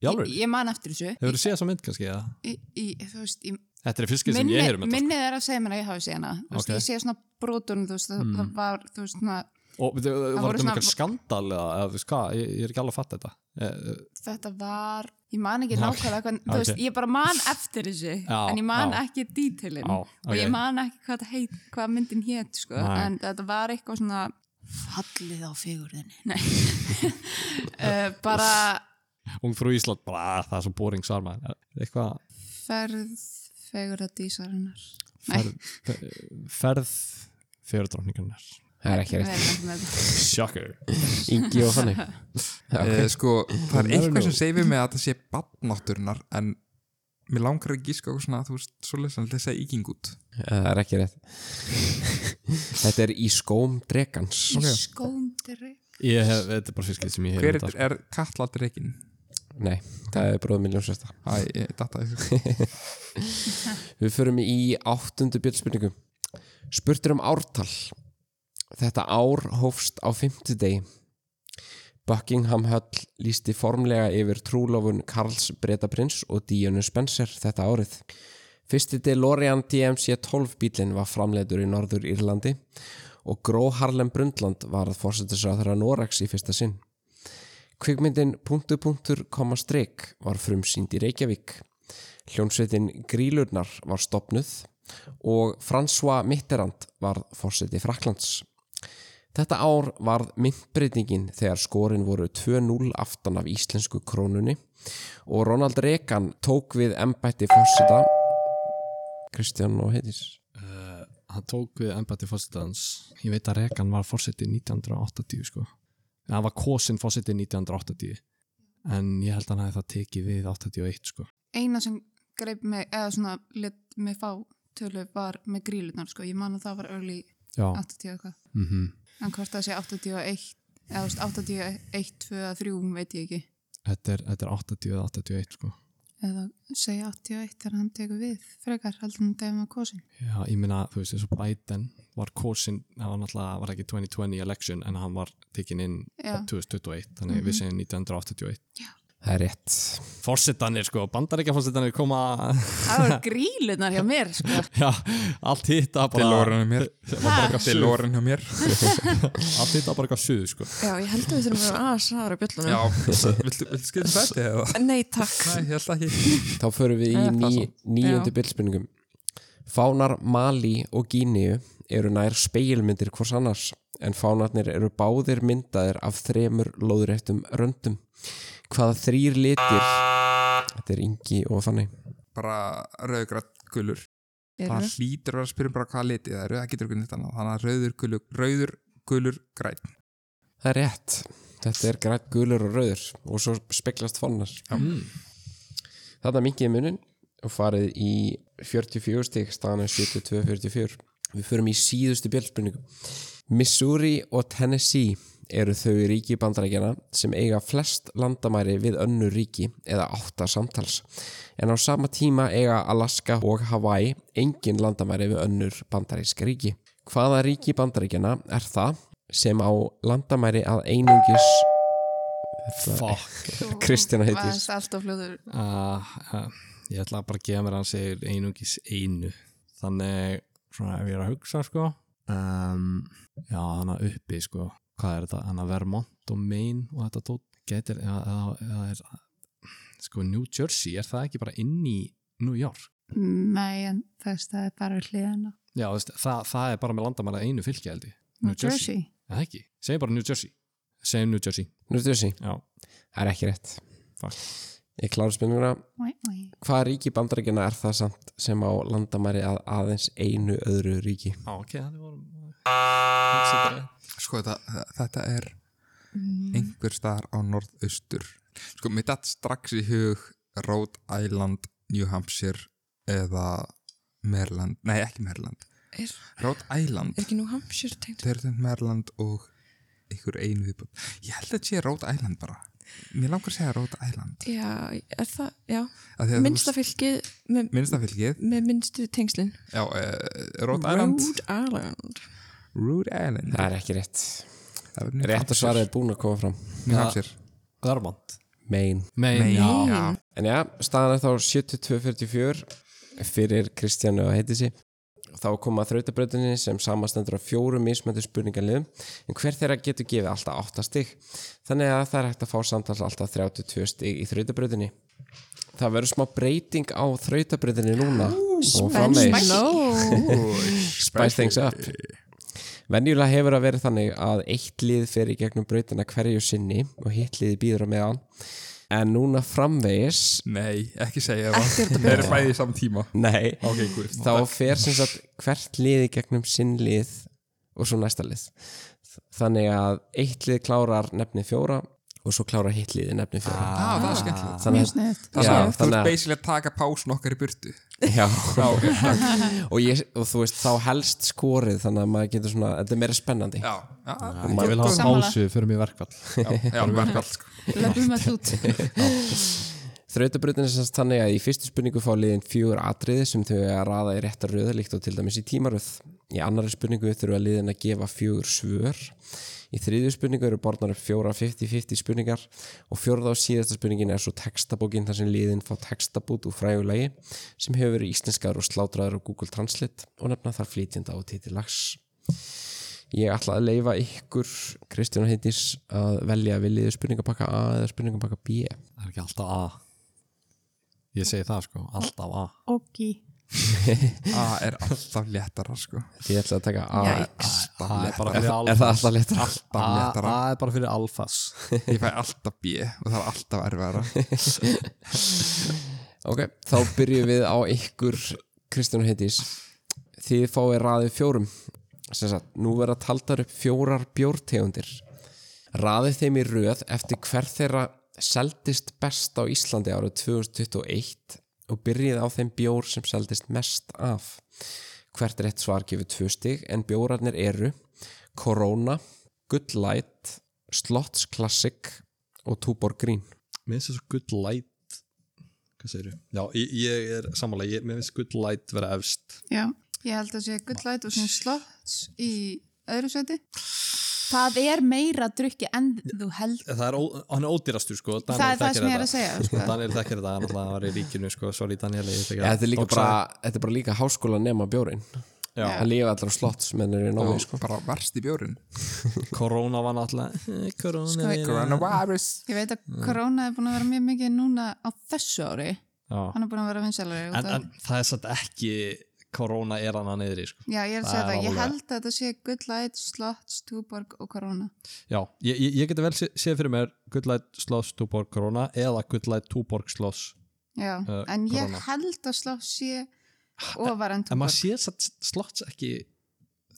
[SPEAKER 4] Í alveg?
[SPEAKER 5] Ég, ég man eftir þessu
[SPEAKER 4] Hefur þú séð þessa mynd kannski? Eða?
[SPEAKER 5] í, í, þú veist, í,
[SPEAKER 4] Þetta er fyrskið sem
[SPEAKER 5] minni,
[SPEAKER 4] ég heyrum þetta. sko.
[SPEAKER 5] minnið er að segja mér að ég hafi séð hana Þú veist,
[SPEAKER 4] Ok. Mm.
[SPEAKER 5] ég sé svona brotunum þú veist, það, það var þú veist, svona,
[SPEAKER 4] Og veitu, var
[SPEAKER 5] voru
[SPEAKER 4] þetta um
[SPEAKER 5] svona-
[SPEAKER 4] eitthvað skandal eða, eða þú veist hvað, ég, ég er ekki alveg að fatta þetta. Eh, eh,
[SPEAKER 5] þetta var ég man ekki
[SPEAKER 4] Já, ok.
[SPEAKER 5] nákvæmlega hvern, þú
[SPEAKER 4] Ok.
[SPEAKER 5] veist, ég bara man eftir þessu
[SPEAKER 4] Já,
[SPEAKER 5] en ég man
[SPEAKER 4] já.
[SPEAKER 5] ekki dítilin
[SPEAKER 4] Já,
[SPEAKER 5] og
[SPEAKER 4] ok.
[SPEAKER 5] ég man ekki hvað, þetta heit, hvað myndin hét sko,
[SPEAKER 4] Nei.
[SPEAKER 5] en þetta var eitthvað svona
[SPEAKER 6] Fallið á fegurðinni.
[SPEAKER 5] uh, bara
[SPEAKER 4] Ung frú Ísland, bara "Ah, það er svo boring svar maður. Eitthvað
[SPEAKER 5] ferð fegur að dísarinnar
[SPEAKER 4] ferð, eh, ferð fjördróningarnar.
[SPEAKER 1] það er ekki
[SPEAKER 5] Við
[SPEAKER 1] rétt
[SPEAKER 5] erum ekki með þetta.
[SPEAKER 4] Shocker.
[SPEAKER 1] Ingi og þannig
[SPEAKER 3] okay. sko, það er
[SPEAKER 4] Never
[SPEAKER 3] eitthvað
[SPEAKER 4] know.
[SPEAKER 3] sem segir mig að það sé badnátturinnar en mér langar að gíska á eitthvað svona, þú veist, svolítið sem lesa íking út
[SPEAKER 1] Eh, það er ekki rétt þetta er í skóm dregans
[SPEAKER 5] Í skóndri
[SPEAKER 4] Ég hef, þetta er bara fyrskið sem ég
[SPEAKER 3] hver
[SPEAKER 4] heyrum
[SPEAKER 3] er,
[SPEAKER 4] þetta. sko.
[SPEAKER 3] er Katla Drekin?
[SPEAKER 1] nei, það er bróðum miljónsvesta
[SPEAKER 3] Æ, ég datta þessu
[SPEAKER 1] Við förum í áttundu bjöldspurningu. Spurtur um ártal. Þetta ár hófst á fimmtudegi. Buckingham Höll lísti formlega yfir trúlofun Karls Bretaprins og Díunu Spencer þetta árið. Fyrsti DeLorean DMC-12 bílinn var framleitur í Norður Írlandi og Gró Harlem Brundtland var að fórsetisra þeirra Norex í fyrsta sinn. Kvikmyndin punktu punktur koma streik var frumsýnd í Reykjavík. Hljómsveitin Grílurnar var stopnuð og François Mitterrand var fórseti Fraklands. Þetta ár varð myndbreytingin þegar skorin voru 2-0 aftan af íslensku krónunni og Ronald Reagan tók við embætti fórseta Kristján og Heiðis.
[SPEAKER 4] Hann tók við embætti fórsetans. Ég veit að Rekan var fórsetið 1980 sko. En Hann var kosin fórsetið 1980. En ég held að hann hefði það tekið við 81 sko.
[SPEAKER 5] eina sem greip mig eða svona let mig fá tölu var með grílunar sko, ég man að það var early
[SPEAKER 4] Já.
[SPEAKER 5] 80 eitthvað,
[SPEAKER 4] Mm
[SPEAKER 5] en hvort það sé 81 eða þú veist, 81, 2 eða 3 veit ég ekki,
[SPEAKER 4] þetta, er, þetta er 80 eða 81 sko.
[SPEAKER 5] eða segja 81 þegar hann tekur við, frekar heldur hann dæma kosin,
[SPEAKER 4] Já, ég minna, þú veist, eins og Biden var kosin, það var náttúrulega, var ekki 2020 election en hann var tekin inn
[SPEAKER 5] Já.
[SPEAKER 4] 2021, þannig við segjum 1981.
[SPEAKER 1] Það er rétt.
[SPEAKER 4] Fórsetanir sko, bandaríkja fórsetanir koma,
[SPEAKER 5] það voru grílunar hjá mér sko,
[SPEAKER 4] já, allt hitta bara,
[SPEAKER 3] Delorean hjá mér
[SPEAKER 4] suð.
[SPEAKER 3] Delorean hjá mér
[SPEAKER 4] allt hitta bara eitthvað suðu sko.
[SPEAKER 2] Já, ég held að við þurfum að vera aðeins aðra bjöllunum.
[SPEAKER 3] Já, viltu, viltu skilja þetta eða?
[SPEAKER 2] Nei, takk.
[SPEAKER 3] Nei, ég held ekki
[SPEAKER 1] Þá förum við í
[SPEAKER 2] Það er
[SPEAKER 1] ný,
[SPEAKER 2] það
[SPEAKER 1] nýjöndu
[SPEAKER 2] Já.
[SPEAKER 1] bildspurningum. Fánar Mali og Gíniu eru nær speilmyndir hvors annars en fánarnir eru báðir myndaðir af þremur lóðréttum röndum. Hvaða þrýr litir Þetta er Ingi og Fanny.
[SPEAKER 3] bara rauðgrætt gulur það hlýtur að vera að spyrja um bara hvað liti það eru, það getur ekki nýtt annað þannig að rauður, gulur, rauður, gulur, græn
[SPEAKER 1] Það er rétt. Þetta er grætt, gulur og rauður og svo speglast fánar.
[SPEAKER 4] Mm.
[SPEAKER 1] Þarna mingiði munin og farið í 44 stík staðan er 72-44. Við förum í síðustu bjöldspurningu. Missouri og Tennessee eru þau ríki bandarækjana sem eiga flest landamæri við önnu ríki eða átta samtals. En á sama tíma eiga Alaska og Hawaii engin landamæri við önnur bandaríska ríki. Hvaða ríki bandarækjana er það sem á landamæri að einungis
[SPEAKER 4] Fuck.
[SPEAKER 1] Kristjana heitir.
[SPEAKER 5] það er alltaf fljóður
[SPEAKER 4] Uh, uh, ég ætla bara að gefa mér að hann segir einungis einu, þannig svona ef ég er að hugsa sko, um, já, hann að uppi sko, hvað er þetta, hann að Vermont og Maine og þetta tótt, getur, eða, eða, eða er, sko New Jersey, er það ekki bara inn í New York?
[SPEAKER 5] nei, en þess það er bara hliðina
[SPEAKER 4] Já, þú veist, það, það er bara með landamæra einu fylki held ég.
[SPEAKER 5] New
[SPEAKER 4] Er
[SPEAKER 5] Jersey,
[SPEAKER 4] Það ekki, segjum bara New Jersey. Segjum New Jersey,
[SPEAKER 1] Nú ertu þessi?
[SPEAKER 4] já.
[SPEAKER 1] Það er ekki rétt.
[SPEAKER 4] Fuck.
[SPEAKER 1] Ég klára spurninguna.
[SPEAKER 5] Oi, oi.
[SPEAKER 1] Hvaða ríki bandaríkjana er það samt sem á landamæri að aðeins einu öðru ríki?
[SPEAKER 4] Já, ok, það vorum...
[SPEAKER 3] sko þetta, þetta er
[SPEAKER 2] Mm.
[SPEAKER 3] einhver staðar á norðaustur sko mér datt strax í hug Rhode Island, New Hampshire eða Maryland nei ekki Maryland,
[SPEAKER 2] Er,
[SPEAKER 3] Rhode Island
[SPEAKER 2] er ekki nú Hampshire tengt?
[SPEAKER 3] þeir eru tengt Maryland og einhver einu viðbútt ég held að þetta sé Rhode Island bara mér langar að segja Rhode Island
[SPEAKER 2] Já, er það, já.
[SPEAKER 3] Af því að þú
[SPEAKER 2] Minnsta
[SPEAKER 3] veist-
[SPEAKER 2] fylgið með,
[SPEAKER 3] minnsta fylgið
[SPEAKER 2] með minnstu tengslinn.
[SPEAKER 3] já, uh, Rhode Island
[SPEAKER 2] Rhode Island.
[SPEAKER 3] Rhode Island
[SPEAKER 1] Það er ekki rétt.
[SPEAKER 3] Það er New
[SPEAKER 1] Rétt að
[SPEAKER 3] Hampshire.
[SPEAKER 1] svarið er búin að koma fram.
[SPEAKER 3] New Hampshire
[SPEAKER 4] Vermont.
[SPEAKER 1] Main
[SPEAKER 4] Mein,
[SPEAKER 3] Nei,
[SPEAKER 4] já.
[SPEAKER 3] já.
[SPEAKER 1] En já, staðan er þá 72-44 fyrir Kristjánu og Heitísi. Þá koma þrautabrautinni sem samastendur af fjórum mismöndu spurningarliðum en hver þeirra getur gefið alltaf 8 stig. Þannig að það er hægt að fá samtals alltaf 32 stig í þrautabrautinni. Það verður smá breyting á þrautabrautinni núna og framvegis. Spice things up Venjulega hefur að verið þannig að eitt lið fer í gegnum brautina hverju sinni og hitt liði býður á meðan en núna framvegis
[SPEAKER 3] Nei, ekki segja það Þeir eru bæðið í saman tíma
[SPEAKER 1] Nei,
[SPEAKER 3] Ok, gúrið
[SPEAKER 1] þá fer sem sagt hvert lið í gegnum sinn lið og svo næsta lið þannig að eitt lið klárar nefni fjóra og svo klárar hitt liði nefni fjóra
[SPEAKER 3] ah, það er skemmtilegt
[SPEAKER 1] þannig að
[SPEAKER 5] sniðt.
[SPEAKER 1] Já,
[SPEAKER 3] Það er
[SPEAKER 1] þannig
[SPEAKER 3] svona
[SPEAKER 1] að-
[SPEAKER 3] basically að taka pásun okkar í burtu
[SPEAKER 1] Já, og, ég, og þú veist þá helst skorið þannig að maður getur svona, þetta er meira spennandi
[SPEAKER 3] Já, já, já,
[SPEAKER 4] Ég vil hafa
[SPEAKER 5] Sammála.
[SPEAKER 4] pásu fyrir mig verkvall
[SPEAKER 3] já, verkvall sko.
[SPEAKER 5] Löpum að þútt.
[SPEAKER 1] Þrautabrautin er semst þannig að í fyrstu spurningu fá liðin fjögur atriði sem þau eiga að raða í réttar röða líkt og til dæmis í tímaröð. Í annari spurningu þurfa liðin að gefa fjögur svör. Í þriðju spurningu eru borðnar upp fjóra 50-50 spurningar og fjórða og síðasta spurningin er svo textabókin þar sem liðin fá textabút úr frægulegi sem hefur verið íslenskar og slátraður á Google Translate og nefna þar flýtjenda á titilags. Ég ætla að leifa ykkur, Kristján og Heitís, að velja viljiðu spurningapakka A eða spurningapakka B.
[SPEAKER 4] Það er ekki alltaf A Ég segi það sko, alltaf A
[SPEAKER 5] Ok.
[SPEAKER 3] A er alltaf léttara sko.
[SPEAKER 1] Ég ætla að taka A
[SPEAKER 2] Jæks.
[SPEAKER 4] A er bara fyrir
[SPEAKER 1] Er það alltaf letra?
[SPEAKER 4] A,
[SPEAKER 3] Alltaf léttara
[SPEAKER 4] A er bara fyrir alfas
[SPEAKER 3] Ég fæ alltaf B og það er alltaf erfara
[SPEAKER 1] Ok, þá byrjum við á ykkur Kristján og Heitís Þið fáið raðið fjórum Sem sagt, nú verða taldar upp fjórar bjórtegundir Raðið þeim í röð eftir hver þeirra seldist best á Íslandi árið 2021 og byrjið á þeim bjór sem seldist mest af Hvert rétt svar gefur tvö stig en bjórarnir eru Corona, Good Light, Slots Classic og Tuborg Green
[SPEAKER 4] Mér finnst þessu good light Hvað segir þú? Já, ég, ég er samanlega, ég, mér finnst good light vera efst
[SPEAKER 5] Já, ég held að sé Good Light og sem Slots í öðru seti.
[SPEAKER 6] Það er meira drukki en þú held
[SPEAKER 4] Það er, ó, hann er ódýrastur sko Daniel
[SPEAKER 5] Það er það
[SPEAKER 4] þekkir
[SPEAKER 5] sem ég er
[SPEAKER 4] þetta.
[SPEAKER 5] að segja, sko.
[SPEAKER 4] Daniel þekkir þetta, hann alltaf var í ríkinu sko Sorry Daniel, ég
[SPEAKER 1] Já, þetta er líka
[SPEAKER 4] tók sagði.
[SPEAKER 1] bara, þetta er bara líka háskóla nema bjórin
[SPEAKER 4] Já.
[SPEAKER 1] Það lifa allar á slotts menn eru í námi sko.
[SPEAKER 3] Bara verst í bjórin
[SPEAKER 4] Corona var náttúrulega Corona
[SPEAKER 5] Sko,
[SPEAKER 3] Coronavirus
[SPEAKER 5] Ég veit að
[SPEAKER 4] Mm.
[SPEAKER 5] korona er búin að vera mjög mikið núna á þessu ári.
[SPEAKER 4] Já.
[SPEAKER 5] Hann er búin að vera vinsalari.
[SPEAKER 4] en, en það er satt ekki Corona er hann að niðri sko.
[SPEAKER 5] Já, ég er að
[SPEAKER 4] Það
[SPEAKER 5] segja
[SPEAKER 4] er
[SPEAKER 5] það. Ég
[SPEAKER 4] alveg-
[SPEAKER 5] held að þetta sé Good Light, Slots, Tuborg og Corona.
[SPEAKER 4] Já, ég, ég, ég geti vel sé- séð fyrir mér Good Light Sloss Tuborg Corona eða Good Light Tuborg Sloss
[SPEAKER 5] Já,
[SPEAKER 4] Eh,
[SPEAKER 5] en ég
[SPEAKER 4] Corona. Ah,
[SPEAKER 5] held að Slots sé ofar en
[SPEAKER 4] en maður
[SPEAKER 5] Tuborg.
[SPEAKER 4] séð satt Slots ekki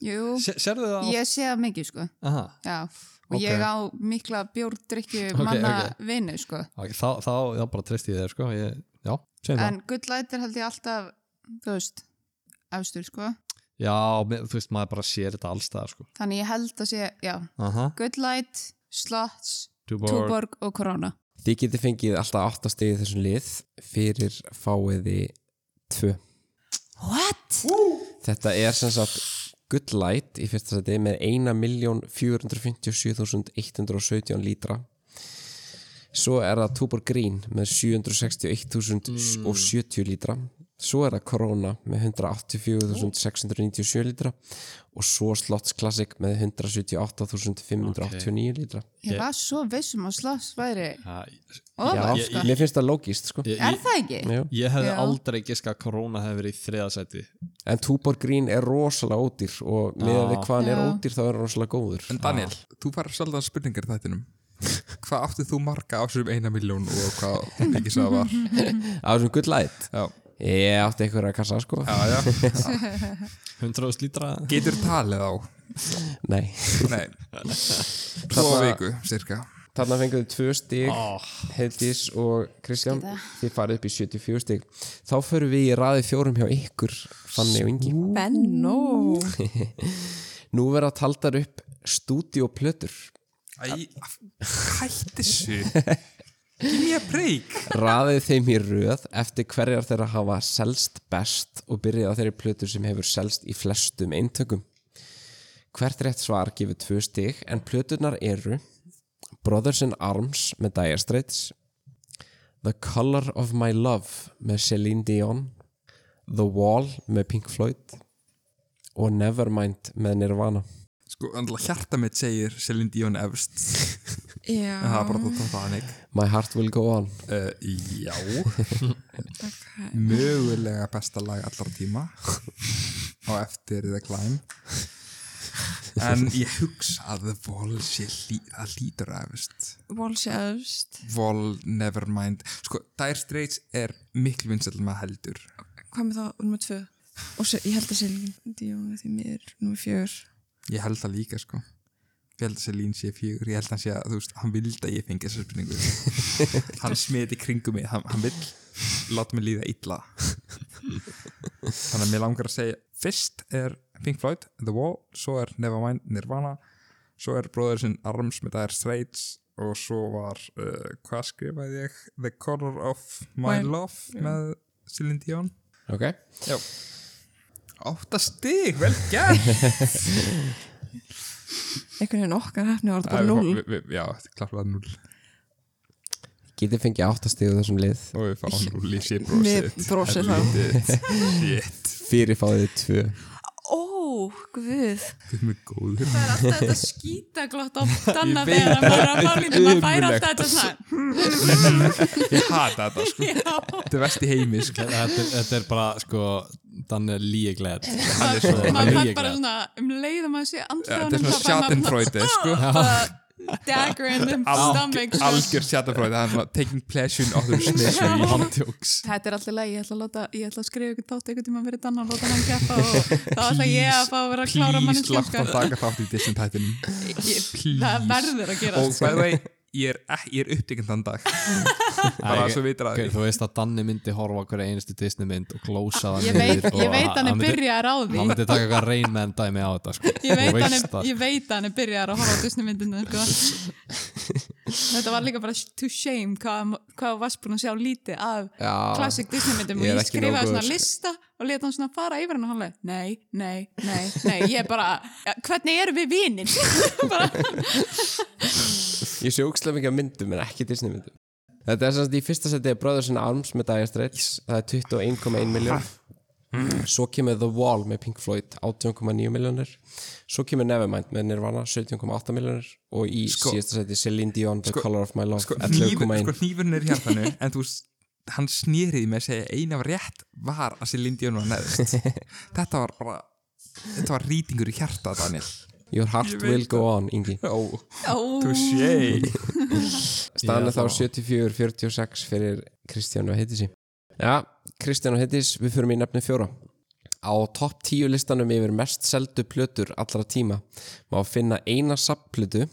[SPEAKER 5] Jú,
[SPEAKER 4] sé, Serðu það?
[SPEAKER 5] ég sé það mikið, sko.
[SPEAKER 4] Aha,
[SPEAKER 5] Já, og
[SPEAKER 4] Ok.
[SPEAKER 5] ég á mikla bjórdrykju
[SPEAKER 4] Ok,
[SPEAKER 5] manna
[SPEAKER 4] ok.
[SPEAKER 5] vinu, sko.
[SPEAKER 4] okay, þá, þá já, bara treysti ég þér sko. ég, Já, segjum það
[SPEAKER 5] En Good Light er held ég alltaf, þú veist, efstur, sko.
[SPEAKER 4] Já, mér- þú veist, maður bara sér þetta alls það sko.
[SPEAKER 5] Þannig ég held að sé, já,
[SPEAKER 4] Aha,
[SPEAKER 5] Good Light, Slots,
[SPEAKER 4] Tuborg,
[SPEAKER 5] Tuborg og Corona.
[SPEAKER 1] Þið getið fengið alltaf 8 stig í þessum lið fyrir fáiði 2
[SPEAKER 6] What?
[SPEAKER 1] Þetta er sem sagt Good Light í fyrsta seti með 1.457.117 lítra Svo er það Tuborg Green með 761.070 lítra Svo er það Corona með 184.697 lítra og svo Slots Classic með 178.589 lítra
[SPEAKER 5] Ég
[SPEAKER 4] Ég-
[SPEAKER 5] var svo vissum að Slots væri
[SPEAKER 4] ja,
[SPEAKER 5] ofar,
[SPEAKER 1] Já,
[SPEAKER 5] sko.
[SPEAKER 1] mér finnst það logist sko
[SPEAKER 4] ég,
[SPEAKER 5] Er
[SPEAKER 4] ég,
[SPEAKER 5] það ekki?
[SPEAKER 1] Já.
[SPEAKER 4] ég hefði
[SPEAKER 5] Já.
[SPEAKER 4] aldrei giska að Corona hefði verið í þriðasæti
[SPEAKER 1] En Tuborg Green er rosalega ódýr og meðan við hvað hann er
[SPEAKER 5] Já.
[SPEAKER 1] ódýr þá er hann rosalega góður
[SPEAKER 3] En Daniel, þú fær sjaldan spurningar í þættinum Hvað áttu þú marga á þessum eina miljón og hvað mikið sem það var
[SPEAKER 1] Á þessum Good Light
[SPEAKER 3] Já,
[SPEAKER 1] Ég átti einhverja kassa sko
[SPEAKER 3] já, já
[SPEAKER 4] 100 lítra
[SPEAKER 3] Getur talið á
[SPEAKER 1] Nei
[SPEAKER 3] Nei Tvo viku, cirka
[SPEAKER 1] Þarna fenguðu tvö stig Heiðdís og Kristján
[SPEAKER 6] Skita.
[SPEAKER 1] Þið farið upp í 74 stig Þá förum við í raði fjórum hjá ykkur Fanni og Ingi
[SPEAKER 2] Benno.
[SPEAKER 1] Nú verða taldar upp stúdíoplötur
[SPEAKER 3] Æ, af- hætti þessu Give me a break
[SPEAKER 1] Raðið þeim í röð eftir hverjar þeirra hafa selst best og byrjið á þeirri plötur sem hefur selst í flestum eintökum Hvert rétt svar gefur tvö stig en plöturnar eru Brothers in Arms með Dire Straits The Color of My Love með Celine Dion The Wall með Pink Floyd og Nevermind með Nirvana
[SPEAKER 3] Sko, andla hjarta mitt segir Celine Dion efst
[SPEAKER 2] Já,
[SPEAKER 3] En það er bara að það þannig
[SPEAKER 1] My Heart Will Go On
[SPEAKER 3] uh, Já
[SPEAKER 2] ok.
[SPEAKER 3] Mögulega besta lag allar tíma Á eftir The Climb En ég hugsa að The Wall sé lí, að lítur efst
[SPEAKER 2] Volsjöfst,
[SPEAKER 3] Wall, Nevermind Sko, Dire Straits er miklu vinsall með heldur
[SPEAKER 2] hvað með þá, nummer tvö? Og svo, ég held að Selin Díón því mér, nummer fjör.
[SPEAKER 3] Ég held það líka, sko Ég held að Selín sé fjögur, ég held að hann sé að, þú veist, hann vildi að ég fengi þessar spurningu Hann smiti kringum mig, hann, hann vill láta mig líða illa Þannig að mér langar að segja Fyrst er Pink Floyd, The Wall Svo er Nevermind, Nirvana Svo er Brothersinn Arms með Dire Straits Og svo var, uh, hvað skrifaði ég? The Color of My
[SPEAKER 2] My-
[SPEAKER 3] Love með Celine Dion
[SPEAKER 1] Ok,
[SPEAKER 3] Já Átta stig, vel gert
[SPEAKER 2] Einhvern veginn okkar hefni var þetta bara
[SPEAKER 3] Æ,
[SPEAKER 2] núl.
[SPEAKER 3] við- við- Já, þetta er klart að núl
[SPEAKER 1] getið fengið áttastíðu þessum lið
[SPEAKER 3] og við fáum núl í sér
[SPEAKER 2] Við
[SPEAKER 3] brosið
[SPEAKER 2] brosið þá.
[SPEAKER 3] Shit,
[SPEAKER 1] fyrir fáðið tvö
[SPEAKER 2] Ó, guð.
[SPEAKER 3] við erum góður
[SPEAKER 5] Það er alltaf þetta skítaglott á danna
[SPEAKER 3] Ég veit
[SPEAKER 5] þegar maður er að fara lítið, maður fær
[SPEAKER 3] Ömurlegt.
[SPEAKER 5] alltaf þetta svona.
[SPEAKER 3] Ég hata þetta sko, þetta er vest í heimi sko.
[SPEAKER 4] þetta, þetta er bara sko þannig er líglegð
[SPEAKER 3] Hann er svo
[SPEAKER 5] Maður fær
[SPEAKER 4] Ég
[SPEAKER 5] bara
[SPEAKER 4] glad.
[SPEAKER 5] svona um leið og maður sé
[SPEAKER 3] Já, Þetta er
[SPEAKER 5] andrjónum,
[SPEAKER 3] svona schadenfreude sko
[SPEAKER 5] bara dagger in the stomach. sko. svona.
[SPEAKER 3] Algjör schadenfreude, hann er svona taking pleasure in other misery
[SPEAKER 4] ándjóks
[SPEAKER 5] Þetta er alltaf lægi, ég ætla að, láta, ég ætla að skrifa ykkur tótt einhvern tíma fyrir Danna og láta hann keppa og þá ætla ég að fá að vera að klára sko.
[SPEAKER 3] Please,
[SPEAKER 5] manneskjum
[SPEAKER 3] látt hann taka þátt í þessum tætinum
[SPEAKER 5] Það sko.
[SPEAKER 3] Please
[SPEAKER 5] verður að gera
[SPEAKER 3] Og by the way, ég er, ek- ég er upptekinn þann dag Bara svo vitur að
[SPEAKER 4] þú veist að Danni myndi horfa á hverja einustu Disney mynd og glósa það
[SPEAKER 5] Ég veit,
[SPEAKER 4] niður og
[SPEAKER 5] ég veit hann er
[SPEAKER 4] myndi-
[SPEAKER 5] byrjar á því
[SPEAKER 4] hann myndi taka eitthvað reyn með en dæmi á þetta sko.
[SPEAKER 5] Ég veit,
[SPEAKER 4] Þú
[SPEAKER 5] hann
[SPEAKER 4] veist
[SPEAKER 5] er,
[SPEAKER 4] það.
[SPEAKER 5] ég veit hann er byrjar að horfa á Disneymyndinu sko. Þetta var líka bara to shame hvað, hvað þú varst búin að sjá lítið af
[SPEAKER 1] Já.
[SPEAKER 5] classic
[SPEAKER 1] Ég
[SPEAKER 5] Disneymyndum og
[SPEAKER 1] er
[SPEAKER 5] ég
[SPEAKER 1] ekki
[SPEAKER 5] skrifaði
[SPEAKER 1] nógu
[SPEAKER 5] svona
[SPEAKER 1] góður.
[SPEAKER 5] lista og leta hann svona fara yfir hann og hann leið nei, nei, nei, nei, ég bara ja, hvernig erum við vinir?
[SPEAKER 1] Ég sé ógstlega mikið af myndum en ekki Disney myndum Þetta er semst í fyrsta seti er Brothers in Arms með Dire Straits það er 21,1 miljón
[SPEAKER 3] Hmm.
[SPEAKER 1] Svo kemur The Wall með Pink Floyd 18,9 miljónir Svo kemur Nevermind með Nirvana 17,8 miljónir og í
[SPEAKER 3] Sko-
[SPEAKER 1] síðasta seti Celine Dion The
[SPEAKER 3] Sko-
[SPEAKER 1] Color of My Love
[SPEAKER 3] sko, hnífur,
[SPEAKER 1] 11,1
[SPEAKER 3] sko hnífurinn er í hjartanu en þú veist, hann snýriði með að segja eina var rétt var að Celine Dion var neðist þetta var bara þetta var rýtingur í hjarta Daniel
[SPEAKER 1] Your heart
[SPEAKER 3] Ég veit
[SPEAKER 1] will go on, Ingi
[SPEAKER 3] oh,
[SPEAKER 5] Ó,
[SPEAKER 3] touché
[SPEAKER 1] Staðan er
[SPEAKER 4] Já,
[SPEAKER 1] þá
[SPEAKER 4] þá.
[SPEAKER 1] 74-46 fyrir Kristján og Heitísi. Já, Kristján og Heitis, við förum í nefni fjóra. Á topp 10 listanum yfir mest seldu plötur allra tíma má finna eina sapplötu,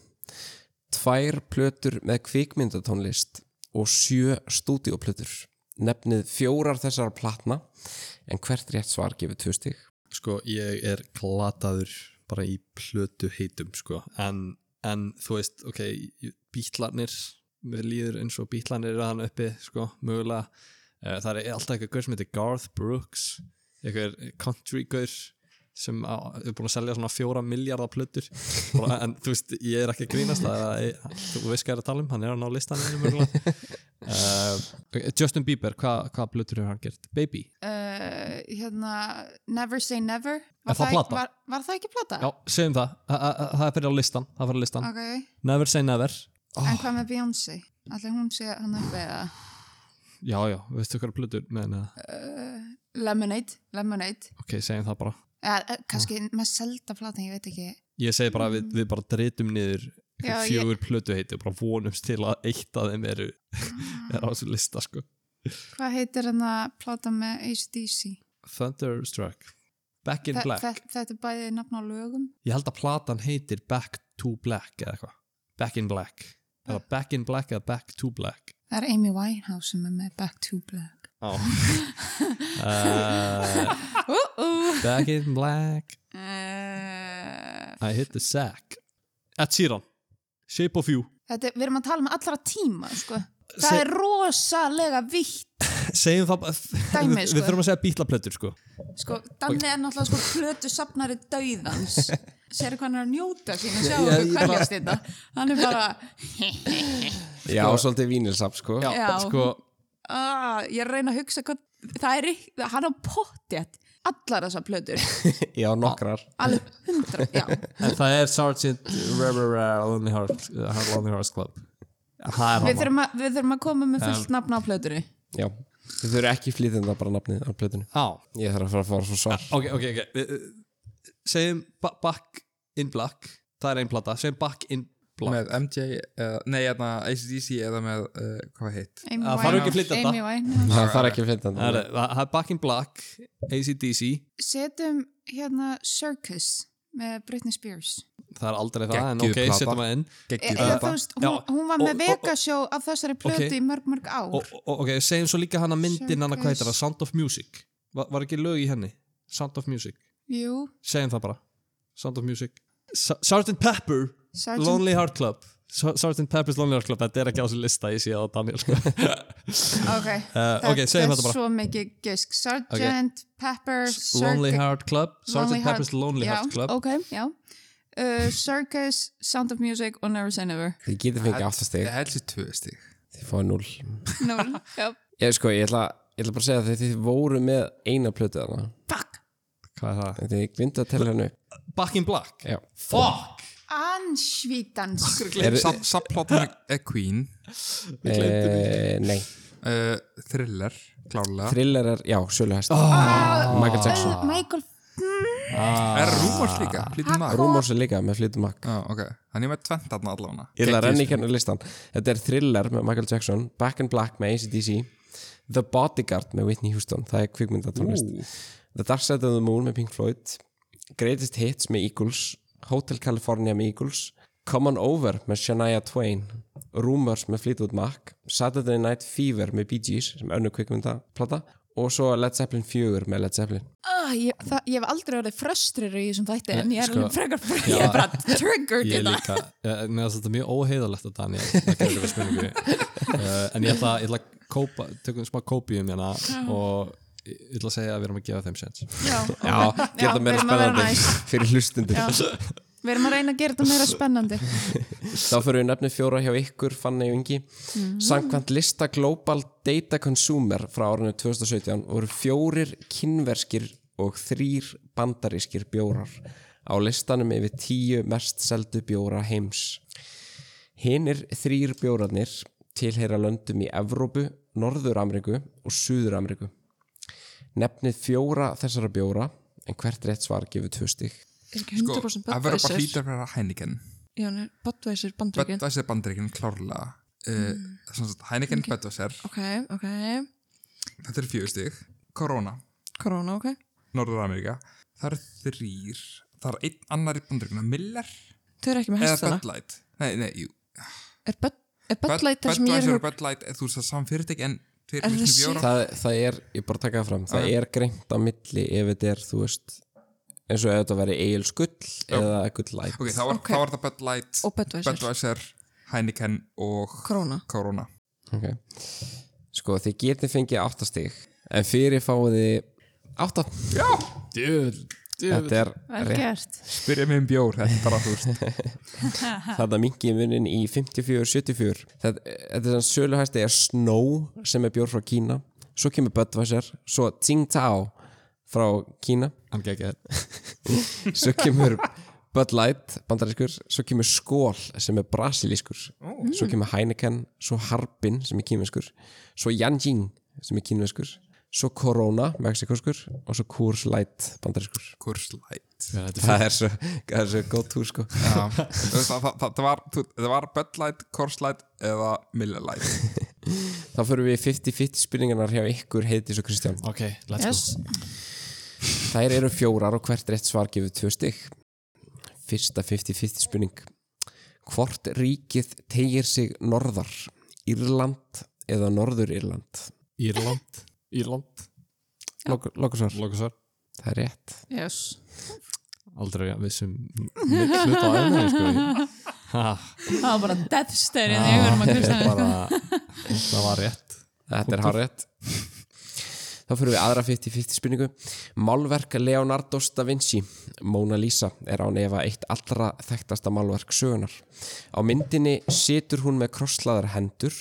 [SPEAKER 1] tvær plötur með kvikmyndatónlist og sjö stúdíoplötur. Nefnið fjórar þessara platna, en hvert rétt svar gefur tvö stig.
[SPEAKER 4] sko, ég er glataður bara í plötu heitum sko. en, en þú veist ok, bítlarnir mér líður eins og bítlarnir er hann uppi sko, mögulega Eh, það er alltaf eitthvað gaur sem heitir Garth Brooks eitthvað country gaur sem á- er búin að selja svona fjóra miljardar plötur bara, en þú veist, ég er ekki að grínast það, er- þú veist hvað ég er að tala um, hann er á ná listanum mögulega uh, Justin Bieber, hva- hvaða plötur hefur hann gert? Baby?
[SPEAKER 6] uh, hérna, Never Say Never
[SPEAKER 4] Er það plata?
[SPEAKER 6] Var, var það ekki plata?
[SPEAKER 4] Já, segjum það, Þa- þa- þa- það er fyrir á listan það fyrir á listan,
[SPEAKER 6] Ok,
[SPEAKER 4] never say never Ah.
[SPEAKER 6] en hvað með Beyoncé? Allir hún sé hann uppi eða
[SPEAKER 4] já, já, veistu hverja plötur Nei, neða,
[SPEAKER 6] Lemonade, Lemonade
[SPEAKER 4] ok, segjum það bara
[SPEAKER 6] eða, eh, kannski
[SPEAKER 4] Ah.
[SPEAKER 6] með selda platan, ég veit ekki
[SPEAKER 4] ég segi bara, að við, við bara dreytum niður
[SPEAKER 6] Já,
[SPEAKER 4] einhver fjögur plötu heiti og bara vonumst til að eitt af þeim eru
[SPEAKER 6] Ah.
[SPEAKER 4] er á þessu lista, sko
[SPEAKER 6] hvað heitir hann að plata með ACDC?
[SPEAKER 4] Thunderstruck, Back in
[SPEAKER 6] Þe-
[SPEAKER 4] Black
[SPEAKER 6] þe- Þetta er bæði nafn á lögum
[SPEAKER 4] ég held að platan heitir Back to Black eða eitthvað, Back in Black eða Back in Black eða Back to Black
[SPEAKER 6] Það er Amy Winehouse sem er með Back to Black
[SPEAKER 4] á uh, Back in Black
[SPEAKER 6] uh,
[SPEAKER 4] I hit the sack Ed Sheeran, Shape of You
[SPEAKER 6] Þetta, er- við erum að tala með allra tíma sko. það
[SPEAKER 4] Se-
[SPEAKER 6] er rosalega vitt
[SPEAKER 4] segjum það bara
[SPEAKER 6] Dæmi,
[SPEAKER 4] við,
[SPEAKER 6] sko.
[SPEAKER 4] við þurfum að segja bítlaplötur sko
[SPEAKER 6] sko, Danni er náttúrulega sko, plötu safnari dauðans sér hvað hann er að njóta sín að sjá
[SPEAKER 4] Já,
[SPEAKER 6] okkur
[SPEAKER 4] ég bara-
[SPEAKER 6] kvæljast þetta hann er bara
[SPEAKER 1] Já, svolítið vínilsapp, sko.
[SPEAKER 4] já,
[SPEAKER 5] Já.
[SPEAKER 4] sko
[SPEAKER 6] ah, ég er að reyna að hugsa hvað, það er ekki, hann á pottjætt allar þessar plötur,
[SPEAKER 1] Já, nokkrar
[SPEAKER 6] alveg hundra já,
[SPEAKER 4] En það er Sergeant Rara Lonely Hearts uh, Lonely Hearts Club Það er
[SPEAKER 6] við
[SPEAKER 4] hann
[SPEAKER 6] þurfum, að, við þurfum að koma með fullt nafn á plötunni
[SPEAKER 1] Já, þið þurfum ekki flytjenda bara nafnið á plötunni
[SPEAKER 4] Á,
[SPEAKER 1] Ég þarf að fara að fara svo svar
[SPEAKER 4] ok, ok, ok Við- við- Segjum ba- Back in Black Það er einn plata, segjum Back in Black
[SPEAKER 3] með MJ, uh, nei, hérna ACDC eða með, uh, hvað var hitt
[SPEAKER 5] Amy
[SPEAKER 4] Það þarf ekki að
[SPEAKER 5] Winehouse,
[SPEAKER 4] flytja þetta.
[SPEAKER 5] Amy Winehouse.
[SPEAKER 1] Það þarf ekki flytjenda
[SPEAKER 4] Það er, það er Back in Black ACDC,
[SPEAKER 5] setjum hérna Circus með Britney Spears
[SPEAKER 4] það er aldrei það en
[SPEAKER 3] Geggjuð
[SPEAKER 4] ok,
[SPEAKER 3] plata.
[SPEAKER 4] setjum það inn
[SPEAKER 6] E, eða,
[SPEAKER 3] geggjur
[SPEAKER 6] þú
[SPEAKER 3] uh,
[SPEAKER 6] veist, hún,
[SPEAKER 4] Já,
[SPEAKER 6] hún var
[SPEAKER 4] og-
[SPEAKER 6] með
[SPEAKER 4] og-
[SPEAKER 6] Vegasjó af þessari plötu
[SPEAKER 4] Ok.
[SPEAKER 6] í mörg mörg ár
[SPEAKER 4] og, og, ok, segjum svo líka hana myndin hana, hvað heitir
[SPEAKER 5] Circus.
[SPEAKER 4] það, Sound of Music var, var ekki lög í henni, Sound of Music
[SPEAKER 5] Jú,
[SPEAKER 4] segjum það bara, Sound of Music Sa- Sgt. Pepper,
[SPEAKER 5] Sergeant-
[SPEAKER 4] Lonely Heart Club Sa- Sgt. Pepper's Lonely Heart Club þetta er ekki á þessu lista, ég sé það á Daniel sko.
[SPEAKER 6] ok,
[SPEAKER 4] uh, ok, segjum þetta
[SPEAKER 6] er
[SPEAKER 4] bara
[SPEAKER 6] svo mikið gisk Sergeant, Pepper,
[SPEAKER 4] Lonely
[SPEAKER 6] Circus-
[SPEAKER 4] Heart Club,
[SPEAKER 6] Lonely
[SPEAKER 4] Sgt. Pepper's Lonely
[SPEAKER 6] já,
[SPEAKER 4] Heart Club
[SPEAKER 6] ok, já uh, Circus, Sound of Music og Never Say Never
[SPEAKER 1] Þið getið fengið
[SPEAKER 3] ég
[SPEAKER 1] áttastig,
[SPEAKER 3] held sér tvö stig
[SPEAKER 1] þið fáið núl
[SPEAKER 6] Núl, já,
[SPEAKER 1] Ég sko, ég ætla, ég ætla bara að segja að þið, þið voru með eina plötu þarna
[SPEAKER 6] fuck
[SPEAKER 4] hvað er það?
[SPEAKER 1] Þið glindu að tella hennu
[SPEAKER 4] Back in Black
[SPEAKER 1] Já,
[SPEAKER 4] Fuck!
[SPEAKER 6] Ansvítans
[SPEAKER 1] Eru-
[SPEAKER 3] Sub- subplotin er Queen
[SPEAKER 1] e, nei
[SPEAKER 3] uh, Thriller, klárlega
[SPEAKER 1] Thrillerar, já, söluhest
[SPEAKER 4] Ah.
[SPEAKER 1] Michael Jackson
[SPEAKER 6] Michael
[SPEAKER 3] er Rúmors líka, lítið maður
[SPEAKER 1] Rúmors er líka með flytum makk
[SPEAKER 3] ah, ok, hann er með tvent þarna allavega
[SPEAKER 1] Ég ætla að renna í kennur listan Þetta er Thriller með Michael Jackson Back in Black með ACDC The Bodyguard með Whitney Houston Það er kvikmyndatónlist The Dark Side of the Moon með Pink Floyd Greatest Hits með Eagles Hotel California með Eagles Come On Over með Shania Twain Rumors með Fleetwood Mac Saturday Night Fever með Bee Gees sem önnu kvikmyndaplata og svo Led Zeppelin 4 með Led Zeppelin
[SPEAKER 6] Ah, ég, það, ég hef aldrei orðið fröstrir í þessum þætti en ég er
[SPEAKER 4] Sko-
[SPEAKER 6] alveg frekar ég er bara triggered í
[SPEAKER 4] Ég
[SPEAKER 6] það
[SPEAKER 4] líka, eh, mér finnst þetta mjög óheiðalegt að Daniel, það gerður við spurningu uh, en ég ætla, ég ætla að kópa, tökum smá kópíum hérna og ég ég ætla að segja að við erum að gefa þeim séns
[SPEAKER 6] Já,
[SPEAKER 1] Já,
[SPEAKER 6] Já,
[SPEAKER 1] gera það
[SPEAKER 6] við
[SPEAKER 1] meira
[SPEAKER 6] erum að vera
[SPEAKER 1] spennandi
[SPEAKER 6] næs.
[SPEAKER 1] fyrir hlustundur
[SPEAKER 6] við erum að reyna að gera þetta meira spennandi
[SPEAKER 1] Þá fyrir við nefnið fjóra hjá ykkur, Fanny og Ingi. Samkvæmt lista Global Data Consumer frá árinu 2017 voru fjórir kynverskir og þrýr bandarískir bjórar á listanum yfir tíu mest seldu bjóra heims. Hinnir þrýr bjórarnir tilheyra löndum í Evrópu, Norður-Ameríku og Suður-Ameríku. Nefnið fjóra þessara bjóra, en hvert rétt svar gefur tvö stig.
[SPEAKER 2] Er ekki
[SPEAKER 3] sko,
[SPEAKER 2] 100%
[SPEAKER 3] að vera bara
[SPEAKER 2] Budweiser?
[SPEAKER 3] hlýtar vera Heineken
[SPEAKER 2] Já, hann er Budweiser bandrygin.
[SPEAKER 3] Budweiser bandaríkinn, klárlega uh, mm. Heineken, Budweiser
[SPEAKER 2] Ok, ok.
[SPEAKER 3] þetta er fjögur stig, Corona
[SPEAKER 2] Corona, ok.
[SPEAKER 3] Norður-Amerika, það eru þrýr það er einn annar í bandaríkina, Miller
[SPEAKER 2] Þau eru ekki með
[SPEAKER 3] eða
[SPEAKER 2] hestana.
[SPEAKER 3] Bud Light nei, nei, jú
[SPEAKER 2] Er Bud, er Bud Light það sem ég
[SPEAKER 3] Budweiser
[SPEAKER 2] er
[SPEAKER 3] og Bud Light, eh, þú veist það samfyrirtæk en tveir
[SPEAKER 2] Er það
[SPEAKER 3] mismunandi
[SPEAKER 2] sér-
[SPEAKER 3] bjórar.
[SPEAKER 1] það, það er, ég bara taka það fram það er greint á milli ef þetta er þú veist, eins og ef þetta veri eigils gull eða gull light
[SPEAKER 3] ok, þá var,
[SPEAKER 2] Ok.
[SPEAKER 3] okay. var það Bud Light
[SPEAKER 2] Og Budweiser.
[SPEAKER 3] Budweiser, Heineken og
[SPEAKER 2] Corona.
[SPEAKER 3] Corona
[SPEAKER 1] okay. sko þið getið fengið áttastig en fyrir fáið þið átta já, djöð þetta er rétt
[SPEAKER 5] gert
[SPEAKER 3] spyrja mig um bjór, þetta er bara þú veist
[SPEAKER 1] þarna mingi munin í 54-74 þetta, þetta er sann söluhæsti er Snow sem er bjór frá Kína svo kemur Budweiser, svo Tsing Tao frá Kína
[SPEAKER 4] Hann gekkja þér
[SPEAKER 1] svo kemur Bud Light bandarískur, svo kemur Skól sem er brasilískur, svo kemur Heineken svo Harbin sem er kínveskur svo Yanjing sem er kínveskur svo Corona, mexikoskur og svo Coors Light bandarískur
[SPEAKER 3] Coors Light
[SPEAKER 1] það er svo, það er svo gótt húr sko
[SPEAKER 3] Já, þú veist, það, það, það, það, var, þú- það var Bud Light, Coors Light eða Miller Light
[SPEAKER 1] þá förum við í 50-50 spurningarnar hjá ykkur Heiðdís og Kristján
[SPEAKER 4] Ok, let's
[SPEAKER 2] Yes.
[SPEAKER 1] Þær eru fjórar og hvert rétt svar gefur tvö stygg. Fyrsta 50-50 spurning. Hvort ríkið tegir sig norðar? Írland eða Norður-Írland?
[SPEAKER 4] go Írland, Írland,
[SPEAKER 1] Lókusvar.
[SPEAKER 4] lokasvar
[SPEAKER 1] Það er rétt.
[SPEAKER 2] Yes.
[SPEAKER 4] Aldrei við sem hluta á einu sko. Ha,
[SPEAKER 5] Það var bara death stare í
[SPEAKER 4] Ah.
[SPEAKER 5] augunum á
[SPEAKER 4] Þetta er
[SPEAKER 5] Kristján
[SPEAKER 4] bara, það var rétt
[SPEAKER 1] Þetta er hárétt. Þá fyrir við aðra 50-50 spurningu. Málverk Leonardo da Vinci, Mona Lisa, er án efa eitt allra þekktasta málverk sögunar. Á myndinni situr hún með krosslaðar hendur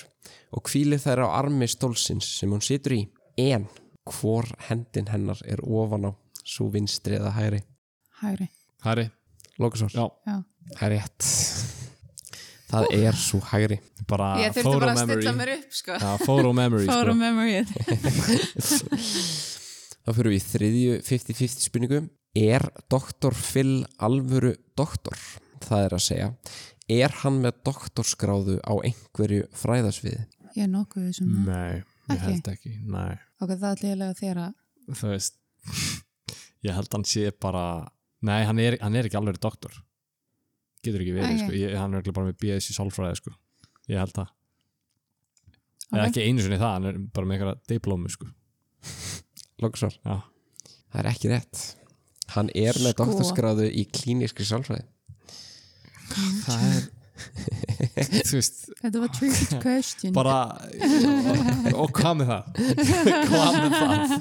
[SPEAKER 1] og kvílir þær á armi stólsins sem hún situr í en hvor hendin hennar er ofan á svo vinstri eða hægri
[SPEAKER 5] Hægri.
[SPEAKER 4] Hæri,
[SPEAKER 1] Lókusvar,
[SPEAKER 4] já,
[SPEAKER 1] það er rétt Það er svo hægri
[SPEAKER 4] bara
[SPEAKER 6] Ég þurfti
[SPEAKER 4] photo
[SPEAKER 6] bara að
[SPEAKER 4] memory
[SPEAKER 6] stilla mér upp, sko.
[SPEAKER 4] Já, photo memory
[SPEAKER 5] Fórum
[SPEAKER 4] sko.
[SPEAKER 5] memoryið.
[SPEAKER 1] Þá fyrir við í þriðju 50-50 spurningu Er doktor Phil alvöru doktor? Það er að segja Er hann með doktorskráðu á einhverju fræðasviði?
[SPEAKER 5] Ég er nokkuð þessum.
[SPEAKER 4] Nei, ég
[SPEAKER 5] Ekki?
[SPEAKER 4] held ekki, nei
[SPEAKER 5] Ok, það ætla ég að lega þér að
[SPEAKER 4] þú veist ég held hann sé bara nei, hann er, hann er ekki alveg doktor getur ekki verið,
[SPEAKER 5] Æ,
[SPEAKER 4] sko.
[SPEAKER 5] ég-
[SPEAKER 4] ég, hann er örugglega bara með BS í sálfræði, sko ég held það, okay.
[SPEAKER 5] Ok.
[SPEAKER 4] ekki einu sinni það hann er bara með einhverja diplómu, sko
[SPEAKER 1] Lókusvar,
[SPEAKER 4] já,
[SPEAKER 1] það er ekki rétt Hann er með
[SPEAKER 5] Sko.
[SPEAKER 1] doktorskráðu í klínískri sálfræði
[SPEAKER 4] það er þú veist,
[SPEAKER 5] Þetta var tricky question.
[SPEAKER 4] bara og hvað með það hvað með það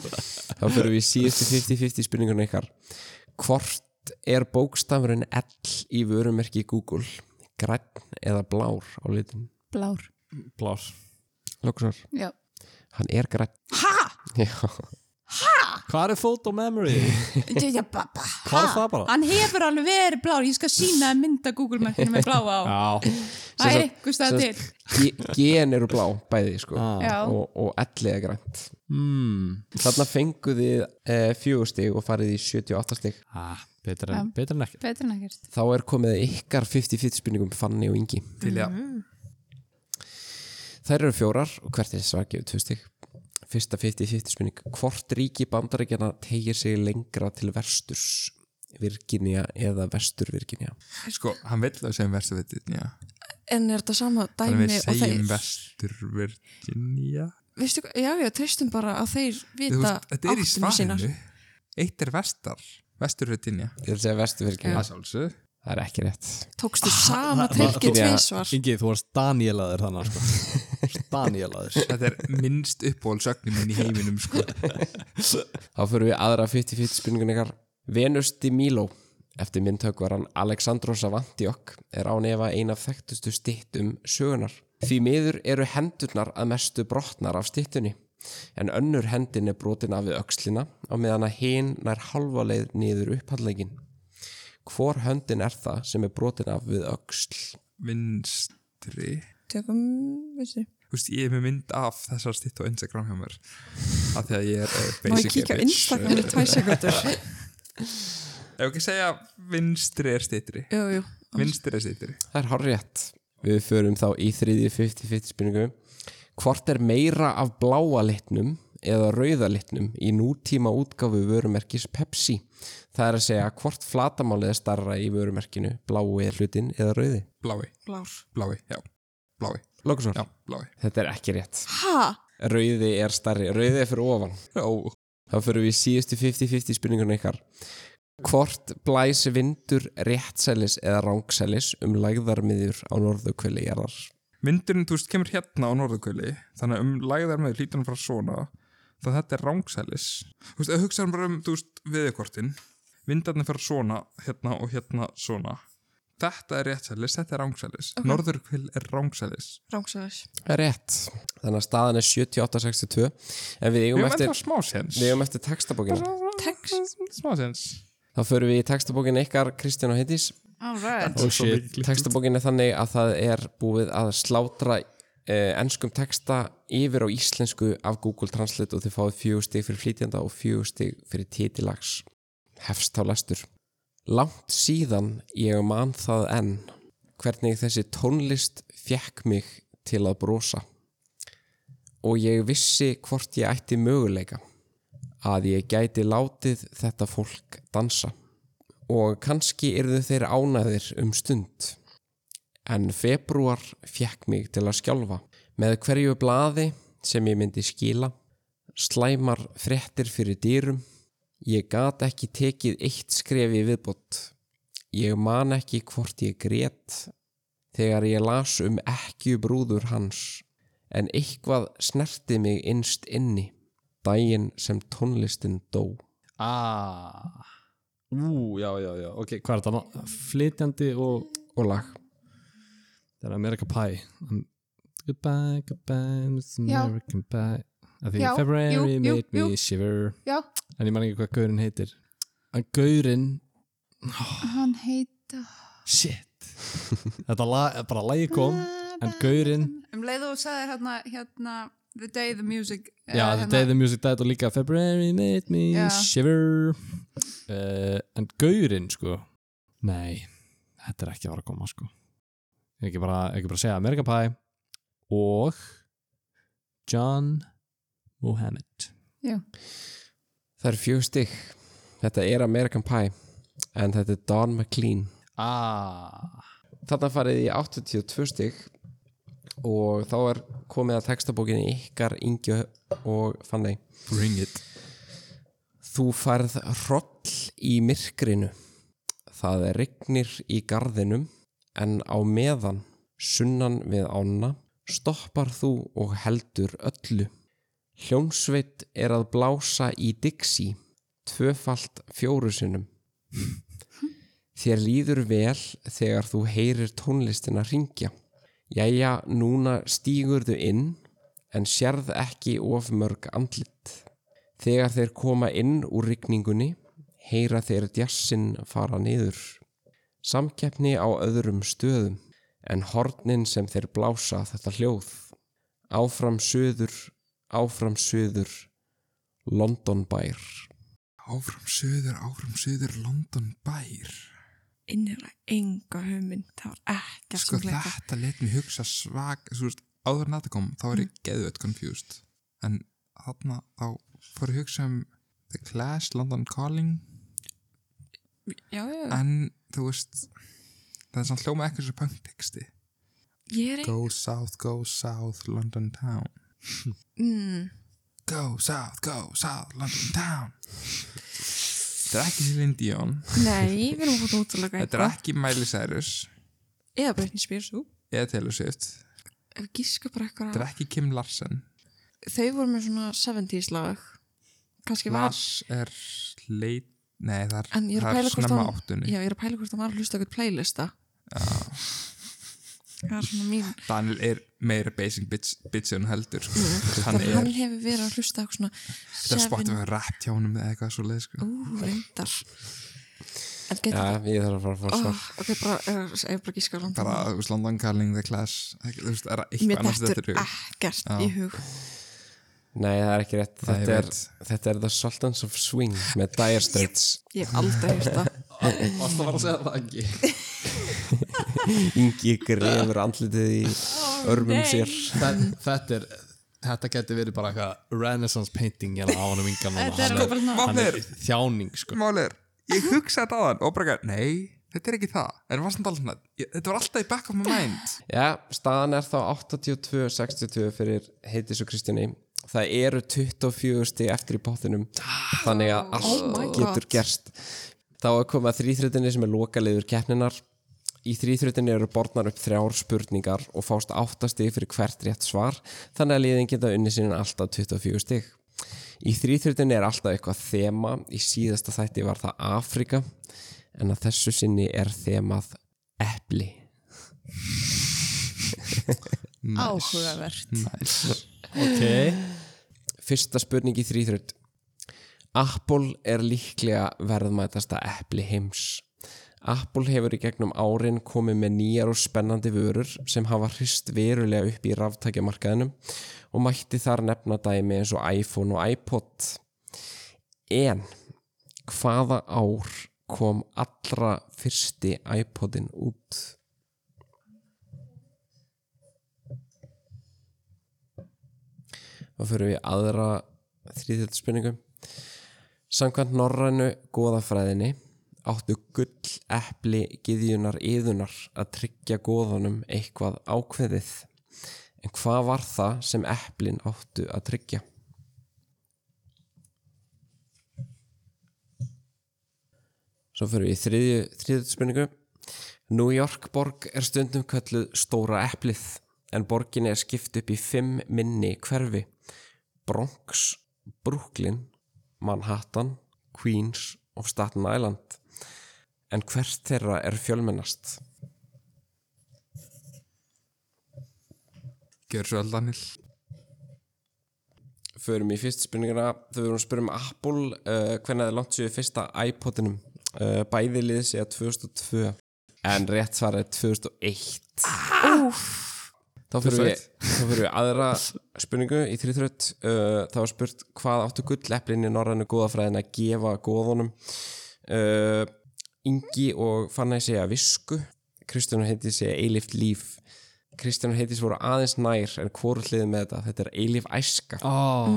[SPEAKER 1] Þá fyrir við í síðustu 50-50 spurningunum ykkar. Hvort er bókstafurinn L í vörumerki Google? Græn eða blár á litin?
[SPEAKER 5] blár.
[SPEAKER 4] blár,
[SPEAKER 1] Lóksar.
[SPEAKER 5] Já.
[SPEAKER 1] Hann er græn. Ha? Já.
[SPEAKER 4] hvað er photo memory hvað er það bara
[SPEAKER 5] Hann hefur alveg verið blár. Ég skal sína að mynda Google-merkinu með blá á.
[SPEAKER 4] já,
[SPEAKER 5] Það er ykkur stað
[SPEAKER 1] sem
[SPEAKER 5] til.
[SPEAKER 1] Ge- Gen eru blá, bæði sko.
[SPEAKER 4] ah.
[SPEAKER 5] Já.
[SPEAKER 1] Og, og L er grænt.
[SPEAKER 4] mm.
[SPEAKER 1] Þarna fenguð þið eh, fjögur stig og farið í 78 stig.
[SPEAKER 4] ah, betur, en, betur en ekkert
[SPEAKER 5] Betur en ekkert.
[SPEAKER 1] Þá er komið ykkar 50-50 spurningum Fanny og Ingi.
[SPEAKER 3] til ég
[SPEAKER 2] Mhm.
[SPEAKER 1] Þær eru fjórar og hvert er svar gefið tvö stygg. Fyrsta 50-50 spurning. Hvort ríki bandaríkjana tegir sig lengra til vesturs Virginia eða vestur Virginia?
[SPEAKER 3] sko, hann vill að segja um verstu Virginia
[SPEAKER 2] En er þetta sama
[SPEAKER 3] þannig
[SPEAKER 2] dæmi
[SPEAKER 3] við
[SPEAKER 2] og þeir?
[SPEAKER 3] segjum vestur Virginia
[SPEAKER 2] Veistu hvað, já, já, treystum bara að þeir
[SPEAKER 3] Þú
[SPEAKER 2] vita
[SPEAKER 3] veist, þetta er í
[SPEAKER 2] áttina sínar.
[SPEAKER 3] svarinu eitt er vestar, vestur Virginia
[SPEAKER 1] Ég vil segja vestur Virginia.
[SPEAKER 3] það sjálfsög
[SPEAKER 1] Það er ekki rétt.
[SPEAKER 2] Tókstu
[SPEAKER 3] Ah,
[SPEAKER 2] sama
[SPEAKER 4] það-
[SPEAKER 2] trikki
[SPEAKER 1] það-
[SPEAKER 2] tvísvar.
[SPEAKER 4] Ingi, þú varst Danielaður þannig sko. Danielaður
[SPEAKER 3] þetta er minnst uppbólsögnin minn í heiminum sko.
[SPEAKER 1] Þá fyrir við aðra 50-50 spurningun ykkar. Venus de Milo eftir myndtökvaran Alexandros af Antioch er án efa eina þekktustu stittum sögunar. Því miður eru hendurnar að mestu brotnar af stittunni en önnur hendin er brotin af við öxlina á meðan að hinn nær halva leið niður upphandlegin. Hvor höndin er það sem er brotin af við öxl?
[SPEAKER 3] vinstri
[SPEAKER 2] Tökum, veistu.
[SPEAKER 3] Þú veist, ég er með mynd af þessar stitt á Instagram hjá mér af því að ég er uh,
[SPEAKER 2] Má
[SPEAKER 3] basic
[SPEAKER 2] ég kíkja á
[SPEAKER 3] bitch.
[SPEAKER 2] Instagram í tvær sekundur?
[SPEAKER 3] ef ekki segja vinstri er stittri
[SPEAKER 2] Jú, jú.
[SPEAKER 3] vinstri er stittri
[SPEAKER 1] Það er hárétt. Við förum þá í þriðju 50-50 spurningu. Hvort er meira af bláa litnum eða rauða litnum í nútíma útgáfu vörumerkis Pepsi? Það er að segja hvort flatamálið er starra í vörumerkinu, bláu er hlutin eða rauði?
[SPEAKER 3] blái,
[SPEAKER 2] Blár.
[SPEAKER 3] blái, já, blái
[SPEAKER 1] Lókusvar.
[SPEAKER 3] já, blái
[SPEAKER 1] Þetta er ekki rétt.
[SPEAKER 2] Ha?
[SPEAKER 1] Rauði er starri, rauði er fyrir ofan.
[SPEAKER 3] Ó,
[SPEAKER 1] Þá fyrir við í síðustu 50-50 spurningunum ykkar. Hvort blæs vindur réttsælis eða rángsælis um lægðarmiðjur á norðukvöli jarðar?
[SPEAKER 3] vindurinn, þú veist, kemur hérna á norðukvöli þannig að um læðar með hlýtur hann frá svona þá þetta er rangsælis þú veist, ef hugsaðum bara um, þú veist, viðkortin vindarnir fyrir svona, hérna og hérna svona þetta er réttsælis, þetta er rangsælis okay. norðurkvöl er rangsælis
[SPEAKER 2] Rángsæðis.
[SPEAKER 1] Rétt. Þannig að staðan er 78-62 en við
[SPEAKER 3] við
[SPEAKER 1] eigum
[SPEAKER 3] erum eftir
[SPEAKER 1] eftir,
[SPEAKER 3] smá sens
[SPEAKER 1] við eigum eftir textabókina.
[SPEAKER 2] Text.
[SPEAKER 3] smá sens
[SPEAKER 1] Þá förum við í textabókina ykkar Kristján og Heitis.
[SPEAKER 6] All right.
[SPEAKER 4] Oh shit
[SPEAKER 1] Textabókina er þannig að það er búið að slátra eh, enskum texta yfir á íslensku af Google Translate og þið fáið fjögur stig fyrir flýtjanda og fjögur stig fyrir titilags. Hefst þá lestur. Langt síðan ég man það enn hvernig þessi tónlist fekk mig til að brosa og ég vissi hvort ég ætti möguleika að ég gæti látið þetta fólk dansa og kannski yrðu þeir ánæðir um stund en februar fekk mig til að skjálfa með hverju blaði sem ég myndi skila slæmar fréttir fyrir dýrum ég gat ekki tekið eitt skref í viðbót ég man ekki hvort ég grét þegar ég las um ekki brúður hans en eitthvað snerti mig innst inni daginn sem tónlistin dó
[SPEAKER 4] ah. Ú, já, já, já Ok, hvað er þetta? ná- Flytjandi og
[SPEAKER 1] og lag
[SPEAKER 4] Það er America Pie Hann Um, Goodbye, goodbye, Miss
[SPEAKER 6] Já.
[SPEAKER 4] American Pie Af því
[SPEAKER 6] Já,
[SPEAKER 4] February
[SPEAKER 6] jú, jú,
[SPEAKER 4] made me
[SPEAKER 6] jú.
[SPEAKER 4] shiver
[SPEAKER 6] Já,
[SPEAKER 4] En ég man ekki hvað gaurinn heitir En gaurinn,
[SPEAKER 6] hann heita
[SPEAKER 4] shit Þetta lag, bara lagi kom En gaurinn,
[SPEAKER 6] Um leið og sagði hérna, hérna The Day the Music eh,
[SPEAKER 4] já, The
[SPEAKER 6] hérna,
[SPEAKER 4] Day the Music Died og líka February made me
[SPEAKER 6] Já.
[SPEAKER 4] shiver uh, En gaurinn, sko Nei, þetta er ekki að vera að koma, sko Ég ekki bara, ekki bara segja American Pie og John Mohammed
[SPEAKER 1] Það eru fjög stygg. Þetta er American Pie en þetta er Don McLean.
[SPEAKER 4] Ah,
[SPEAKER 1] Þarna farið í 82 stygg og þá er komið að textabókinni ykkar, Ingi og Fanny.
[SPEAKER 3] Bring it
[SPEAKER 1] Þú færð hroll í myrkrinu. Það rignir í garðinum en á meðan, sunnan við ána, stoppar þú og heldur öllu. Hljómsveit er að blása í Dixie, tvöfalt fjóru sinnum. Þér líður vel þegar þú heyrir tónlistina ringja. Jæja, núna stígurðu inn en sérð ekki of mörg andlit. Þegar þeir koma inn úr rigningunni, heyra þeir djassin fara niður. Samkeppni á öðrum stöðum, en hornin sem þeir blása þetta hljóð. Áfram söður, áfram söður, Londonbær.
[SPEAKER 3] Áfram söður, áfram söður, London bær
[SPEAKER 2] innir enga hugmynd það var ekkert
[SPEAKER 3] Sko
[SPEAKER 2] sem leika
[SPEAKER 3] þetta let mér hugsa svag Þú veist, áður en þetta kom, þá er
[SPEAKER 2] Mm.
[SPEAKER 3] ég geðveitt confused En þarna þá fór ég að hugsa um The Clash, London Calling
[SPEAKER 2] Mm.
[SPEAKER 5] Já, já.
[SPEAKER 3] En þú veist, það er samt hljóma ekkert svo punkteksti
[SPEAKER 2] ég er ein...
[SPEAKER 3] Go south, go south, London town
[SPEAKER 2] mm,
[SPEAKER 3] Go south, go south, London town Þetta er ekki Celine Dion
[SPEAKER 2] nei, við erum búin að útlöka
[SPEAKER 3] Þetta er ekki Miley Cyrus
[SPEAKER 2] eða Britney Spears þú
[SPEAKER 3] Eða Taylor Swift
[SPEAKER 2] ef við gíska bara
[SPEAKER 3] Þetta
[SPEAKER 2] eitthvað
[SPEAKER 3] er
[SPEAKER 2] á-
[SPEAKER 3] ekki Kim Larsen
[SPEAKER 2] þau voru með svona 70s lag kannski var
[SPEAKER 3] Lars er leit Nei, það er,
[SPEAKER 2] en ég er að
[SPEAKER 3] það er
[SPEAKER 2] pæla hvort
[SPEAKER 3] snemma
[SPEAKER 2] hann
[SPEAKER 3] áttunni
[SPEAKER 2] já, ég er að pæla hvort hann var að hlusta okkur playlista það er svona mín
[SPEAKER 3] Daniel er meira basic bitch, bitch en hún heldur sko. Hann
[SPEAKER 2] þannig
[SPEAKER 3] er,
[SPEAKER 2] Mm. hann hefur verið að hlusta okkur svona
[SPEAKER 3] þetta er spottum
[SPEAKER 2] seven-
[SPEAKER 3] við rap hjá honum eða eitthvað svo leið sko.
[SPEAKER 2] ú, reyndar en getur
[SPEAKER 1] Já, ég þarf að fara að fá
[SPEAKER 2] Oh,
[SPEAKER 1] svar.
[SPEAKER 2] ok, bara, uh, ég bara gíska á London
[SPEAKER 3] Bara, þú veist, London Calling, The Clash ekki, Þú veist, er það eitthvað
[SPEAKER 2] Mér
[SPEAKER 3] annars
[SPEAKER 2] dettur
[SPEAKER 3] þetta er
[SPEAKER 2] ekkert í hug
[SPEAKER 1] Nei, það er ekki rétt.
[SPEAKER 3] Nei, ég
[SPEAKER 1] Þetta er,
[SPEAKER 3] veit.
[SPEAKER 1] þetta er The Sultans of Swing með Dire Straits.
[SPEAKER 2] Ég hef aldrei hýrt það
[SPEAKER 3] Alltaf var að segja það ekki
[SPEAKER 1] Ingi grefur andlitið í örmum sér.
[SPEAKER 4] þetta er þetta getur verið bara eitthvað renaissance painting hérna á hann um yngan hann,
[SPEAKER 5] Þetta er
[SPEAKER 4] er-
[SPEAKER 5] bara-
[SPEAKER 4] hann er
[SPEAKER 3] Vopnir.
[SPEAKER 4] þjáning sko.
[SPEAKER 3] Mál er, ég hugsa þetta á hann og bara, ekki, nei, þetta er ekki það En var samt alveg svona, ég- þetta var alltaf í back of my mind
[SPEAKER 1] Já, staðan er þá 82-62 fyrir heitis og Kristjáni. Það eru 24 stig eftir í bóttinum, þannig að allt
[SPEAKER 2] Oh my God.
[SPEAKER 1] getur gerst. Þá er komið að þrýþröðinni sem er lokaliður keppninar. Í þrýþröðinni eru borðnar upp þrjár spurningar og fást 8 stig fyrir hvert rétt svar, þannig að liðin geta unni sinni alltaf 24 stig. Í þrýþröðinni er alltaf eitthvað þema, í síðasta þætti var það Afrika, en að þessu sinni er þemað epli.
[SPEAKER 5] Áhugavert.
[SPEAKER 4] ok,
[SPEAKER 1] Fyrsta spurning í þrýþröld Apple er líklega verðmætasta epli heims Apple hefur í gegnum árin komið með nýjar og spennandi vörur sem hafa hrist verulega upp í ráftækjamarkaðinum og mætti þar nefna dæmi eins og iPhone og iPod En hvaða ár kom allra fyrsti iPodin út? Þá fyrir við í aðra þrýðjöldspurningu. Samkvæmt norrænu goðafræðinni áttu gull epli gyðjunar yðunar að tryggja goðanum eitthvað ákveðið. En hvað var það sem eplin áttu að tryggja? Svo fyrir við í þriðju, þriðju spurningu. New York borg er stundum kölluð Stóra eplið en borginni er skipt upp í fimm minni hverfi. Bronx, Brooklyn, Manhattan, Queens og Staten Island. En hvert þeirra er fjölmennast?
[SPEAKER 3] Gjör svo aldanil
[SPEAKER 1] förum í fyrst spurninguna þau vorum að spyrja um Apple uh, hvernig þið lansiðu fyrsta iPodinum uh, bæði liðið sé að 2002 en rétt svar er 2001 þá fyrir við,
[SPEAKER 3] 2001.
[SPEAKER 1] þá fyrir við aðra spurningu í þrýþrött uh, það var spurt hvað áttu gulleplinni norrænu góðafræðin að gefa góðunum uh, Ingi og Fanny segja visku Kristján heiti segja eilift líf Kristján heitis voru aðeins nær en hvort hliðið með þetta, þetta er eilif æska
[SPEAKER 4] oh.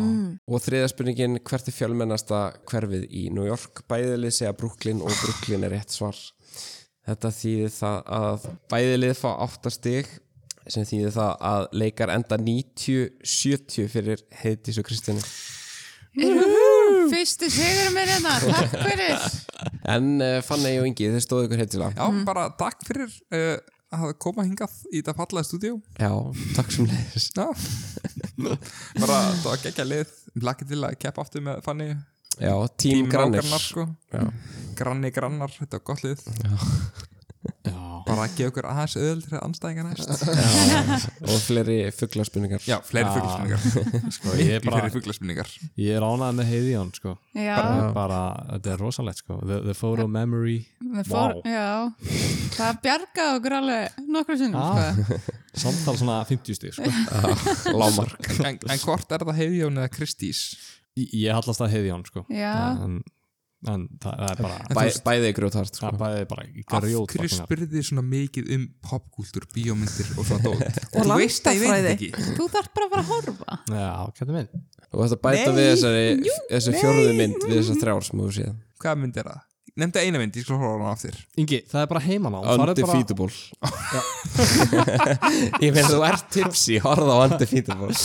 [SPEAKER 1] Og þriða spurningin, hvert er fjölmennasta hverfið í New York? Bæðilið segja Brooklyn og Brooklyn er rétt svar. Þetta þýðir það að bæðilið fá 8 stig sem þýðir það að leikar enda 90-70 fyrir Heiðdís og Kristjáni.
[SPEAKER 5] Fyrsti sigur mér hérna, takk fyrir
[SPEAKER 1] En uh, Fanney og Ingi, þeir stóðu ykkur heitilega.
[SPEAKER 3] Já,
[SPEAKER 2] Mm.
[SPEAKER 3] bara takk fyrir uh, að koma hingað í þetta fallega stúdíu
[SPEAKER 1] Já, takk sem leiðis.
[SPEAKER 3] Já Bara það var gekkja lið Lakið til að keppa aftur með Fanny
[SPEAKER 1] Já, tím grannir.
[SPEAKER 3] nágrannar, sko. Granni grannar, þetta var gott lið
[SPEAKER 4] Já.
[SPEAKER 3] Bara að gefa okkur aðeins öðul til að anstæðinga næst
[SPEAKER 1] Og fleiri fugglarspunningar.
[SPEAKER 3] Já, fleiri fugglaspinningar
[SPEAKER 4] Sko, ég, er
[SPEAKER 3] Mikið
[SPEAKER 4] bara,
[SPEAKER 3] fleiri fugglaspinningar
[SPEAKER 4] ég er ánægð með heiði hann sko.
[SPEAKER 5] Já,
[SPEAKER 4] bara, bara, þetta er rosalegt sko. the, the photo memory
[SPEAKER 5] það fór,
[SPEAKER 4] Vá.
[SPEAKER 5] já Það bjargaði okkur alveg nokkru sinnum
[SPEAKER 4] Ah.
[SPEAKER 5] sko.
[SPEAKER 4] samtal svona 50 stig sko.
[SPEAKER 1] Lámark.
[SPEAKER 3] en, en hvort er það Heiðjón eða Kristís?
[SPEAKER 4] Ég- ég hallast að heiði hann sko.
[SPEAKER 5] Já.
[SPEAKER 4] en, en það, það er bara
[SPEAKER 1] Bæ, bæði grjótart, sko.
[SPEAKER 4] það er bara, bara
[SPEAKER 3] Af
[SPEAKER 4] grjót
[SPEAKER 3] hverju spurði þið svona mikið um popkúltúr, bíómyndir og svona dót?
[SPEAKER 2] Og
[SPEAKER 3] Þú veist að ég veit
[SPEAKER 2] landafræði.
[SPEAKER 3] ekki
[SPEAKER 5] Þú þarf bara að fara að horfa
[SPEAKER 4] Já, kætti minn
[SPEAKER 1] Og þetta bæta við þessari, þessari fjörðu mynd við þessar þrjár sem þú séð.
[SPEAKER 3] Hvað mynd er það? Nefndi eina mynd, ég skal horfa á hana aftur
[SPEAKER 4] Ingi, það er bara heimanám farið bara-
[SPEAKER 1] Undefeatable Ég finn að þú ert tipsi Horða á Undefeatable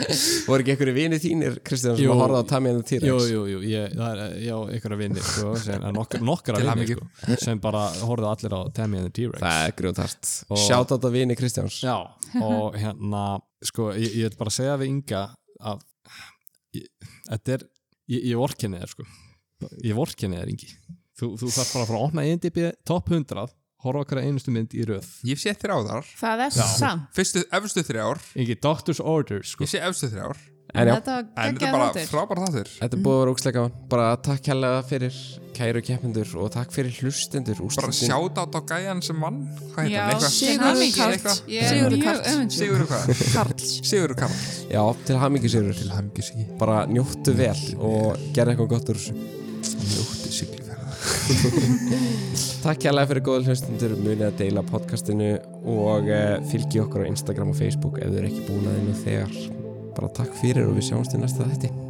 [SPEAKER 1] Voru ekki einhverju vinið þínir, Kristján sem
[SPEAKER 4] Jú.
[SPEAKER 1] að horfa á Tamiya and the
[SPEAKER 4] Jú,
[SPEAKER 1] T-Rex
[SPEAKER 4] jú, jú, ég, það er, já, einhverja vinnir sko, sem, nok
[SPEAKER 3] Til
[SPEAKER 4] nokkra vinnir
[SPEAKER 3] hamingju.
[SPEAKER 4] sko, sem bara horfðu allir á Tammy and the T-Rex
[SPEAKER 1] Það er grjótart
[SPEAKER 4] Og-
[SPEAKER 1] Sjátt á þetta vini Kristjáns
[SPEAKER 4] Já, og hérna sko, ég, ég vil bara segja við Inga að ég, þetta er, ég, ég vorkenni þér sko ég vorkenni þér Ingi þú, þú þarf bara að fara að opna IMDb top 100 horfa okkur einustu mynd í röð
[SPEAKER 3] Ég sé þér á þar
[SPEAKER 5] Það er samt
[SPEAKER 3] Fyrstu, efstu þrjár
[SPEAKER 4] Ingi, Doctor's Orders sko
[SPEAKER 3] Ég sé efstu þrjár
[SPEAKER 1] En já,
[SPEAKER 5] Þetta
[SPEAKER 3] En
[SPEAKER 5] var
[SPEAKER 3] þetta er
[SPEAKER 5] geggjað
[SPEAKER 3] bara
[SPEAKER 5] þáttur
[SPEAKER 3] frábær þáttur
[SPEAKER 1] þetta er búið að vera úksleika Bara takk hérlega fyrir kæru keppendur og takk fyrir hlustendur
[SPEAKER 3] Bara
[SPEAKER 1] úrslitin.
[SPEAKER 3] sjáta á gæjan sem mann Hvað heitir
[SPEAKER 5] Já,
[SPEAKER 3] hann? Eitthvað?
[SPEAKER 2] Sig-
[SPEAKER 5] Sigurður
[SPEAKER 2] Hamingju.
[SPEAKER 5] Karl. Ég er
[SPEAKER 2] Sigurður
[SPEAKER 5] mjög
[SPEAKER 2] Karl.
[SPEAKER 5] öfundsjúk.
[SPEAKER 3] Sigurður hvað?
[SPEAKER 2] Karls
[SPEAKER 3] Sigurður Karl
[SPEAKER 1] Já, til hamingi sigur
[SPEAKER 3] Til hamngi sigi
[SPEAKER 1] Bara njóttu vel og gerðu eitthvað gott úr þessu
[SPEAKER 3] Ljótti sigliferða
[SPEAKER 1] Takk hérlega fyrir góða hlustendur munið að deila podcastinu og uh, fylgi okkur á Instagram og Facebook ef þið eru ekki búin að einu þegar bara takk fyrir og við sjáumst í næsta þætti